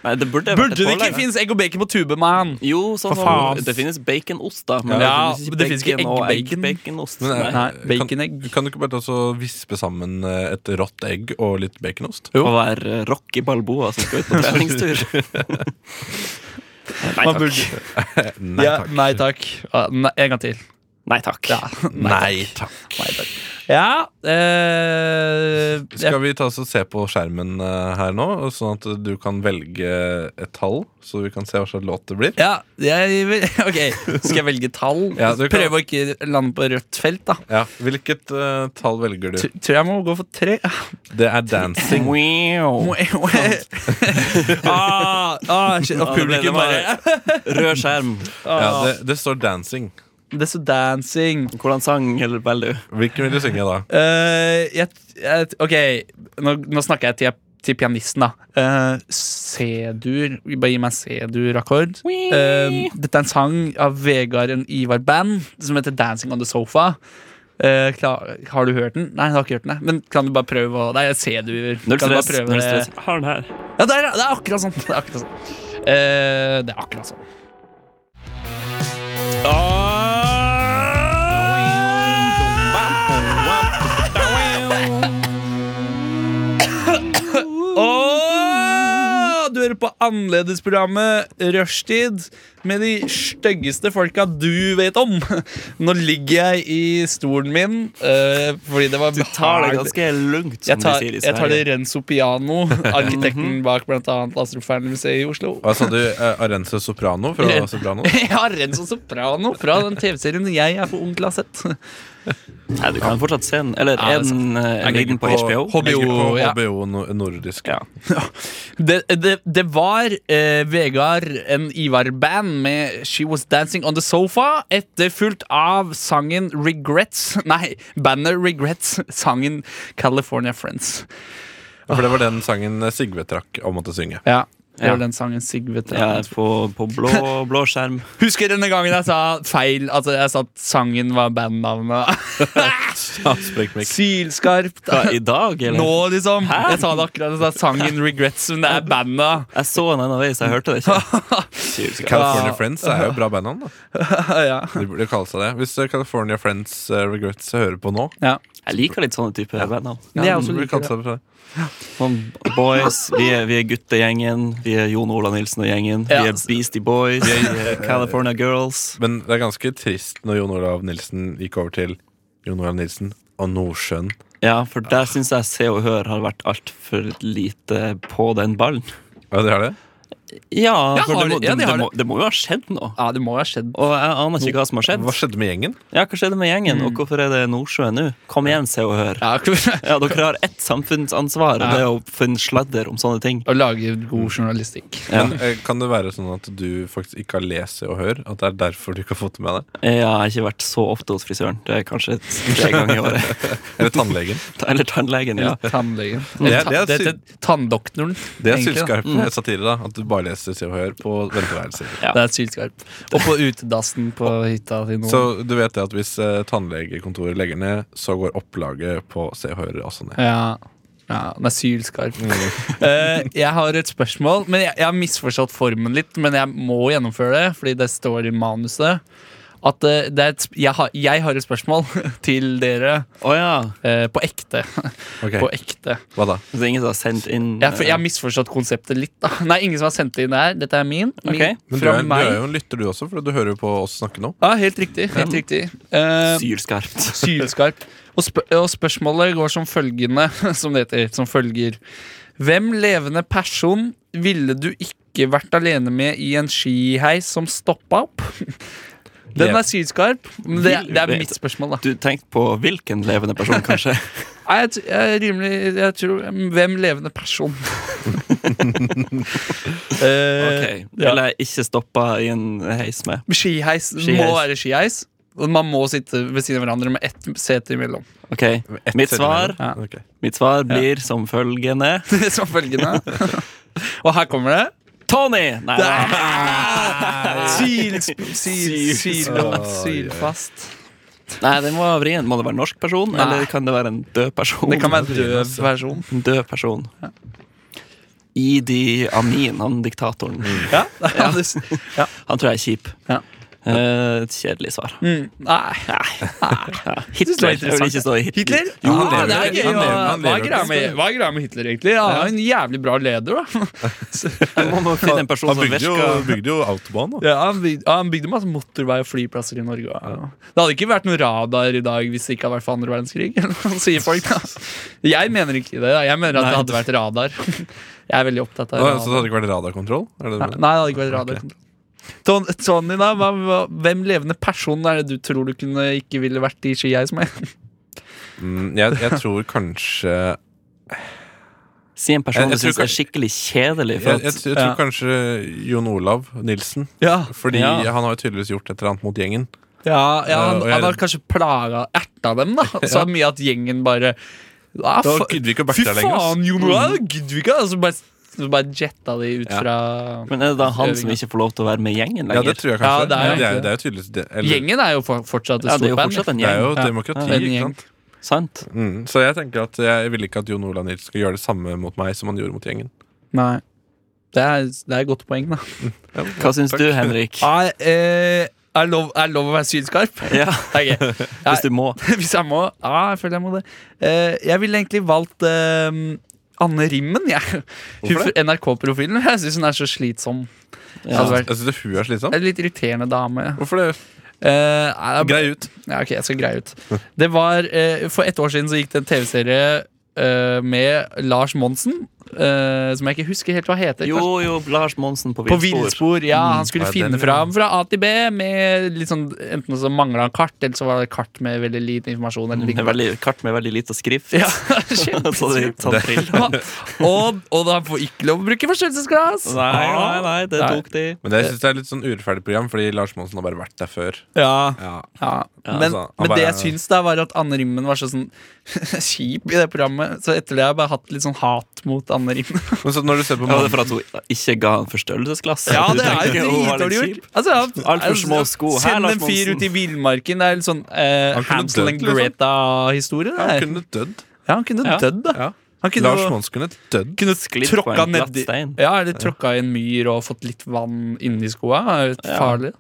Speaker 3: nei, det burde,
Speaker 5: Burde det ikke
Speaker 3: pålegg.
Speaker 5: finnes egg og bacon på tube, man?
Speaker 3: Jo, sånn
Speaker 5: For
Speaker 3: som-
Speaker 5: faen.
Speaker 3: Det finnes baconost, da. Men
Speaker 5: Ja,
Speaker 3: det finnes ikke,
Speaker 5: men det finnes ikke
Speaker 3: bacon og
Speaker 5: egg-bacon.
Speaker 3: egg-baconost.
Speaker 6: Men er-
Speaker 3: Nei.
Speaker 5: Nei, baconegg.
Speaker 6: Kan, kan du ikke bare også vispe sammen eh, et rått egg og litt baconost?
Speaker 3: Å være eh, Rocky Balboa som skal ut på treningstur. nei
Speaker 5: Man
Speaker 3: takk.
Speaker 5: burde-
Speaker 6: Nei
Speaker 5: Ja,
Speaker 6: takk.
Speaker 5: Nei takk. Ah, Nei, en gang til.
Speaker 3: Nei takk.
Speaker 5: Ja.
Speaker 6: Nei takk.
Speaker 5: Nei, takk. Ja eh,
Speaker 6: Skal vi ta oss og se på skjermen eh, her nå, og sånn at du kan velge et tall, så vi kan se hva slags låt det blir?
Speaker 5: ja, jeg, vil- Ok, skal jeg velge tall?
Speaker 6: Ja, du kan-
Speaker 5: Prøve å ikke lande på rødt felt, da.
Speaker 6: Ja, Hvilket eh, tall velger du?
Speaker 5: Tr- Tror jeg må gå for tre.
Speaker 6: Det er dancing.
Speaker 3: Wow.
Speaker 5: ah, ah, shit, og
Speaker 3: Ja, det ble det
Speaker 5: publikum bare
Speaker 3: Rød skjerm.
Speaker 6: Ja, det, det står dancing.
Speaker 5: Det er så dancing.
Speaker 3: Hvordan sang eller velger du?
Speaker 6: Hvilken vil du synge da?
Speaker 5: Eh, jeg, jeg, ok, nå, nå snakker jeg til, til pianisten, da. Eh, C-dur. Bare gi meg en C-dur-akkord. Eh, dette er en sang av Vegard og Ivar Band som heter 'Dancing on the Sofa'. Eh, klar, har du hørt den? Nei, jeg har ikke hørt den. jeg. Men kan du bare prøve å Det er C-dur. Kan
Speaker 3: Null
Speaker 5: du bare
Speaker 3: stress.
Speaker 5: prøve
Speaker 3: Null
Speaker 5: det?
Speaker 3: stress. Har den her.
Speaker 5: Ja, der, ja, det er akkurat sånn. Det er akkurat sånn. Eh, det er akkurat sånn. Åh, Du hører på annerledesprogrammet Rushtid med de styggeste folka du vet om. Nå ligger jeg i stolen min eh, fordi det var
Speaker 3: Tar det
Speaker 5: behagelig-
Speaker 3: ganske lungt, som
Speaker 5: jeg tar,
Speaker 3: de sier i
Speaker 5: jeg tar det
Speaker 3: Sverige.
Speaker 5: Renzo Piano, arkitekten bak bl.a. Lasteroffermuseet i Oslo.
Speaker 6: Mhm. Hva sa du? eh, Arence Soprano fra
Speaker 5: Ren-
Speaker 6: Soprano?
Speaker 5: Ja, Renzo Soprano fra den TV-serien jeg er for ung til å ha sett.
Speaker 3: Nei, du kan fortsatt se den. Eller
Speaker 5: Ja,
Speaker 3: er
Speaker 5: det er
Speaker 3: den eh, ligger den på HBO?
Speaker 5: HBO,
Speaker 6: Ligger på
Speaker 5: ja.
Speaker 6: HBO no- nordisk.
Speaker 3: Ja.
Speaker 5: Det, det, det var eh, Vegard en Ivar-band med She Was Dancing On The Sofa, etterfulgt av sangen Regrets Nei, bandet Regrets, sangen California Friends.
Speaker 6: For det var den sangen Sigve trakk og måtte synge.
Speaker 5: Ja, det
Speaker 3: Ja.
Speaker 5: var den sangen Sigve
Speaker 3: Ja,
Speaker 5: Tran-
Speaker 3: på, på blå, blå skjerm.
Speaker 5: Husker denne gangen jeg sa feil, at altså, jeg sa at sangen var bandnavnet.
Speaker 6: Ja, sprekk mic.
Speaker 5: Sylskarpt.
Speaker 3: Hva, I dag, eller?
Speaker 5: Nå, liksom. Jeg sa det akkurat. Jeg sa sangen Regrets, men det er bandet.
Speaker 3: Jeg så den en vei, så jeg hørte det ikke.
Speaker 6: California Friends er jo bra bandnavn. da.
Speaker 5: ja.
Speaker 6: De burde kalle seg det. Hvis eh, California Friends eh, Regrets hører på nå
Speaker 5: ja.
Speaker 3: Jeg liker litt sånne typer bandnavn.
Speaker 5: Men jeg
Speaker 6: de
Speaker 5: også
Speaker 6: burde kalle
Speaker 5: liker det.
Speaker 6: seg for det.
Speaker 3: Sånn boys, vi er, vi er guttegjengen, vi er Jon Ola Nilsen og gjengen,
Speaker 5: Ja.
Speaker 3: vi er Beastie Boys, vi er California Girls.
Speaker 6: Men det er ganske trist når Jon Olav Nilsen gikk over til Jon Olav Nilsen og Nordsjøen.
Speaker 3: Ja, for der syns jeg Se og Hør har vært altfor lite på den ballen.
Speaker 6: Ja, det er det?
Speaker 3: Ja, for
Speaker 5: har
Speaker 3: det må,
Speaker 5: det- ja,
Speaker 3: det,
Speaker 5: de har
Speaker 3: det, må,
Speaker 5: det.
Speaker 3: det må jo ha skjedd noe.
Speaker 5: Ja, det må jo ha skjedd.
Speaker 3: Og jeg aner ikke hva som har skjedd.
Speaker 6: Hva skjedde med gjengen?
Speaker 3: Ja, Hva skjedde med gjengen, og hvorfor er det Nordsjø nå? Kom igjen, Se og Hør.
Speaker 5: Ja,
Speaker 3: Ja, Dere har ett samfunnsansvar, og
Speaker 5: Ja.
Speaker 3: det er å finne sladder om sånne ting.
Speaker 5: Å lage god journalistikk.
Speaker 3: Ja.
Speaker 6: Men, eh, kan det være sånn at du faktisk ikke har lest Se og Hør? At det er derfor du ikke har fått det med deg?
Speaker 3: Jeg har ikke vært så ofte hos frisøren. Det er kanskje tre ganger i året.
Speaker 6: Eller tannlegen?
Speaker 3: Eller tannlegen. ja.
Speaker 5: Tannlegen.
Speaker 6: Det er-
Speaker 5: Ta-
Speaker 6: det er
Speaker 5: det-
Speaker 6: syv-
Speaker 5: det- Tanndoktoren.
Speaker 6: Det er
Speaker 5: egentlig, Mm. da.
Speaker 6: sylskarp med satire, da. At du bare leser Se og Hør på venteværelser.
Speaker 3: Ja.
Speaker 5: Det er sylskarp. Og på utedassen på hytta til noen.
Speaker 6: Så du vet det at hvis eh, tannlegekontoret legger ned, så går opplaget på Se og Hør også ned. Mm.
Speaker 5: Ja, ja den er sylskarp. Eh, jeg har et spørsmål, men jeg, jeg har misforstått formen litt. Men jeg må gjennomføre det, fordi det står i manuset. At eh, det er et, sp- jeg, har, jeg har et spørsmål til dere
Speaker 3: Å ja.
Speaker 5: eh, på ekte.
Speaker 6: Ok,
Speaker 5: På ekte.
Speaker 6: Hva da?
Speaker 3: Så det er ingen som har sendt inn eh,
Speaker 5: Jeg, for jeg har misforstått konseptet litt. Da. Nei, ingen som har sendt det inn der. Dette er min. min
Speaker 3: Ok.
Speaker 6: Men du
Speaker 5: fra
Speaker 6: er, du
Speaker 5: meg.
Speaker 6: er jo en lytter, du også, for du hører jo på oss snakke nå.
Speaker 5: Ja, helt riktig. Helt riktig. Eh,
Speaker 3: eh, Sylskarpt.
Speaker 5: Sylskarp. Og, spør og spørsmålet går som følgende, som det heter, som følger. Hvem levende person ville du ikke vært alene med i en skiheis som stoppa opp? Den er sylskarp. men Det, det er mitt spørsmål, da.
Speaker 3: Du tenkte på hvilken levende person, kanskje?
Speaker 5: Nei, Jeg, t- jeg er rimelig jeg tror, mm, Hvem levende person?
Speaker 3: Ok,
Speaker 5: eh, ja.
Speaker 3: Ville jeg ikke stoppa i en heis med.
Speaker 5: Skiheis, må
Speaker 3: Skiheis.
Speaker 5: være skiheis. Og Man må sitte ved siden av hverandre med ett sete imellom.
Speaker 3: Ok, Mitt svar,
Speaker 5: Ja.
Speaker 6: Ok.
Speaker 3: mitt svar blir som følgende
Speaker 5: Som følgende. Og her kommer det.
Speaker 3: Tony! Nei, nei.
Speaker 5: Syl, syl, syl, sylfast.
Speaker 3: nei det må være vrien. Må det være en norsk person,
Speaker 5: Nei.
Speaker 3: eller kan det være en død person?
Speaker 5: Det kan være en død versjon.
Speaker 3: En død person. Idi Amin, han diktatoren.
Speaker 5: Ja. Ja. det- ja.
Speaker 3: Han tror jeg er kjip.
Speaker 5: Ja.
Speaker 3: Eh, Et kjedelig svar.
Speaker 5: Mm. Nei.
Speaker 3: Ja.
Speaker 5: synes det var
Speaker 3: Hitler. Jeg vil
Speaker 5: interessant.
Speaker 3: ikke stå i Hitler.
Speaker 5: Hitler?
Speaker 6: Jo, han
Speaker 5: Ja,
Speaker 6: lever
Speaker 5: det
Speaker 6: jo
Speaker 5: er
Speaker 6: ikke.
Speaker 5: gøy.
Speaker 6: Han lever-
Speaker 5: å-
Speaker 6: han
Speaker 5: Hva er
Speaker 6: lever jo
Speaker 5: greia
Speaker 6: ikke.
Speaker 5: med, hva er greia med Hitler, egentlig? Han er jo en jævlig bra leder, da.
Speaker 3: Man må finne en person
Speaker 6: Han
Speaker 3: som
Speaker 6: bygde jo,
Speaker 3: virker
Speaker 6: bygde jo Autobahn, da.
Speaker 5: Ja, han, byg, ja, han bygde masse motorvei og flyplasser i Norge. og- Det hadde ikke vært noen radar i dag hvis det ikke hadde vært for andre verdenskrig. sier folk da Jeg mener ikke det. da. Jeg mener at det hadde vært radar. Jeg er veldig opptatt av
Speaker 6: Nå,
Speaker 5: radar.
Speaker 6: så det hadde ikke vært radarkontroll? Er det det du
Speaker 5: Nei,
Speaker 6: mener?
Speaker 5: nei, det hadde ikke vært radarkontroll. Ton- Tony, da? Hva, hva, hvem levende person er det du tror du kunne ikke ville vært i skiheis med?
Speaker 6: Mm, jeg, jeg tror kanskje jeg,
Speaker 3: Si en person
Speaker 6: Jeg- jeg
Speaker 3: du syns
Speaker 6: tror
Speaker 3: er skikkelig kjedelig. For
Speaker 6: jeg,
Speaker 3: at,
Speaker 6: jeg, tror
Speaker 5: Ja.
Speaker 6: kanskje Jon Olav Nilsen.
Speaker 5: Ja,
Speaker 6: Fordi
Speaker 3: Ja.
Speaker 6: han har jo tydeligvis gjort et eller annet mot gjengen.
Speaker 5: ja, han,
Speaker 6: og jeg-
Speaker 5: han har kanskje plaga erta dem, da. Så mye at gjengen bare ja,
Speaker 6: Da
Speaker 5: fa-
Speaker 6: gidder vi ikke å
Speaker 5: Fy
Speaker 6: backe deg lenger.
Speaker 5: faen, Jon Olav! Gidder vi ikke? Og Så bare, så bare jetta de ut
Speaker 6: Ja.
Speaker 5: fra
Speaker 3: men er det da han som ikke får lov til å være med i gjengen
Speaker 6: ass. Ja, det
Speaker 3: lenger?
Speaker 6: tror jeg
Speaker 5: Ja,
Speaker 6: kanskje.
Speaker 5: det er jo
Speaker 6: det, er,
Speaker 5: egentlig
Speaker 6: det er jo tydeligvis det, eller,
Speaker 5: Gjengen er jo for, fortsatt et
Speaker 3: Ja, det er
Speaker 5: stort
Speaker 3: jo
Speaker 5: band.
Speaker 3: fortsatt en
Speaker 6: det er jo
Speaker 3: gjeng.
Speaker 6: demokrati,
Speaker 5: En
Speaker 6: ikke
Speaker 5: gjeng.
Speaker 6: sant?
Speaker 3: Ja, sant?
Speaker 6: Mm, så jeg tenker at jeg vil ikke at Jon Olav Nilsen skal gjøre det samme mot meg som han gjorde mot gjengen.
Speaker 5: Nei. Det er, det er et godt poeng, da.
Speaker 6: Ja,
Speaker 3: Hva syns
Speaker 6: takk.
Speaker 3: du, Henrik?
Speaker 5: Er, eh, er, lov, er lov å være sylskarp?
Speaker 3: Ja,
Speaker 5: Okay.
Speaker 3: Hvis du må.
Speaker 5: Hvis jeg må? Ja, jeg føler jeg må det. Eh, jeg ville egentlig valgt eh, Anne Rimmen, jeg. Hun
Speaker 6: Hvorfor det?
Speaker 5: fra NRK-profilen. Jeg syns hun er så slitsom. Det
Speaker 3: Ja.
Speaker 5: hadde vært
Speaker 6: Jeg synes hun er slitsom.
Speaker 5: en litt irriterende dame.
Speaker 6: Hvorfor det?
Speaker 5: Eh, nei, det er-
Speaker 6: Grei ut.
Speaker 5: Ja, ok, jeg skal greie ut. Det var, eh, For ett år siden så gikk det en TV-serie eh, med Lars Monsen, eh, som jeg ikke husker helt hva heter.
Speaker 3: Jo, jo, Lars Monsen på
Speaker 5: På
Speaker 3: villspor.
Speaker 5: villspor. Ja, han skulle
Speaker 6: Mm. Ja, den, ja.
Speaker 5: finne fram fra A til B med litt sånn Enten så mangla han kart, eller så var det kart med veldig lite informasjon. Eller
Speaker 6: Mm.
Speaker 3: Det er
Speaker 5: lignende.
Speaker 3: veldig- Kart med veldig lite skrift.
Speaker 5: Ja,
Speaker 3: Så det- sånn trill.
Speaker 5: og, og da får ikke lov å bruke forstørrelsesglass!
Speaker 3: Nei, nei, nei, det
Speaker 5: Nei.
Speaker 3: tok de.
Speaker 6: Men det jeg synes det er litt sånn urettferdig program, fordi Lars Monsen har bare vært der før.
Speaker 5: Ja.
Speaker 6: Ja.
Speaker 5: Ja.
Speaker 3: Ja,
Speaker 5: men,
Speaker 6: altså, han
Speaker 5: men
Speaker 6: bare-
Speaker 5: det jeg syns da var at Anne Rimmen var så sånn kjip i det programmet. Så etter det har jeg bare hatt litt sånn hat mot Anne Rimmen.
Speaker 6: Men så når du ser på
Speaker 3: Ja, det er
Speaker 6: Mandag-
Speaker 3: for at hun ikke ga en forstørrelsesglass.
Speaker 5: Ja,
Speaker 3: Du
Speaker 5: det er
Speaker 3: tenker,
Speaker 5: jo
Speaker 3: hun var
Speaker 5: dritdårlig
Speaker 3: litt
Speaker 5: gjort.
Speaker 3: kjip.
Speaker 5: Altså,
Speaker 3: Alt for
Speaker 5: altså,
Speaker 3: små sko. Her,
Speaker 5: Send
Speaker 3: Lars
Speaker 5: en fyr
Speaker 3: Monsen.
Speaker 5: ut i villmarken. Det er litt sånn eh,
Speaker 6: Han kunne
Speaker 5: Hansel and
Speaker 6: dødd, liksom.
Speaker 5: Greta-historie.
Speaker 6: Ja,
Speaker 5: det
Speaker 6: han
Speaker 5: der.
Speaker 6: kunne dødd.
Speaker 5: Ja, han kunne
Speaker 3: Ja.
Speaker 5: dødd, da.
Speaker 6: Ja.
Speaker 5: Han kunne
Speaker 6: Lars
Speaker 5: jo-
Speaker 6: Monsen kunne dødd.
Speaker 5: kunne
Speaker 3: Sklidd på
Speaker 5: tråkka
Speaker 3: en glatt
Speaker 5: nedi
Speaker 3: stein.
Speaker 5: Ja, eller tråkka i en myr og fått litt vann inni skoa. er jo Farlig.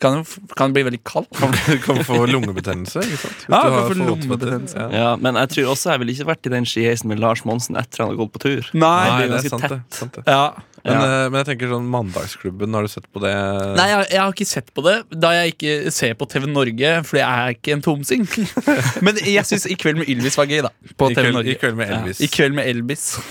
Speaker 5: Kan jo f- kan bli veldig kald.
Speaker 6: Kan, kan få lungebetennelse. Ikke sant? Hvis du
Speaker 5: Ja, kan
Speaker 6: har
Speaker 5: få
Speaker 6: fått-
Speaker 5: lungebetennelse.
Speaker 6: Ja.
Speaker 3: Ja, men jeg tror også jeg ville ikke vært i den skiheisen med Lars Monsen etter han har gått på tur.
Speaker 5: Nei,
Speaker 6: Nei,
Speaker 3: det
Speaker 6: det
Speaker 3: er
Speaker 6: er sant,
Speaker 3: ganske
Speaker 6: det. Sant det.
Speaker 5: Ja.
Speaker 6: Men, eh, men jeg tenker sånn Mandagsklubben, har du sett på det?
Speaker 5: Nei, jeg, jeg har ikke sett på det, da jeg ikke ser på TV Norge, for jeg er ikke en tomsing. Men jeg syns I kveld med Ylvis var gøy, da. På
Speaker 6: I
Speaker 5: TV
Speaker 6: kveld-
Speaker 5: Norge.
Speaker 6: I kveld med Elvis.
Speaker 5: Ja. I kveld med Elvis.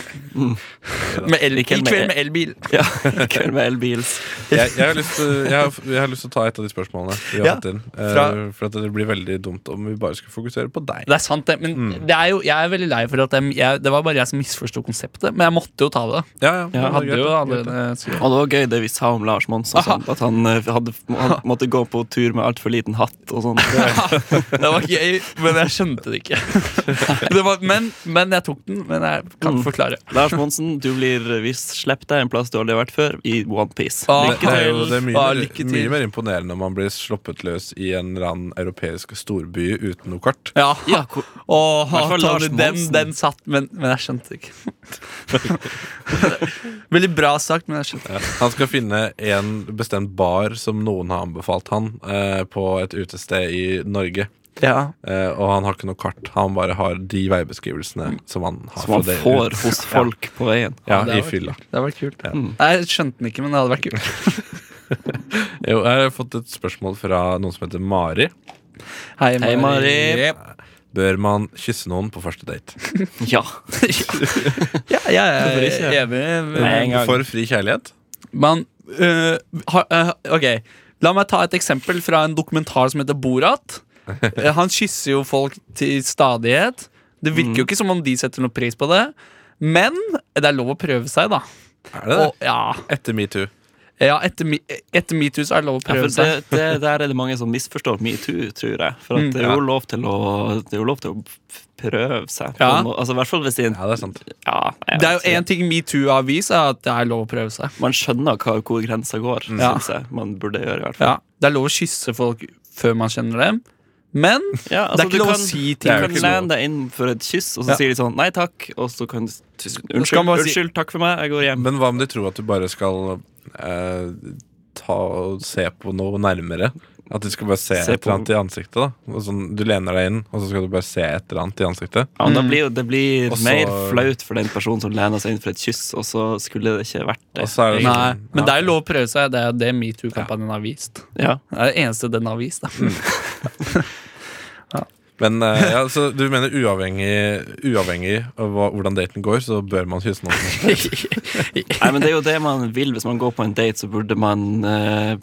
Speaker 5: Med el I
Speaker 3: kveld med- E-
Speaker 5: kveld med elbil.
Speaker 3: Ja, Kødd med elbils.
Speaker 6: jeg, jeg, har lyst til, jeg, har, jeg har lyst til å ta et av de spørsmålene vi har
Speaker 5: Ja,
Speaker 6: hatt inn. eh,
Speaker 5: fra-
Speaker 6: for at det blir veldig dumt om vi bare skulle fokusere på deg.
Speaker 5: Det er sant, det. Men det er jo, jeg er veldig lei for at jeg, jeg, det var bare jeg som misforsto konseptet. Men jeg måtte jo ta det.
Speaker 6: Ja, ja,
Speaker 5: Jeg
Speaker 6: men det
Speaker 5: hadde
Speaker 6: er greit,
Speaker 5: jo
Speaker 6: det er greit,
Speaker 5: allerede skrevet.
Speaker 3: Og det var gøy det vi sa om Lars Monsen. og Sånn, at han eh, hadde, han måtte gå på tur med altfor liten hatt og sånn.
Speaker 5: Det var gøy, men jeg skjønte det ikke. Det var, men, men jeg tok den. Men jeg kan ikke forklare.
Speaker 3: Lars Monsen, du blir visst sluppet deg en plass du aldri har vært før, i OnePiece.
Speaker 5: Ah,
Speaker 6: Det er, jo, det er mye,
Speaker 5: Ah,
Speaker 6: mer-
Speaker 5: lykke til.
Speaker 6: mye mer imponerende om man blir sluppet løs i en eller annen europeisk storby uten noe kart.
Speaker 5: Ja,
Speaker 3: Ja, hvor-
Speaker 5: Åh,
Speaker 3: hvert fall
Speaker 5: Tony,
Speaker 3: Lars
Speaker 5: den,
Speaker 3: Monsen.
Speaker 5: den satt, men, men jeg skjønte det ikke. Veldig bra sagt, men jeg skjønte det.
Speaker 6: Han skal finne en bestemt bar som noen har anbefalt han eh, på et utested i Norge.
Speaker 5: Ja.
Speaker 6: Eh, og han har ikke noe kart. Han bare har de veibeskrivelsene som han har.
Speaker 3: Som man
Speaker 6: fra det-
Speaker 3: får hos folk på veien.
Speaker 6: Ja, i
Speaker 5: Det hadde vært
Speaker 6: fylla.
Speaker 5: kult. Det hadde vært kult. Nei, jeg skjønte den ikke, men det hadde vært kult.
Speaker 6: Jo, jeg har fått et spørsmål fra noen som heter Mari.
Speaker 5: Hei,
Speaker 3: Hei, Mari.
Speaker 6: Bør man kysse noen på første date?
Speaker 3: Ja.
Speaker 5: Ja, jeg er enig.
Speaker 3: Med en gang.
Speaker 6: For fri kjærlighet?
Speaker 5: Man øh, har, øh, Ok, la meg ta et eksempel fra en dokumentar som heter Borat. Eh, Han kysser jo folk til stadighet. Det virker jo
Speaker 3: Mm.
Speaker 5: ikke som om de setter noe pris på det. Men det er lov å prøve seg, da.
Speaker 6: Er det det?
Speaker 5: Og, ja,
Speaker 6: Etter metoo.
Speaker 5: Ja, etter, mi- etter metoo så er det Mm. lov å
Speaker 3: Ja,
Speaker 5: prøve
Speaker 3: for det,
Speaker 5: seg.
Speaker 3: det, der er det mange som misforstår metoo, tror jeg. For at det, er jo lov til å, det er jo lov til å prøve seg. på
Speaker 5: Ja.
Speaker 3: noe. Altså, I hvert fall hvis det er en
Speaker 6: Ja, det er sant.
Speaker 3: ja, jeg
Speaker 5: Det er
Speaker 3: vet
Speaker 5: jo
Speaker 3: ikke.
Speaker 5: én ting metoo har vist, er at det er lov å prøve seg.
Speaker 3: Man skjønner hva, hvor grensa går,
Speaker 5: Mm. Ja.
Speaker 3: syns jeg. Man burde gjøre i hvert fall.
Speaker 5: Ja, Det er lov å kysse folk før man kjenner dem, men
Speaker 3: Ja,
Speaker 5: det
Speaker 3: altså,
Speaker 5: er
Speaker 3: du
Speaker 5: ikke lov å
Speaker 3: kan-
Speaker 5: si
Speaker 3: Du
Speaker 5: ting.
Speaker 3: kan
Speaker 6: ikke
Speaker 3: lene deg inn for et kyss, og så
Speaker 5: Ja.
Speaker 3: sier de sånn nei takk, og så kan du
Speaker 5: skal
Speaker 3: Unnskyld,
Speaker 5: man bare si-
Speaker 3: unnskyld takk for meg, jeg går hjem.
Speaker 6: Men hva om de tror at du bare skal eh, ta og se på noe nærmere? At de skal bare se,
Speaker 3: Se
Speaker 6: et
Speaker 3: på-
Speaker 6: eller annet i ansiktet? da og sånn, Du lener deg inn, og så skal du bare se et eller annet i ansiktet?
Speaker 3: Ja,
Speaker 5: Mm.
Speaker 3: men da blir jo- det blir
Speaker 6: Og så-
Speaker 3: mer flaut for den personen som lener seg inn for et kyss, og så skulle det ikke vært det.
Speaker 6: Og så er det
Speaker 5: Nei,
Speaker 6: sånn, ja.
Speaker 5: men det er jo lov å prøve seg. Det er jo det metoo-kampanjen har vist.
Speaker 3: Ja.
Speaker 5: Det er det eneste den har vist. Da.
Speaker 3: Mm.
Speaker 6: Men eh, ja, så du mener uavhengig, uavhengig av hva, hvordan daten går, så bør man kysse noen?
Speaker 3: Nei, men det er jo det man vil hvis man går på en date, så burde man eh,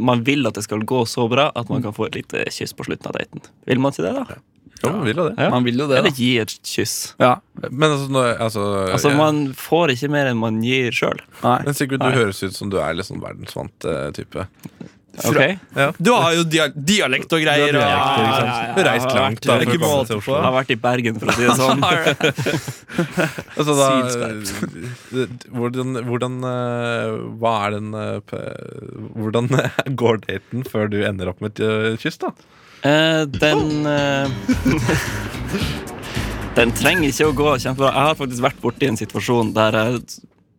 Speaker 3: Man vil at det skal gå så bra at
Speaker 5: Mm.
Speaker 3: man kan få et lite kyss på slutten av daten. Vil man ikke det, da?
Speaker 6: Jo, man vil jo det.
Speaker 3: Ja.
Speaker 5: Man vil jo det,
Speaker 3: Eller
Speaker 5: da.
Speaker 3: gi et kyss.
Speaker 5: Ja,
Speaker 6: Men altså, nå, altså,
Speaker 3: Altså,
Speaker 6: jeg-
Speaker 3: man får ikke mer enn man gir sjøl.
Speaker 5: nei.
Speaker 6: Men Sigurd, du
Speaker 3: Nei.
Speaker 6: høres ut som du er litt sånn verdensvant eh, type.
Speaker 3: Ok?
Speaker 6: Ja.
Speaker 5: Du har jo dia dialekt og greier.
Speaker 6: Du har
Speaker 5: og-
Speaker 6: dialekt, ikke sant? Du har
Speaker 3: Jeg
Speaker 6: reist
Speaker 3: har
Speaker 6: langt
Speaker 3: vært-
Speaker 6: da,
Speaker 5: det er
Speaker 6: for å
Speaker 5: ikke
Speaker 6: komme
Speaker 5: måte
Speaker 6: til Oslo.
Speaker 5: på.
Speaker 3: Jeg har vært i Bergen, for å si det sånn.
Speaker 6: Altså, da, eh, hvordan, hvordan eh, Hva er den eh, p- Hvordan går daten før du ender opp med et eh, kyss, da?
Speaker 3: Eh, den eh, Den trenger ikke å gå kjempebra. Jeg har faktisk vært borti en situasjon der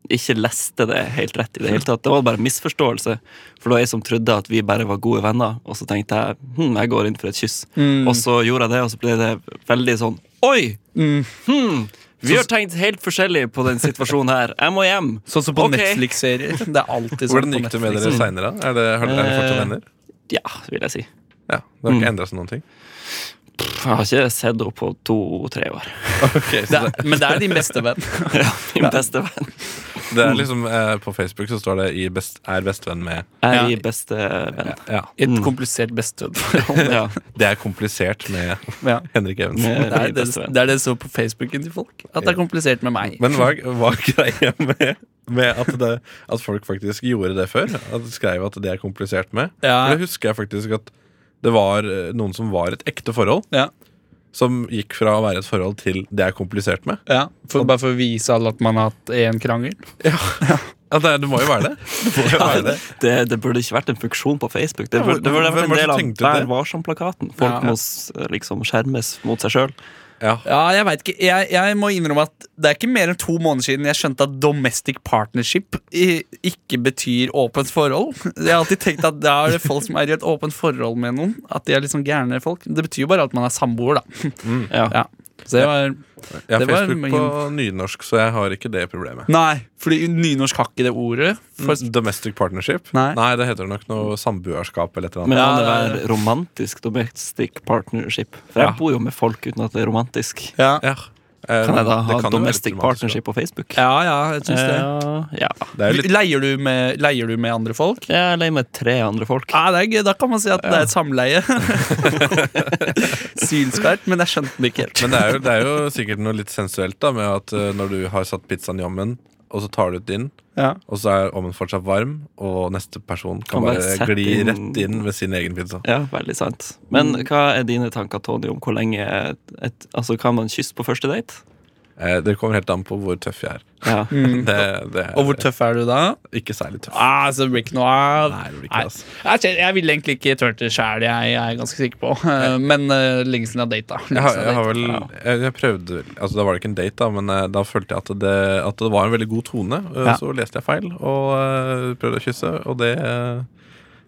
Speaker 3: jeg ikke leste det helt rett. i Det hele tatt. Det var bare misforståelse. For det var jeg som trodde at vi bare var gode venner, og så tenkte jeg hm, jeg går inn for et kyss. Og så gjorde jeg det, og så ble det veldig sånn Oi! Hmm, vi har tenkt helt forskjellig på den situasjonen her. Jeg må hjem.
Speaker 5: Sånn som på
Speaker 3: Ok.
Speaker 5: Netflix-serier. Det er alltid sånn
Speaker 6: Hvordan
Speaker 5: på
Speaker 6: gikk det med
Speaker 5: Netflix.
Speaker 6: dere seinere? Er det, har dere er dere fortsatt
Speaker 3: Eh,
Speaker 6: venner?
Speaker 3: Ja, vil jeg si.
Speaker 6: Ja, Det har
Speaker 5: mm.
Speaker 6: ikke endra seg noen ting?
Speaker 3: Pff, Jeg har ikke sett henne på to-tre år.
Speaker 6: Ok, så det,
Speaker 5: Det er, men det er din beste venn.
Speaker 3: Min beste venn.
Speaker 6: det
Speaker 5: Mm.
Speaker 6: er liksom eh, På Facebook så står det i best, 'er bestevenn med'
Speaker 3: Jeg
Speaker 5: Ja.
Speaker 3: er i beste venn.
Speaker 6: ja.
Speaker 5: Et komplisert bestevenn.
Speaker 3: Ja.
Speaker 6: Det er komplisert med
Speaker 5: Ja.
Speaker 6: Henrik Evensen.
Speaker 5: Det er det, det er det som står på Facebooken til folk. At det er komplisert med meg.
Speaker 6: Men hva, hva er greia med, med at, det, at folk faktisk gjorde det før? At de skrev at det er komplisert med?
Speaker 5: Ja.
Speaker 6: For det husker jeg faktisk at det var eh, noen som var et ekte forhold,
Speaker 5: Ja,
Speaker 6: som gikk fra å være et forhold til det er komplisert med.
Speaker 5: ja. For, bare for å vise alle at man har hatt én krangel.
Speaker 6: At det, er- det må jo være det. Det må jo være det.
Speaker 3: Det, det burde ikke vært en funksjon på Facebook. Det burde, det burde vært
Speaker 6: Hvem
Speaker 3: en
Speaker 6: var det
Speaker 3: del
Speaker 6: som
Speaker 3: av
Speaker 6: tenkte
Speaker 3: Vær
Speaker 6: det?
Speaker 3: varsom-plakaten. Folk
Speaker 5: Ja.
Speaker 3: må s- liksom skjermes mot seg sjøl.
Speaker 6: Ja.
Speaker 5: Ja, Jeg vet ikke, jeg, jeg må innrømme at det er ikke mer enn to måneder siden jeg skjønte at domestic partnership i, ikke betyr åpent forhold. Jeg har alltid tenkt at da er det folk som er i et åpent forhold med noen. At de er liksom gærne folk. Det betyr jo bare at man er samboer, da.
Speaker 3: Ja.
Speaker 5: Ja. Så det var
Speaker 6: Jeg har
Speaker 5: Det var
Speaker 6: Facebook på
Speaker 5: min-
Speaker 6: nynorsk, så jeg har ikke det problemet.
Speaker 5: Nei, fordi nynorsk har ikke det ordet. For,
Speaker 6: Domestic partnership?
Speaker 5: Mm. Nei.
Speaker 6: det heter nok noe samboerskap eller et eller
Speaker 3: Men
Speaker 6: annet.
Speaker 5: Ja,
Speaker 3: kan det
Speaker 5: det er-
Speaker 3: være romantisk domestic partnership? For jeg
Speaker 6: Ja.
Speaker 3: bor jo med folk uten at det er romantisk.
Speaker 5: ja.
Speaker 6: Ja. Eh,
Speaker 3: Kan jeg da
Speaker 6: det
Speaker 3: ha
Speaker 6: kan jo være
Speaker 3: domestic
Speaker 6: litt problematisk,
Speaker 3: partnership på Facebook?
Speaker 5: ja, ja, jeg syns det.
Speaker 3: Eh, ja.
Speaker 6: da. Det er jo litt,
Speaker 5: Leier, du med, leier du med andre folk?
Speaker 3: Jeg er lei med tre andre folk.
Speaker 6: Ah.
Speaker 5: Ja, det er gøy. Da kan man si at det er et samleie. Sylskarpt, men jeg skjønte den ikke helt.
Speaker 6: men det er, jo, det er jo sikkert noe litt sensuelt da med at eh, når du har satt pizzaen i ommen, og så tar du ut din,
Speaker 5: Ja.
Speaker 6: og så er ommen fortsatt varm, og neste person kan,
Speaker 3: Kan bare
Speaker 6: bare,
Speaker 3: sette
Speaker 6: gli
Speaker 3: inn-
Speaker 6: rett inn med sin egen pizza.
Speaker 3: Ja, veldig sant. Men
Speaker 6: Mm.
Speaker 3: hva er dine tanker, Tony, om hvor lenge et, et, Altså, kan man kysse på første date?
Speaker 6: Eh, det kommer helt an på hvor tøff jeg er.
Speaker 3: Ja.
Speaker 6: Det, det er
Speaker 5: Og hvor tøff er du da?
Speaker 6: ikke særlig tøff.
Speaker 5: Ah, så det blir ikke noe av.
Speaker 6: Nei, det blir ikke,
Speaker 5: Nei.
Speaker 6: altså.
Speaker 5: Jeg, kjenner- jeg ville egentlig ikke turt det sjæl, jeg, jeg er ganske sikker på. Eh, Men eh, lenge siden jeg data. Lenge
Speaker 6: Jeg har,
Speaker 5: siden
Speaker 6: jeg har
Speaker 5: data.
Speaker 6: vel jeg, jeg prøvde vel- Altså Da var det ikke en date, da men eh, da følte jeg at det, at det var en veldig god tone. eh,
Speaker 5: Ja.
Speaker 6: Så leste jeg feil og eh, prøvde å kysse, og det eh,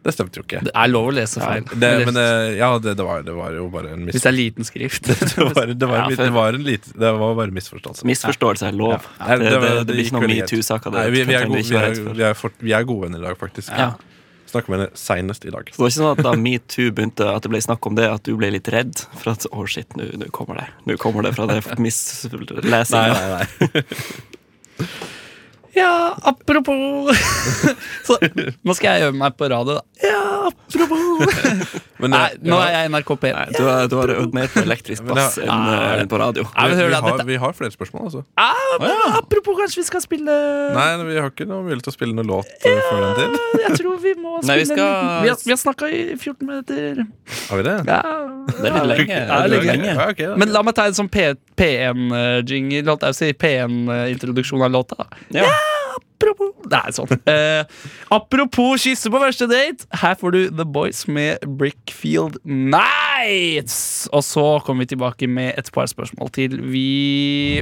Speaker 6: Det stemte jo ikke.
Speaker 5: Det er lov å lese feil.
Speaker 6: Det, men eh, ja, det, det, var, det var jo bare en mis...
Speaker 5: Hvis det er liten skrift.
Speaker 6: Det var, det var,
Speaker 3: Ja,
Speaker 6: en liten-
Speaker 3: for-
Speaker 6: det var, en liten- det var bare en misforståelse.
Speaker 3: Misforståelse er lov.
Speaker 6: Nei,
Speaker 3: Det,
Speaker 6: det
Speaker 3: det, det, blir
Speaker 6: gikk
Speaker 3: ikke noen
Speaker 6: veldig greit.
Speaker 3: metoo-saker.
Speaker 6: Nei,
Speaker 3: der.
Speaker 6: Vi, vi, er
Speaker 3: Trenger
Speaker 6: gode,
Speaker 3: ikke
Speaker 6: vi,
Speaker 3: være
Speaker 6: er,
Speaker 3: redd for.
Speaker 6: vi, er fort, vi er gode venner i dag, faktisk.
Speaker 3: Ja.
Speaker 6: Snakker med henne seinest i dag.
Speaker 3: Så det var ikke sånn at da metoo begynte, at det ble snakk om det, at du ble litt redd for at å shit, nå nå kommer det. Nå kommer det fra det mislesinga.
Speaker 6: nei.
Speaker 5: Ja, apropos så, Nå skal jeg øve meg på radio, da. Ja, apropos
Speaker 6: Men,
Speaker 5: Nei,
Speaker 6: eh,
Speaker 5: nå
Speaker 6: ja,
Speaker 5: er jeg NRK P1.
Speaker 3: Du, har- du har øvd mer på elektrisk
Speaker 6: Men det-
Speaker 3: bass enn eh, enn på radio.
Speaker 5: Nei, men
Speaker 6: vi,
Speaker 5: hør da,
Speaker 6: har,
Speaker 5: dette-
Speaker 6: vi har flere spørsmål, altså.
Speaker 5: Ah, men Apropos, kanskje vi skal spille
Speaker 6: Nei, vi har ikke noe mulighet til å spille noen låt eh, før den tid.
Speaker 5: Jeg tror vi må spille
Speaker 3: Nei, vi skal-
Speaker 5: en- Vi har, vi har snakka i 14 minutter.
Speaker 6: Har vi det?
Speaker 5: Ja.
Speaker 3: Det er litt lenge.
Speaker 5: Ja, det er litt lenge.
Speaker 6: Ja, ok, da.
Speaker 5: Men la meg ta en sånn P1-jingle. La oss si P1-introduksjon av låta. da.
Speaker 3: Ja.
Speaker 5: Apropos Nei, sånn. Eh, apropos kysse på første date. Her får du The Boys med Brickfield Nights. Og så kommer vi tilbake med et par spørsmål til. Vi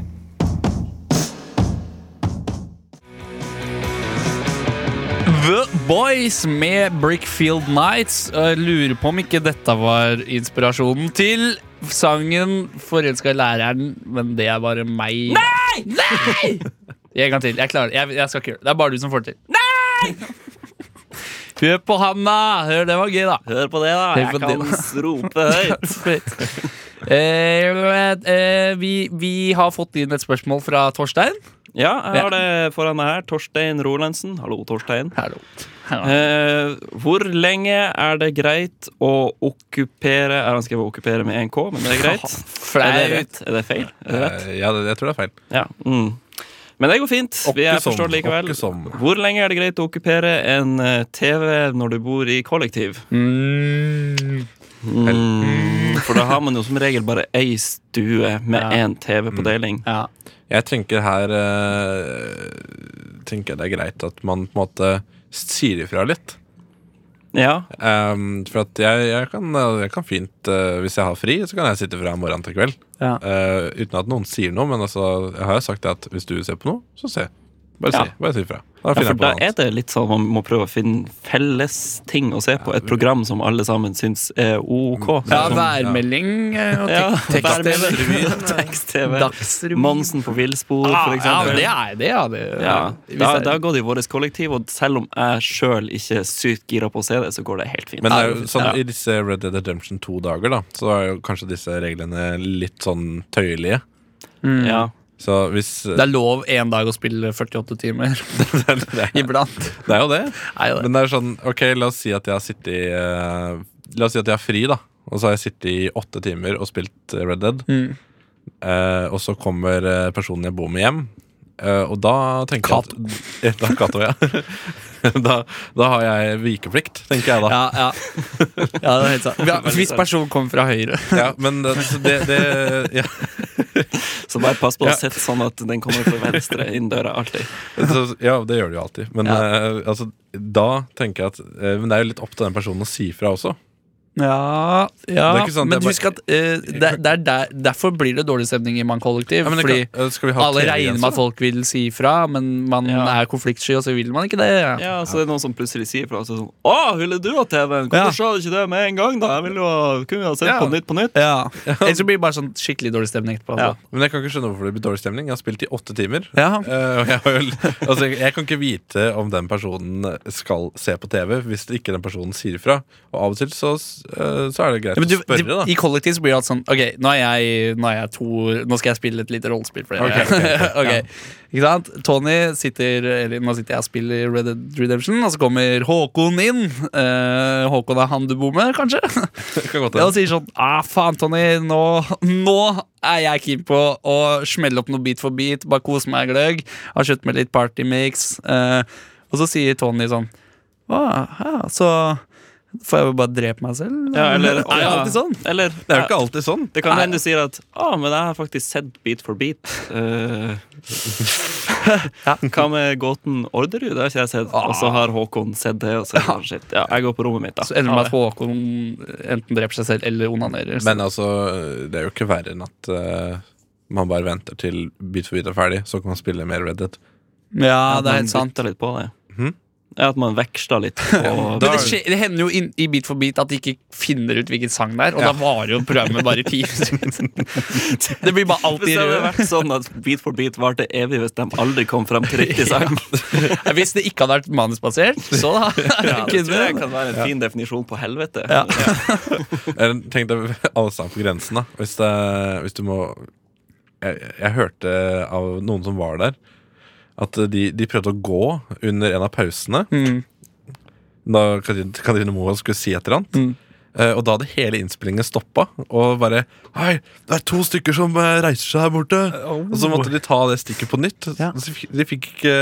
Speaker 5: The Boys med Brickfield Nights. Jeg lurer på om ikke dette var inspirasjonen til sangen 'Forelska i læreren', men det er bare meg. Nei! Nei! En gang til. Jeg klarer det. Jeg, jeg skal ikke gjøre det. Det er bare du som får det til. Nei! Hør på han, da! Hør, det var gøy, da.
Speaker 3: Hør på det, da.
Speaker 5: Hør på
Speaker 3: Jeg kan rope høyt.
Speaker 5: Eh, eh, vi, vi har fått inn et spørsmål fra Torstein.
Speaker 3: Ja, jeg har det foran meg her. Torstein Rolandsen. Hallo, Torstein.
Speaker 5: Hallo.
Speaker 3: Eh, hvor lenge er det greit å okkupere Er han skrevet 'okkupere' med 1K, men det er greit. Eh, Er det
Speaker 5: Flaut.
Speaker 3: rett? Er det feil? Er det rett?
Speaker 6: Eh, Ja, det, jeg tror det er feil.
Speaker 3: Ja. Mm. Men det går fint. Vi er
Speaker 6: Åkke som,
Speaker 3: forstått likevel.
Speaker 6: åkke som.
Speaker 3: Hvor lenge er det greit å okkupere en eh, TV når du bor i kollektiv?
Speaker 5: Mm.
Speaker 3: For da har man jo som regel bare ei stue med
Speaker 5: Ja. Mm.
Speaker 3: én TV på deling.
Speaker 5: Ja.
Speaker 6: Jeg tenker her eh, Tenker jeg det er greit at man på en måte sier ifra litt.
Speaker 3: Ja,
Speaker 6: Ehm, for at jeg, jeg, kan, jeg kan fint eh, Hvis jeg har fri, så kan jeg sitte fra morgen til kveld.
Speaker 5: Ja.
Speaker 6: Eh, uten at noen sier noe, men altså, jeg har jo sagt det at hvis du ser på noe, så se. Bare si,
Speaker 3: Ja.
Speaker 6: bare si ifra. Da
Speaker 3: ja
Speaker 6: finner
Speaker 3: for
Speaker 6: jeg på
Speaker 3: da
Speaker 6: noe
Speaker 3: er
Speaker 6: annet.
Speaker 3: det litt sånn man må prøve å finne felles ting å se på. Et program som alle sammen syns er OK.
Speaker 5: ja,
Speaker 3: Som-
Speaker 5: værmelding eh, og
Speaker 3: Ja,
Speaker 5: tek- tekst-TV.
Speaker 3: Værmelding, Tekst-TV.
Speaker 5: Dagsrevyen.
Speaker 3: Monsen på villspor,
Speaker 5: Ah,
Speaker 3: for
Speaker 5: ja,
Speaker 3: eksempel.
Speaker 5: det er det, ja. Det,
Speaker 3: Ja,
Speaker 5: Hvis
Speaker 3: da,
Speaker 5: det-
Speaker 3: da går det i vårt kollektiv, og selv om jeg sjøl ikke er sykt gira på å se det, så går det helt fint.
Speaker 6: Men det er
Speaker 3: Ja.
Speaker 6: jo sånn, i disse Red Dead Redemption 2-dager, da, så er jo kanskje disse reglene litt sånn tøyelige.
Speaker 3: ja.
Speaker 6: Så hvis
Speaker 5: det er lov en dag å spille 48 timer iblant.
Speaker 6: Det er jo det.
Speaker 5: Er jo det.
Speaker 6: Men det er sånn, ok, la oss si at jeg har sittet i eh, La oss si at jeg har fri, da. Og så har jeg sittet i åtte timer og spilt eh, Red Dead.
Speaker 5: Mm.
Speaker 6: Eh, og så kommer eh, personen jeg bor med, hjem. Eh, og da tenker jeg at Da, Kato, ja. da, da har jeg vikeplikt, tenker jeg da.
Speaker 5: Ja, ja. ja det er helt sant. Ja, Hvis personen kommer fra høyre.
Speaker 6: Ja, men det, det, det ja.
Speaker 3: Så bare pass på
Speaker 6: Ja.
Speaker 3: å sitte sånn at den kommer fra venstre inn døra alltid.
Speaker 6: Så, ja, det gjør du jo alltid. Men
Speaker 5: Ja.
Speaker 6: eh, altså, da tenker jeg at eh, Men det er jo litt opp til den personen å si fra også.
Speaker 5: Ja,
Speaker 6: Det er ikke sant,
Speaker 5: Men
Speaker 6: det er bare-
Speaker 5: husk at eh, det, det er der, derfor blir det dårlig stemning i mannkollektiv.
Speaker 6: Ja, men det
Speaker 5: fordi
Speaker 6: kan- eh, skal vi ha
Speaker 5: alle
Speaker 6: teori
Speaker 5: regner
Speaker 6: også,
Speaker 5: med at
Speaker 6: da?
Speaker 5: folk vil si ifra, men man
Speaker 3: Ja.
Speaker 5: er konfliktsky, og så vil man ikke det.
Speaker 3: Ja, så det er noen som plutselig sier fra seg sånn Å, ville du ha TV-en? Hvorfor
Speaker 5: Ja.
Speaker 3: sa du ikke det med en gang, da? Jeg ville jo ha- kunne jo ha sett
Speaker 6: Ja.
Speaker 3: på nytt på nytt.
Speaker 5: Ja. Ellers så blir det bare sånn skikkelig dårlig stemning etterpå.
Speaker 3: Ja.
Speaker 5: Altså.
Speaker 6: Men jeg kan ikke skjønne hvorfor det blir dårlig stemning. Jeg har spilt i åtte timer.
Speaker 5: Ja.
Speaker 6: Eh, og jeg, har jo, altså, jeg kan ikke vite om den personen skal se på TV hvis det ikke den personen sier ifra. Og av og til så, eh, så er det greit
Speaker 5: Ja, men du,
Speaker 6: å spørre, da.
Speaker 5: du, I kollektiv så blir det alt sånn Ok, nå er jeg, nå er jeg to Nå skal jeg spille et lite rollespill for dere.
Speaker 6: Ok, ok, ok,
Speaker 5: Ok, Ikke sant? Tony sitter Eller nå sitter jeg og spiller Red Dead Redemption, og så kommer Håkon inn. Eh, Håkon er han du bor med, kanskje?
Speaker 6: Det kan godt
Speaker 5: Ja, og
Speaker 6: hende.
Speaker 5: sier sånn Ah, faen, Tony, nå, nå er jeg keen på å smelle opp noe bit for bit. Bare kose meg gløgg. Har kjøpt meg litt partymix. Eh, og så sier Tony sånn Å, ja, så får jeg vel bare drepe meg selv?
Speaker 3: Ja, eller,
Speaker 5: er det alltid sånn?
Speaker 3: Eller,
Speaker 6: Det er jo ikke alltid sånn.
Speaker 3: Det kan
Speaker 5: Nei.
Speaker 3: hende du sier at ah, men jeg har faktisk sett Beat for beat. Eh, Hva med gåten Orderud? Det har ikke jeg sett. Og så har Håkon sett det. Og så er det sånn, shit. Ja, jeg går på rommet mitt, da.
Speaker 5: Så ender det med at
Speaker 3: Ha det.
Speaker 5: Håkon enten dreper seg selv eller onanerer.
Speaker 6: Men altså, det er jo ikke verre enn at eh, man bare venter til Beat for beat er ferdig, så kan man spille mer Red Dead.
Speaker 5: ja, det er
Speaker 3: Man
Speaker 5: helt sant.
Speaker 3: bytter litt på det.
Speaker 6: Mhm.
Speaker 3: Ja, At man veksler litt. På,
Speaker 5: Men det, skje, det hender jo inn- i Beat for beat at de ikke finner ut hvilken sang det er, og da varer jo programmet bare ti minutter. Det blir bare
Speaker 3: hvis
Speaker 5: alltid
Speaker 3: det hadde
Speaker 5: rød.
Speaker 3: vært sånn at Beat for beat varte evig hvis de aldri kom frem til riktig sang.
Speaker 5: Ja, Hvis det ikke hadde vært manusbasert, så da.
Speaker 3: Ja, det tror jeg
Speaker 5: kunne-
Speaker 3: kan være en fin definisjon på helvete.
Speaker 5: Ja.
Speaker 6: Eller Tenk deg alle sammen på grensen, da. Hvis, det, hvis du må jeg, jeg hørte av noen som var der, at de, de prøvde å gå under en av pausene.
Speaker 5: Mm.
Speaker 6: Da Katrin- Katrine Moholt skulle si et eller annet. Eh, og da hadde hele innspillingen stoppa. Og bare Hei, det er to stykker som eh, reiser seg her borte! Og så måtte de ta det stikket på nytt.
Speaker 5: Ja.
Speaker 6: Så fikk- de fikk ikke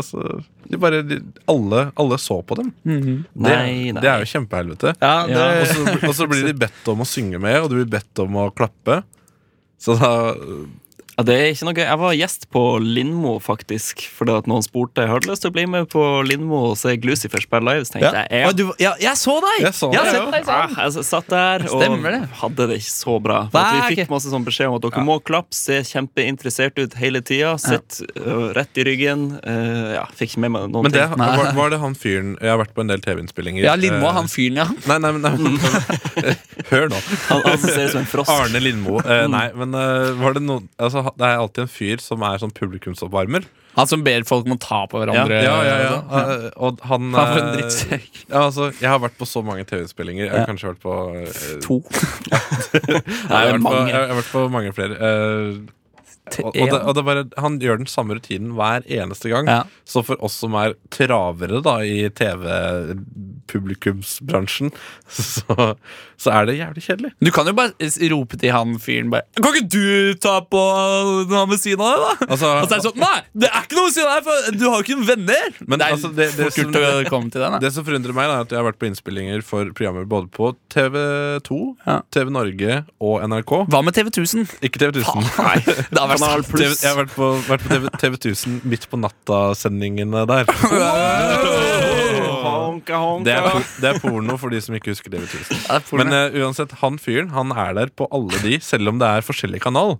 Speaker 6: Altså de bare, de, alle, alle så på dem. Det,
Speaker 3: Nei, nei.
Speaker 6: det er jo kjempehelvete.
Speaker 5: Ja, det,
Speaker 6: Og så- Og så blir de bedt om å synge med, og du blir bedt om å klappe. Så da
Speaker 3: Ja, det er ikke noe Jeg var gjest på Lindmo, faktisk. Fordi at noen spurte Har du lyst til å bli med på Lindmo og se Glucifer spille live. Så tenkte
Speaker 5: ja.
Speaker 3: jeg ja.
Speaker 5: Å, du, ja, jeg så deg!
Speaker 6: Jeg så
Speaker 5: Jeg har
Speaker 6: deg,
Speaker 5: sett deg
Speaker 3: Ja,
Speaker 5: sånn.
Speaker 3: jeg s- satt der og
Speaker 5: Stemmer det.
Speaker 3: hadde det ikke så bra. For at
Speaker 5: Nei,
Speaker 3: vi
Speaker 5: ok.
Speaker 3: fikk masse sånn beskjed om at dere må klappe, se kjempeinteressert ut hele tida. Sitt øh, rett i ryggen. øh, ja, fikk ikke med meg noen
Speaker 6: Men det
Speaker 3: ting.
Speaker 6: var, var det han fyren Jeg har vært på en del TV-innspillinger.
Speaker 5: Ja, Lindmo
Speaker 6: Eh,
Speaker 5: er han Mm. fyren, ja.
Speaker 6: Nei, nei, nei, men- Hør nå.
Speaker 3: Han, han som ser ut som en frosk.
Speaker 6: Arne Lindmo.
Speaker 5: Mm.
Speaker 6: Eh, nei, men eh, var det noen altså, ha- Det er alltid en fyr som er sånn publikumsoppvarmer.
Speaker 5: Han som ber folk om å ta på hverandre.
Speaker 6: Eh, og han
Speaker 5: Han for en
Speaker 6: eh,
Speaker 5: drittsekk.
Speaker 6: Ja, altså, jeg har vært på så mange TV-innspillinger. Jeg har kanskje vært på eh,
Speaker 5: To.
Speaker 6: Nei, jeg, har vært på,
Speaker 5: mange.
Speaker 6: jeg har vært på mange flere. eh, og, og, det, og det er bare, Han gjør den samme rutinen hver eneste gang.
Speaker 5: Ja.
Speaker 6: Så for oss som er travere da i TV-publikumsbransjen, så, så er det jævlig kjedelig.
Speaker 5: Du kan jo bare s- rope til han fyren bare Kan ikke du ta på han ved siden av deg, da?
Speaker 6: Altså-
Speaker 5: og så er det sånn Nei, det er ikke noe ved siden av deg, for du har jo ikke noen venner!
Speaker 6: Men
Speaker 5: det er
Speaker 6: altså, det- det
Speaker 5: fort
Speaker 6: som-
Speaker 5: gjort å komme til den. Da.
Speaker 6: Det som forundrer meg, da, er at jeg har vært på innspillinger for programmer både på TV2,
Speaker 5: Ja.
Speaker 6: TV Norge og NRK.
Speaker 5: Hva med TV 1000?
Speaker 6: Ikke TV 1000.
Speaker 5: Nei, det har vært
Speaker 6: Kanal
Speaker 5: sant.
Speaker 6: Pluss. Jeg har vært på, vært på TV, TV 1000 midt på natta-sendingene der.
Speaker 3: Honka, honka.
Speaker 6: Det er, por- det er porno for de som ikke husker TV 1000.
Speaker 5: Ja, det er porno.
Speaker 6: Men eh, uansett, han fyren han er der på alle de, selv om det er forskjellig kanal.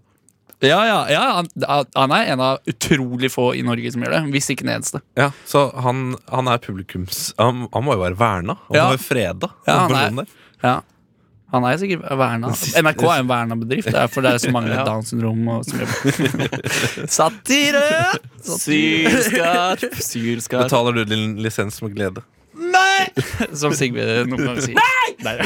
Speaker 5: Ja, ja, ja han, han er en av utrolig få i Norge som gjør det. Hvis ikke den eneste.
Speaker 6: Ja, så han, han er publikums... Han, han må jo være verna. Han
Speaker 5: Ja.
Speaker 6: må være freda.
Speaker 5: Ja,
Speaker 6: den
Speaker 5: han er-
Speaker 6: personen der.
Speaker 5: Ja han er sikkert verna. NRK er jo en verna bedrift. Det er for det er så mange med Downs syndrom. og som jobber. Satire!
Speaker 3: Sylskarp. Sylskarp.
Speaker 6: Betaler du din lisens med glede?
Speaker 5: Nei! Som Sigve noen ganger sier. Nei!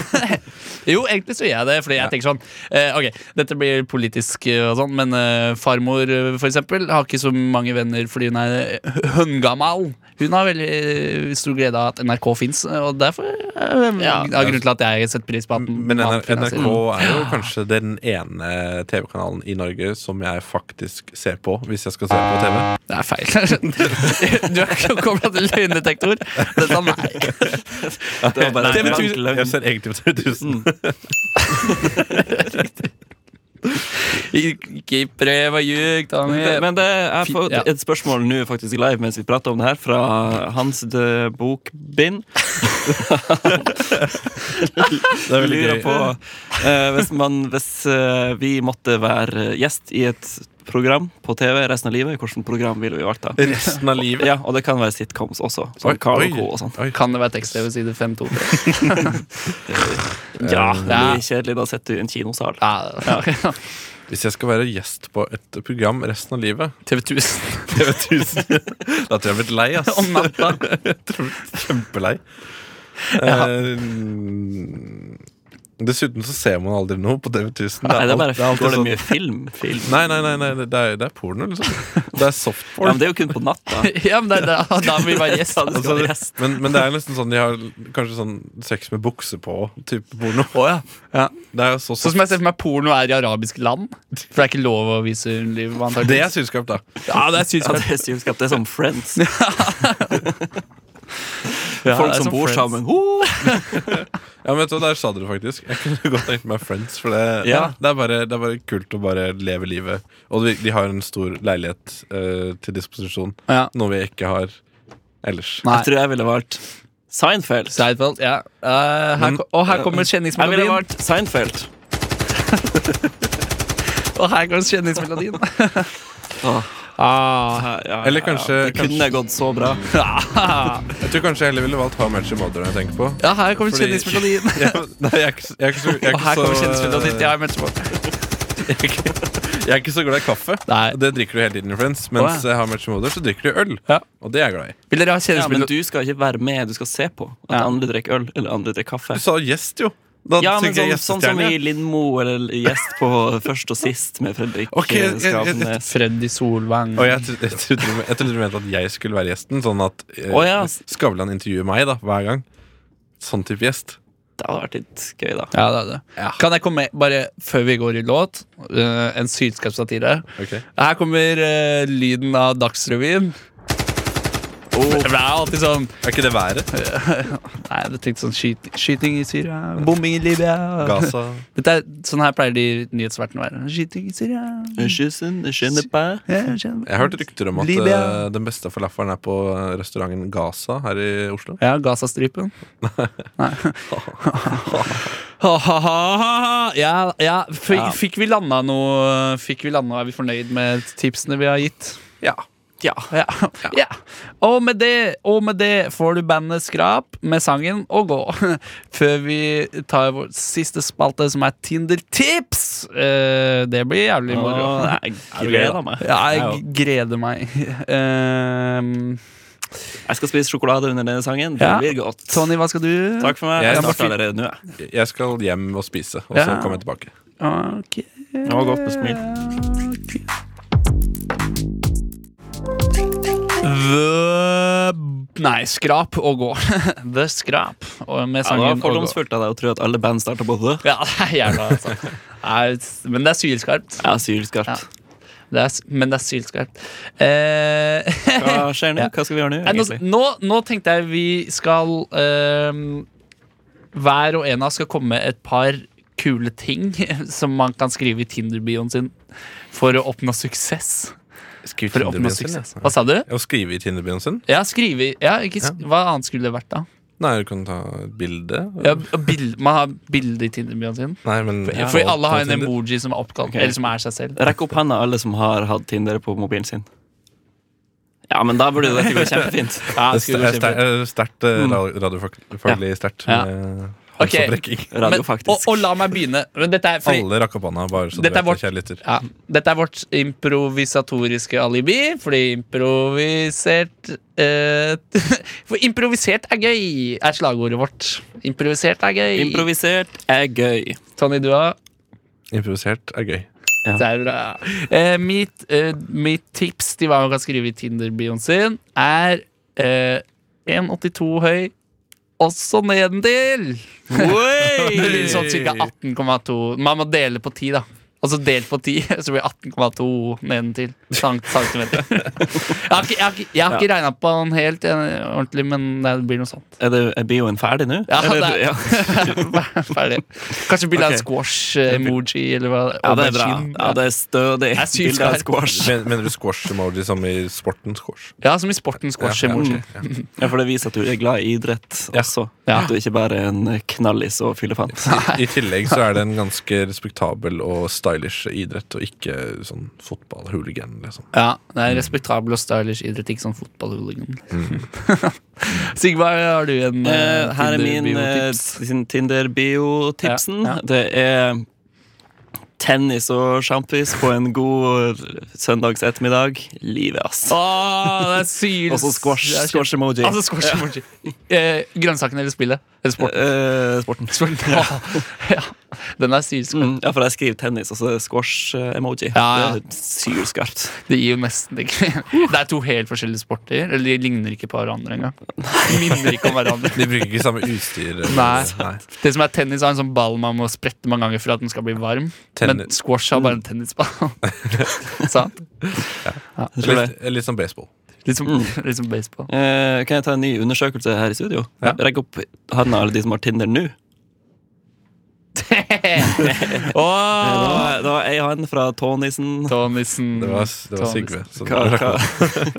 Speaker 5: Jo, egentlig så gjør jeg det, fordi jeg tenker sånn eh, Ok, dette blir politisk eh, og sånn, men eh, farmor, eh, for eksempel, har ikke så mange venner fordi hun er eh, høngammal. Hun har veldig eh, stor glede av at NRK fins, og derfor eh, er grunnen til at jeg setter pris på at
Speaker 6: Men
Speaker 5: man
Speaker 6: NR- NRK
Speaker 5: finansierer.
Speaker 6: er jo kanskje den ene TV-kanalen i Norge som jeg faktisk ser på hvis jeg skal se på TV.
Speaker 5: Det er feil. Du er ikke kobla til løgndetektor. Dette er sånn, meg.
Speaker 3: Det var bare
Speaker 5: Nei,
Speaker 3: en
Speaker 5: men
Speaker 3: blank
Speaker 5: tusen-
Speaker 3: løgn.
Speaker 6: Jeg ser egentlig på TV 1000.
Speaker 5: I- Ikke prøv å ljuge, Tommy.
Speaker 3: Men det, jeg får
Speaker 5: Ja.
Speaker 3: et spørsmål nå faktisk live mens vi prater om det her, fra hans eh, bokbind.
Speaker 6: Det er veldig
Speaker 3: lurer
Speaker 6: gøy.
Speaker 3: på eh, Hvis, man, hvis eh, vi måtte være gjest i et program på TV resten av livet, hvilket program ville vi valgt da?
Speaker 6: Resten av livet.
Speaker 3: Ja, og det kan være sitcoms også.
Speaker 6: Oi,
Speaker 3: Som Carl
Speaker 6: oi,
Speaker 3: og Co. og sånn.
Speaker 6: oi.
Speaker 5: Kan det være tekst-TV side 5-2?
Speaker 3: Ja, det
Speaker 5: Ja.
Speaker 3: blir kjedelig. Da sitter du i en kinosal.
Speaker 5: Ja,
Speaker 6: Hvis jeg skal være gjest på et program resten av livet
Speaker 5: TV 1000.
Speaker 6: TV 1000 Da tror jeg jeg har blitt lei, ass.
Speaker 5: Om natta.
Speaker 6: Kjempelei. Eh, dessuten så ser man aldri noe på TV 1000.
Speaker 3: Nei, det er
Speaker 6: alt-
Speaker 3: bare
Speaker 6: alltid
Speaker 3: Går det
Speaker 6: sånn-
Speaker 3: mye film? film.
Speaker 6: Nei, nei, nei, nei det, er, det er porno, liksom. Det er
Speaker 3: Ja, men
Speaker 6: softporn.
Speaker 3: det er jo kun på natta.
Speaker 5: Ja, men det er da, da må vi være gjest.
Speaker 3: Ja, det skal være gjest.
Speaker 6: Altså, men, men det er nesten sånn de har kanskje sånn sex med bukse på type porno.
Speaker 5: Å, ja.
Speaker 6: Det er jo så
Speaker 5: Sånn
Speaker 6: soft.
Speaker 5: som jeg ser for meg porno er i arabiske land. For det er ikke lov å vise livet. antageligvis.
Speaker 6: Det er synskap, da.
Speaker 5: ja, det er
Speaker 3: Ja,
Speaker 5: synskap.
Speaker 3: det er synskap. Det er som Friends.
Speaker 5: Ja,
Speaker 3: Folk
Speaker 5: det er
Speaker 3: som bor
Speaker 5: Friends.
Speaker 3: sammen. Ho!
Speaker 6: Ja, men vet du, hva, Der sa du det faktisk. Jeg kunne godt tenkt meg Friends. For det,
Speaker 3: Ja.
Speaker 6: det, er bare, det er bare kult å bare leve livet. Og de, de har en stor leilighet eh, til disposisjon.
Speaker 5: Ja.
Speaker 6: Noe vi ikke har ellers.
Speaker 5: Nei.
Speaker 3: Jeg tror jeg ville valgt Seinfeld.
Speaker 5: Seinfeld, ja. Eh, her,
Speaker 6: Men-
Speaker 5: ko- og her kommer
Speaker 3: Jeg ville
Speaker 5: kjenningsmelodien.
Speaker 3: valgt Seinfeld.
Speaker 5: Og her kommer kjenningsmelodien.
Speaker 3: Åh.
Speaker 5: ah,
Speaker 3: Ja, ja,
Speaker 6: Eller
Speaker 3: ja,
Speaker 6: kanskje-
Speaker 3: ja. Det kunne
Speaker 6: kanskje-
Speaker 3: gått så bra.
Speaker 6: Jeg tror kanskje jeg heller ville valgt How Much You Mother. enn Jeg tenker på
Speaker 5: ja, her kommer
Speaker 6: Fordi-
Speaker 5: kjenningsmelodien.
Speaker 6: ja, Nei, jeg er ikke så- jeg er ikke så- jeg er ikke
Speaker 5: Og her kommer
Speaker 6: så-
Speaker 5: kjenningsmelodien. Ja, jeg mente på.
Speaker 6: jeg er ikke- jeg er ikke så glad i kaffe.
Speaker 5: Nei.
Speaker 6: Og Det drikker du hele tiden i Friends. Mens
Speaker 5: Å,
Speaker 6: oh, How Much You Mother så drikker du øl.
Speaker 5: Ja.
Speaker 6: Og det er jeg glad i.
Speaker 5: Vil dere ha
Speaker 3: Ja, men
Speaker 5: kjenningsmelodi?
Speaker 3: du skal ikke være med, du skal se på at
Speaker 5: Ja.
Speaker 3: andre drikker øl eller andre drikker kaffe.
Speaker 6: Du sa gjest, jo. Da
Speaker 3: Ja, men
Speaker 6: tenker
Speaker 3: sånn,
Speaker 6: jeg
Speaker 3: sånn som i
Speaker 6: gjestestjerne.
Speaker 3: Lindmo, eller gjest på Først og sist med Fredrik
Speaker 6: Ok, jeg- jeg- jeg-
Speaker 3: Skravnes.
Speaker 5: Freddy Solvang.
Speaker 6: Og jeg tro- jeg trodde du men- jeg trodde du mente at jeg skulle være gjesten. Sånn at eh,
Speaker 3: Å, ja.
Speaker 6: Skavlan intervjuer meg da, hver gang. Sånn type gjest.
Speaker 3: Det hadde vært litt gøy, da.
Speaker 5: Ja, det er det. Kan jeg komme med, bare før vi går i låt, eh, en sylskapssatire?
Speaker 6: Ok.
Speaker 5: Her kommer eh, lyden av Dagsrevyen. Det er alltid sånn
Speaker 6: Er ikke det været?
Speaker 5: Nei, jeg tenkte sånn skyting, skyting i Syria, bombing i Libya
Speaker 6: Gaza?
Speaker 5: Dette er, Sånn her pleier de nyhetsvertene å være. Skyting i Syria
Speaker 3: Kyssen, kjenner på
Speaker 5: Jeg kjenner-
Speaker 6: Jeg har hørt rykter om at
Speaker 5: Libya.
Speaker 6: eh, den beste falafelen er på eh, restauranten Gaza her i Oslo.
Speaker 5: Ja, Gazastripen. Nei. Ha-ha-ha-ha-ha. ja, ja. Fikk,
Speaker 3: Ja.
Speaker 5: fikk vi landa noe? Fikk vi landa, Er vi fornøyd med tipsene vi har gitt?
Speaker 6: Ja.
Speaker 3: Ja.
Speaker 5: Ja. ja. Og, med det, og med det får du bandet Skrap med sangen Og gå. Før vi tar vår siste spalte, som er Tinder-tips. Eh, Det blir jævlig moro.
Speaker 3: Åh, jeg gleder meg.
Speaker 5: Ja, jeg gleder meg. Ehm,
Speaker 3: Jeg skal spise sjokolade under denne sangen. Det
Speaker 5: Ja.
Speaker 3: blir godt.
Speaker 5: Tony, hva skal du?
Speaker 3: Takk for meg.
Speaker 6: Jeg
Speaker 3: Jeg
Speaker 6: starter
Speaker 3: starter allerede nå, jeg.
Speaker 6: Jeg skal hjem og spise, og så
Speaker 5: Ja.
Speaker 6: kommer jeg tilbake.
Speaker 5: Ok.
Speaker 3: Det var godt med smil.
Speaker 5: The Nei, Skrap og gå. The Skrap og med
Speaker 3: Ja, det
Speaker 5: sangen
Speaker 3: var
Speaker 5: og gå.
Speaker 3: fordomsfullt av deg å tro at alle band starter på det.
Speaker 5: Ja, det er jævla altså. Nei, Men det er sylskarpt.
Speaker 3: Jeg er sylskarpt.
Speaker 5: Det er, s- men det er sylskarpt. Eh,
Speaker 3: Hva skjer nå? Hva skal vi gjøre nå,
Speaker 5: Nei, nå,
Speaker 3: egentlig?
Speaker 5: nå, nå tenkte jeg vi skal ehm, Hver og en av oss skal komme med et par kule ting som man kan skrive i Tinder-bioen sin for å oppnå suksess.
Speaker 6: Skriv
Speaker 5: For å oppnå suksess.
Speaker 6: altså.
Speaker 5: Hva sa du?
Speaker 6: Å skrive i Tinderbyen sin?
Speaker 5: Ja, skrive Ja, ikke, sk- hva annet skulle det vært, da?
Speaker 6: Nei, du kan ta et bilde.
Speaker 5: Ja, b- bild, man har bilde i Tinder-bioen sin.
Speaker 6: Nei, men
Speaker 5: Ja, Fordi alle har en
Speaker 6: Tinder.
Speaker 5: emoji som er oppkalt
Speaker 3: Ok.
Speaker 5: Eller som er seg selv.
Speaker 3: Rekk opp handa, alle som har hatt Tinder på mobilen sin. Ja, men da burde dette gå kjempefint.
Speaker 5: Ja,
Speaker 6: Det
Speaker 5: skulle
Speaker 6: er
Speaker 5: vært
Speaker 6: ster-
Speaker 5: kjempe-
Speaker 6: er Sterkt eh, ra- radiofaglig sterkt
Speaker 5: Mm.
Speaker 6: eh,
Speaker 5: Ja.
Speaker 6: med
Speaker 5: Ok.
Speaker 6: håndsopprekking.
Speaker 5: Men,
Speaker 3: Radio,
Speaker 5: og,
Speaker 3: faktisk.
Speaker 5: og la meg begynne. Men dette er fordi,
Speaker 6: Alle rakk opp hånda, bare så du vet
Speaker 5: Dette er
Speaker 6: det,
Speaker 5: vårt-
Speaker 6: kjære lytter.
Speaker 5: Ja, dette er vårt improvisatoriske alibi, fordi improvisert eh, For improvisert er gøy, er slagordet vårt. Improvisert er gøy.
Speaker 3: Improvisert er gøy.
Speaker 5: Tony, du òg.
Speaker 6: Improvisert er gøy.
Speaker 5: Det er bra. Eh, mitt, eh, mitt tips til hva man kan skrive i Tinder-bioen sin, er eh, 1,82 høy, også nedentil.
Speaker 3: Oi!
Speaker 5: Sånn ca. 18,2. Man må dele på 10, da. Og så delt på 10, så blir det 18,2 nedentil. cent- Centimeter. Jeg har ikke, jeg har ikke, jeg har ikke regna på den helt eh, ordentlig, men det blir noe sånt.
Speaker 3: Er, det, er bioen ferdig nå?
Speaker 5: Ja,
Speaker 3: Eller-
Speaker 5: det er-
Speaker 3: ja.
Speaker 5: Ferdig. Kanskje bilde av en
Speaker 3: Ok.
Speaker 5: squash-emoji, eller hva?
Speaker 3: ja, det er bra.
Speaker 5: Aubergine.
Speaker 3: Ja, det er stødig.
Speaker 5: Jeg synes
Speaker 3: Bilde av
Speaker 5: det er-
Speaker 3: squash.
Speaker 6: Men, mener du squash-emoji som i sporten squash?
Speaker 5: Ja, som i sporten squash-emoji.
Speaker 6: Ja, ja,
Speaker 3: Ja, for det viser at du er glad i idrett også.
Speaker 5: Ja.
Speaker 3: At du ikke bare er en knallis og fyllefant.
Speaker 6: ja. I tillegg så er det en ganske respektabel og stylish idrett, og ikke sånn fotball-hooligan, liksom.
Speaker 5: Ja, det er respektabel og stylish idrett, ikke sånn fotballhooligan. Sigvard, har du en
Speaker 3: Eh,
Speaker 5: eh,
Speaker 3: her er min
Speaker 5: Tinder-biotips?
Speaker 3: eh, sin Tinder-biotipsen.
Speaker 5: Ja, ja.
Speaker 3: Det er tennis og sjampis på en god søndags ettermiddag. Livet, ass.
Speaker 5: Åh, det er syl...
Speaker 3: Og så squash.
Speaker 5: det er kjempe-
Speaker 3: Squash-emoji.
Speaker 5: Altså squash emoji. Eh, grønnsaken eller spillet? Eller sporten?
Speaker 3: Eh, sporten.
Speaker 5: Ja. ja. Den er sylskarp.
Speaker 3: Mm, ja, for jeg skriver tennis, og så er det squash-emoji.
Speaker 5: Ja, ja.
Speaker 3: Det er sylskarpt.
Speaker 5: Det gir jo nesten ikke Det er to helt forskjellige sporter. Eller de ligner ikke på hverandre engang. De Minner ikke om hverandre.
Speaker 6: De bruker ikke samme utstyr. eh,
Speaker 5: Nei. Det som er tennis, har en sånn ball man må sprette mange ganger for at den skal bli varm. Men
Speaker 6: Tennis. Mm.
Speaker 5: squash har bare en tennisball. Sant?
Speaker 3: Jeg tror det.
Speaker 6: Litt, litt som baseball.
Speaker 5: Litt som,
Speaker 6: Mm.
Speaker 5: litt som baseball.
Speaker 3: Eh, kan jeg ta en ny undersøkelse her i studio?
Speaker 6: Ja.
Speaker 3: Rekk opp handa alle de som har Tinder nå. Det
Speaker 5: Åh!
Speaker 3: var- Det var ei hand fra Tånissen.
Speaker 5: Tånissen.
Speaker 6: Det var, det var
Speaker 5: Tånissen.
Speaker 6: Sigve. som-
Speaker 3: Hva, hva,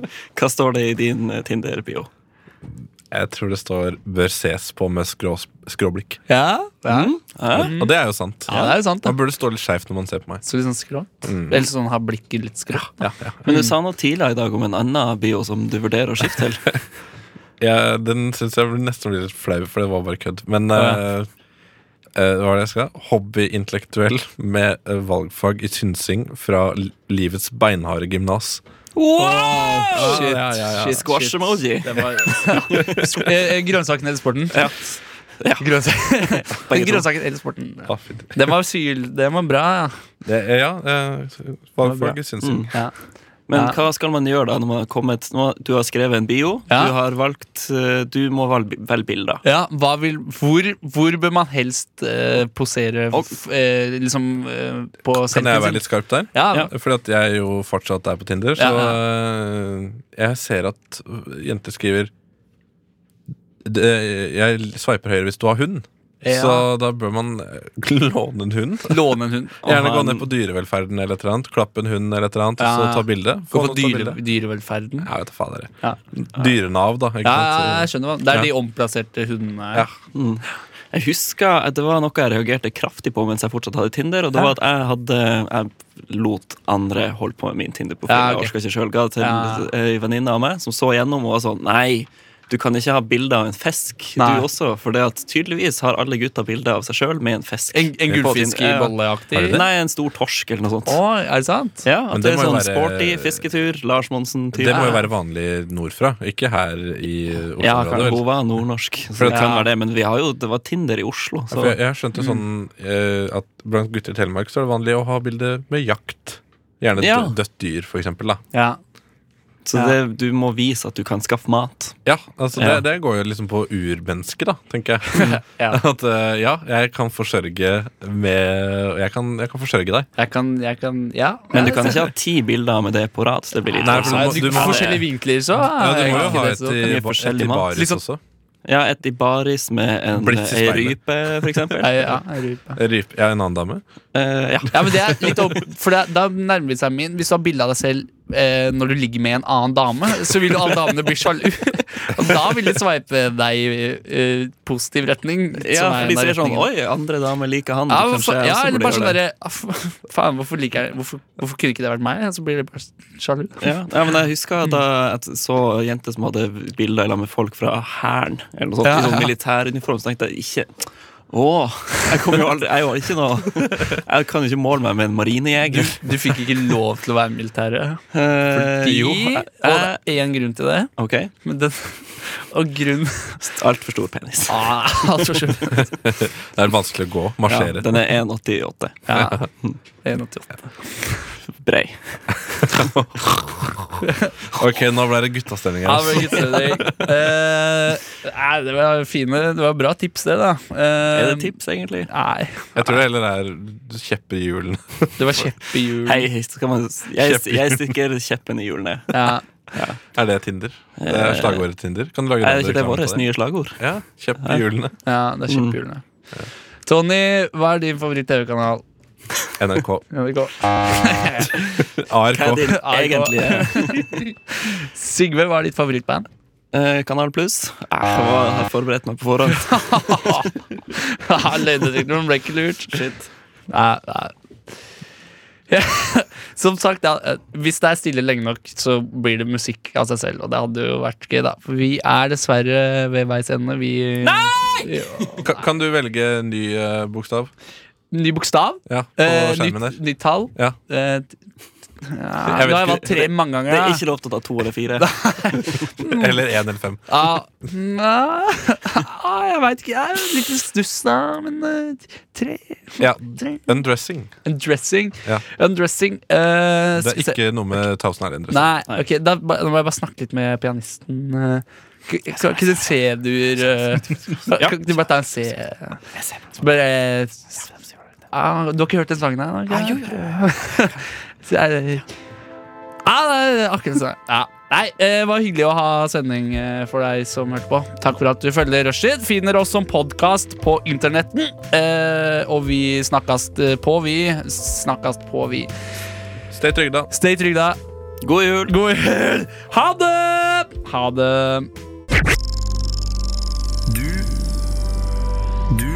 Speaker 3: hva står det i din eh, Tinder-bio?
Speaker 6: Jeg tror det står 'bør ses på med skrå, skråblikk'.
Speaker 5: Ja, ja.
Speaker 3: Hæ?
Speaker 6: Og det er jo sant.
Speaker 5: ja, det er jo sant.
Speaker 6: Man
Speaker 5: Da.
Speaker 6: burde stå litt skeivt når man ser på meg.
Speaker 5: Så litt sånn skrått. Eller sånn har blikket litt skrått.
Speaker 6: Mm. Ja, ja.
Speaker 3: Men
Speaker 5: Mm.
Speaker 3: du sa noe tidligere i dag om en annen bio som du vurderer å skifte til.
Speaker 6: Ja, den syns jeg blir nesten blir litt flau, for det var bare kødd. Men
Speaker 3: Ja.
Speaker 6: eh, eh, hva var det jeg skal? Hobbyintellektuell med eh, valgfag i synsing fra li- livets beinharde gymnas.
Speaker 5: Shit,
Speaker 6: Ja, ja, ja.
Speaker 5: shit, shit.
Speaker 3: Squash-emoji.
Speaker 5: Det var- Eh, eh, Grønnsaken eller sporten?
Speaker 3: Ja. Ja.
Speaker 5: Grønnsaken.
Speaker 3: Begge to.
Speaker 5: Grønnsaken eller sporten.
Speaker 6: Ah, fy- det,
Speaker 5: Den var syl, den var bra, ja.
Speaker 6: eh, ja, eh,
Speaker 5: bra. Mm.
Speaker 6: valgfag i synsing.
Speaker 5: ja.
Speaker 3: Men
Speaker 5: Ja.
Speaker 3: hva skal man gjøre da når man har kommet nå, Du har skrevet en bio.
Speaker 5: Ja.
Speaker 3: Du har valgt eh, Du må valg- velge bilder.
Speaker 5: Ja, hva vil, hvor, hvor bør man helst eh, posere
Speaker 3: Og-
Speaker 5: f, eh, liksom eh, på
Speaker 6: Kan jeg være litt
Speaker 5: sin?
Speaker 6: skarp der?
Speaker 5: Ja,
Speaker 3: Ja.
Speaker 6: Fordi at jeg jo fortsatt er på Tinder, så øh, jeg ser at øh, jenter skriver "Det- Jeg sveiper høyre hvis du har hund.
Speaker 5: Ja.
Speaker 6: Så da bør man øh, låne en hund.
Speaker 5: låne en hund.
Speaker 6: Gjerne
Speaker 3: ha
Speaker 6: gå
Speaker 3: en-
Speaker 6: ned på dyrevelferden eller et eller annet. Klappe en hund eller et eller annet, og
Speaker 5: Ja.
Speaker 6: så ta bilde. Få
Speaker 5: Gå på
Speaker 6: noen til å ta
Speaker 5: dyre,
Speaker 6: bilde.
Speaker 5: dyrevelferden.
Speaker 6: Jeg vet da faen, dere.
Speaker 5: Ja.
Speaker 6: Dyrenav, da. Ikke
Speaker 5: Ja, ja, jeg
Speaker 6: sant?
Speaker 5: skjønner hva Det er
Speaker 6: Ja.
Speaker 5: de omplasserte hundene.
Speaker 6: Ja.
Speaker 3: Jeg husker at det var noe jeg reagerte kraftig på mens jeg fortsatt hadde Tinder, og det var at jeg hadde Jeg lot andre holde på med min Tinder-profil.
Speaker 5: Ja, ok.
Speaker 3: Jeg orka ikke sjøl. Ga det til
Speaker 5: Ja.
Speaker 3: ei venninne av meg som så gjennom og var sånn Nei, du kan ikke ha bilde av en fisk,
Speaker 5: Nei.
Speaker 3: du også. For det at tydeligvis har alle gutta bilde av seg sjøl med en fisk.
Speaker 5: En, en
Speaker 3: På Tinder.
Speaker 5: gullfisk i
Speaker 3: Ja.
Speaker 5: bolleaktig.
Speaker 3: Nei, en stor torsk eller noe sånt.
Speaker 5: Å, er det sant?
Speaker 3: Ja,
Speaker 6: Men
Speaker 3: at det
Speaker 6: det
Speaker 3: er
Speaker 6: må jo
Speaker 3: sånn
Speaker 6: være-
Speaker 3: sporty fisketur. Lars Monsen-type.
Speaker 6: Det må jo være vanlig nordfra, ikke her i
Speaker 3: Ja, Karl
Speaker 6: Oslo-området. vel?
Speaker 3: Hova er nordnorsk, så
Speaker 6: For
Speaker 3: det
Speaker 6: at-
Speaker 3: kan være det. Men vi har jo, det var Tinder i Oslo,
Speaker 6: Ja,
Speaker 3: så
Speaker 6: For jeg, jeg skjønte sånn eh, at blant gutter i Telemark så er det vanlig å ha bilde med jakt. Gjerne
Speaker 3: Ja.
Speaker 6: dø- dødt dyr, for eksempel. Da.
Speaker 5: Ja.
Speaker 3: Så det, du må vise at du kan skaffe mat.
Speaker 6: Ja, altså
Speaker 3: Ja.
Speaker 6: Det, det går jo liksom på urmennesket, da, tenker jeg.
Speaker 5: Ja.
Speaker 6: At eh, ja, jeg kan forsørge med Jeg kan, jeg kan forsørge deg.
Speaker 5: Jeg kan, jeg kan Ja.
Speaker 3: Men du kan ikke ha ti bilder med det på rad. så Det blir litt sånn-
Speaker 6: Nei, for
Speaker 5: Nei,
Speaker 3: voldsomt.
Speaker 6: du må-
Speaker 5: du-
Speaker 6: du må-
Speaker 5: forskjellige vinkler, så.
Speaker 6: Ja, du
Speaker 5: er
Speaker 6: må jo
Speaker 5: ikke
Speaker 6: ha
Speaker 5: det
Speaker 6: et eh,
Speaker 5: så-
Speaker 6: i,
Speaker 3: mye
Speaker 6: ba- et
Speaker 3: forskjellig
Speaker 6: i
Speaker 3: mat.
Speaker 6: baris
Speaker 5: Litt sånn-
Speaker 6: også.
Speaker 3: Ja, et i baris med en
Speaker 6: Blitz i
Speaker 3: ei
Speaker 6: speilet.
Speaker 3: rype, for eksempel.
Speaker 5: Nei, ja, jeg lurer på.
Speaker 6: Ryp, jeg er en annen dame.
Speaker 3: Eh, ja.
Speaker 5: Ja, men det er litt opp For det, da nærmer det seg min Hvis du har bilde av deg selv eh, Når du ligger med en annen dame Så vil jo alle damene bli sjalu Og da vil de sveipe deg i eh, positiv retning
Speaker 3: ja,
Speaker 5: som er
Speaker 3: for de
Speaker 5: en av
Speaker 3: ser sånn
Speaker 5: retningene.
Speaker 3: Oi, andre damer liker han.
Speaker 5: ja,
Speaker 3: Kanskje
Speaker 5: hvorfor,
Speaker 3: jeg
Speaker 5: ja,
Speaker 3: også
Speaker 5: eller
Speaker 3: burde
Speaker 5: bare sånn
Speaker 3: gjøre det.
Speaker 5: derre «Ah, f- Faen, hvorfor liker jeg hvorfor, hvorfor kunne ikke det vært meg? Så blir det bare sjalu
Speaker 3: ja. ja, men Jeg husker da at jeg så jenter som hadde bilder i lag med folk fra Hæren. Eller noe sånt,
Speaker 5: Ja,
Speaker 3: I sånn
Speaker 5: ja.
Speaker 3: militæruniform. Så tenkte jeg ikke Å, jeg kommer jo aldri Jeg er jo ikke noe Jeg kan jo ikke måle meg med en
Speaker 5: du,
Speaker 3: marinejeger.
Speaker 5: du fikk ikke lov til å være militære
Speaker 3: Eh,
Speaker 5: Fordi
Speaker 3: jo,
Speaker 5: Og
Speaker 3: jeg-
Speaker 5: det er en grunn til det
Speaker 3: Ok.
Speaker 5: Men den, Og grunnen
Speaker 3: Altfor stor penis.
Speaker 5: ah, altså, skjønner.
Speaker 6: Det er vanskelig å gå.
Speaker 3: Ja,
Speaker 6: Marsjere.
Speaker 3: den er 1,88
Speaker 5: Ja. 1,88.
Speaker 3: brei.
Speaker 6: ok, nå ble det guttastemning her. altså. ass.
Speaker 5: Ja, men gutt, Fredrik. Eh, nei, det var fine Det var bra tips, det, da. Eh,
Speaker 3: Er det tips, egentlig?
Speaker 5: Nei.
Speaker 6: Jeg tror det heller er kjepper i hjulene.
Speaker 5: Det var kjepp i hjul.
Speaker 3: Hei, skal man, jeg,
Speaker 6: Kjepp i
Speaker 3: jeg stikker kjeppen i hjulene.
Speaker 5: Ja.
Speaker 6: Er det Tinder? Det er slagordet Tinder. Kan du lage
Speaker 3: Eh, Er det ikke det
Speaker 6: radioreklame på
Speaker 3: vårt nye slagord?
Speaker 6: Ja, kjepp i hjulene.
Speaker 5: Ja, det er kjempehjulene. Tony, hva er din favoritt-TV-kanal?
Speaker 6: NRK.
Speaker 5: NRK.
Speaker 6: ARK.
Speaker 3: Hva er din
Speaker 5: Ja, det går.
Speaker 3: egentlige
Speaker 5: Sigve, hva er ditt favorittband?
Speaker 3: eh, Kanal Pluss? Eh, Jeg var- jeg forberedte meg på forhånd.
Speaker 5: Løgnedetektoren ble ikke lurt. Shit. Nei, nei. Ja, Som sagt, da, eh, hvis det er stille lenge nok, så blir det musikk av seg selv. Og det hadde jo vært gøy, da. For vi er dessverre ved veis ende. Vi Nei!
Speaker 6: Ka- Kan du velge ny eh, bokstav?
Speaker 5: Ny bokstav.
Speaker 6: Ja, på
Speaker 5: eh,
Speaker 6: skjermen
Speaker 5: nytt,
Speaker 6: der.
Speaker 5: nytt tall.
Speaker 6: Ja.
Speaker 5: Eh, t- ja,
Speaker 6: Jeg vet
Speaker 5: nå har jeg
Speaker 6: ikke.
Speaker 5: valgt tre mange ganger.
Speaker 3: Det er
Speaker 5: da.
Speaker 3: ikke lov til å ta to eller fire.
Speaker 6: Eller én eller fem.
Speaker 5: Ja, nei, Ah, jeg veit ikke. Jeg er litt i stuss, da. Men eh, tre
Speaker 6: Ja, Undressing.
Speaker 5: Undressing.
Speaker 6: Ja.
Speaker 5: Undressing
Speaker 6: Det
Speaker 5: eh, skal vi
Speaker 6: er
Speaker 5: se.
Speaker 6: ikke noe med Thousand Island Dressing.
Speaker 5: Nei, ok, da, ba- da må jeg bare snakke litt med pianisten. eh. K- Skal ikke du se dur eh, Kan ikke du bare ta en C? Så Bare eh, s- ah, Du har ikke hørt den sangen her? Ah, jo, så er det Ja, det er akkurat sånn. Ja. Nei, eh, Det var hyggelig å ha sending eh, for deg som hørte på. Takk for at du følger Rushtid. Finner oss som podkast på internetten. Eh, og vi snakkes eh, på, vi. Snakkes på, vi.
Speaker 6: Stay trygda.
Speaker 5: Stay trygda.
Speaker 3: God jul!
Speaker 5: God jul! Ha det! Ha det.
Speaker 8: Du Du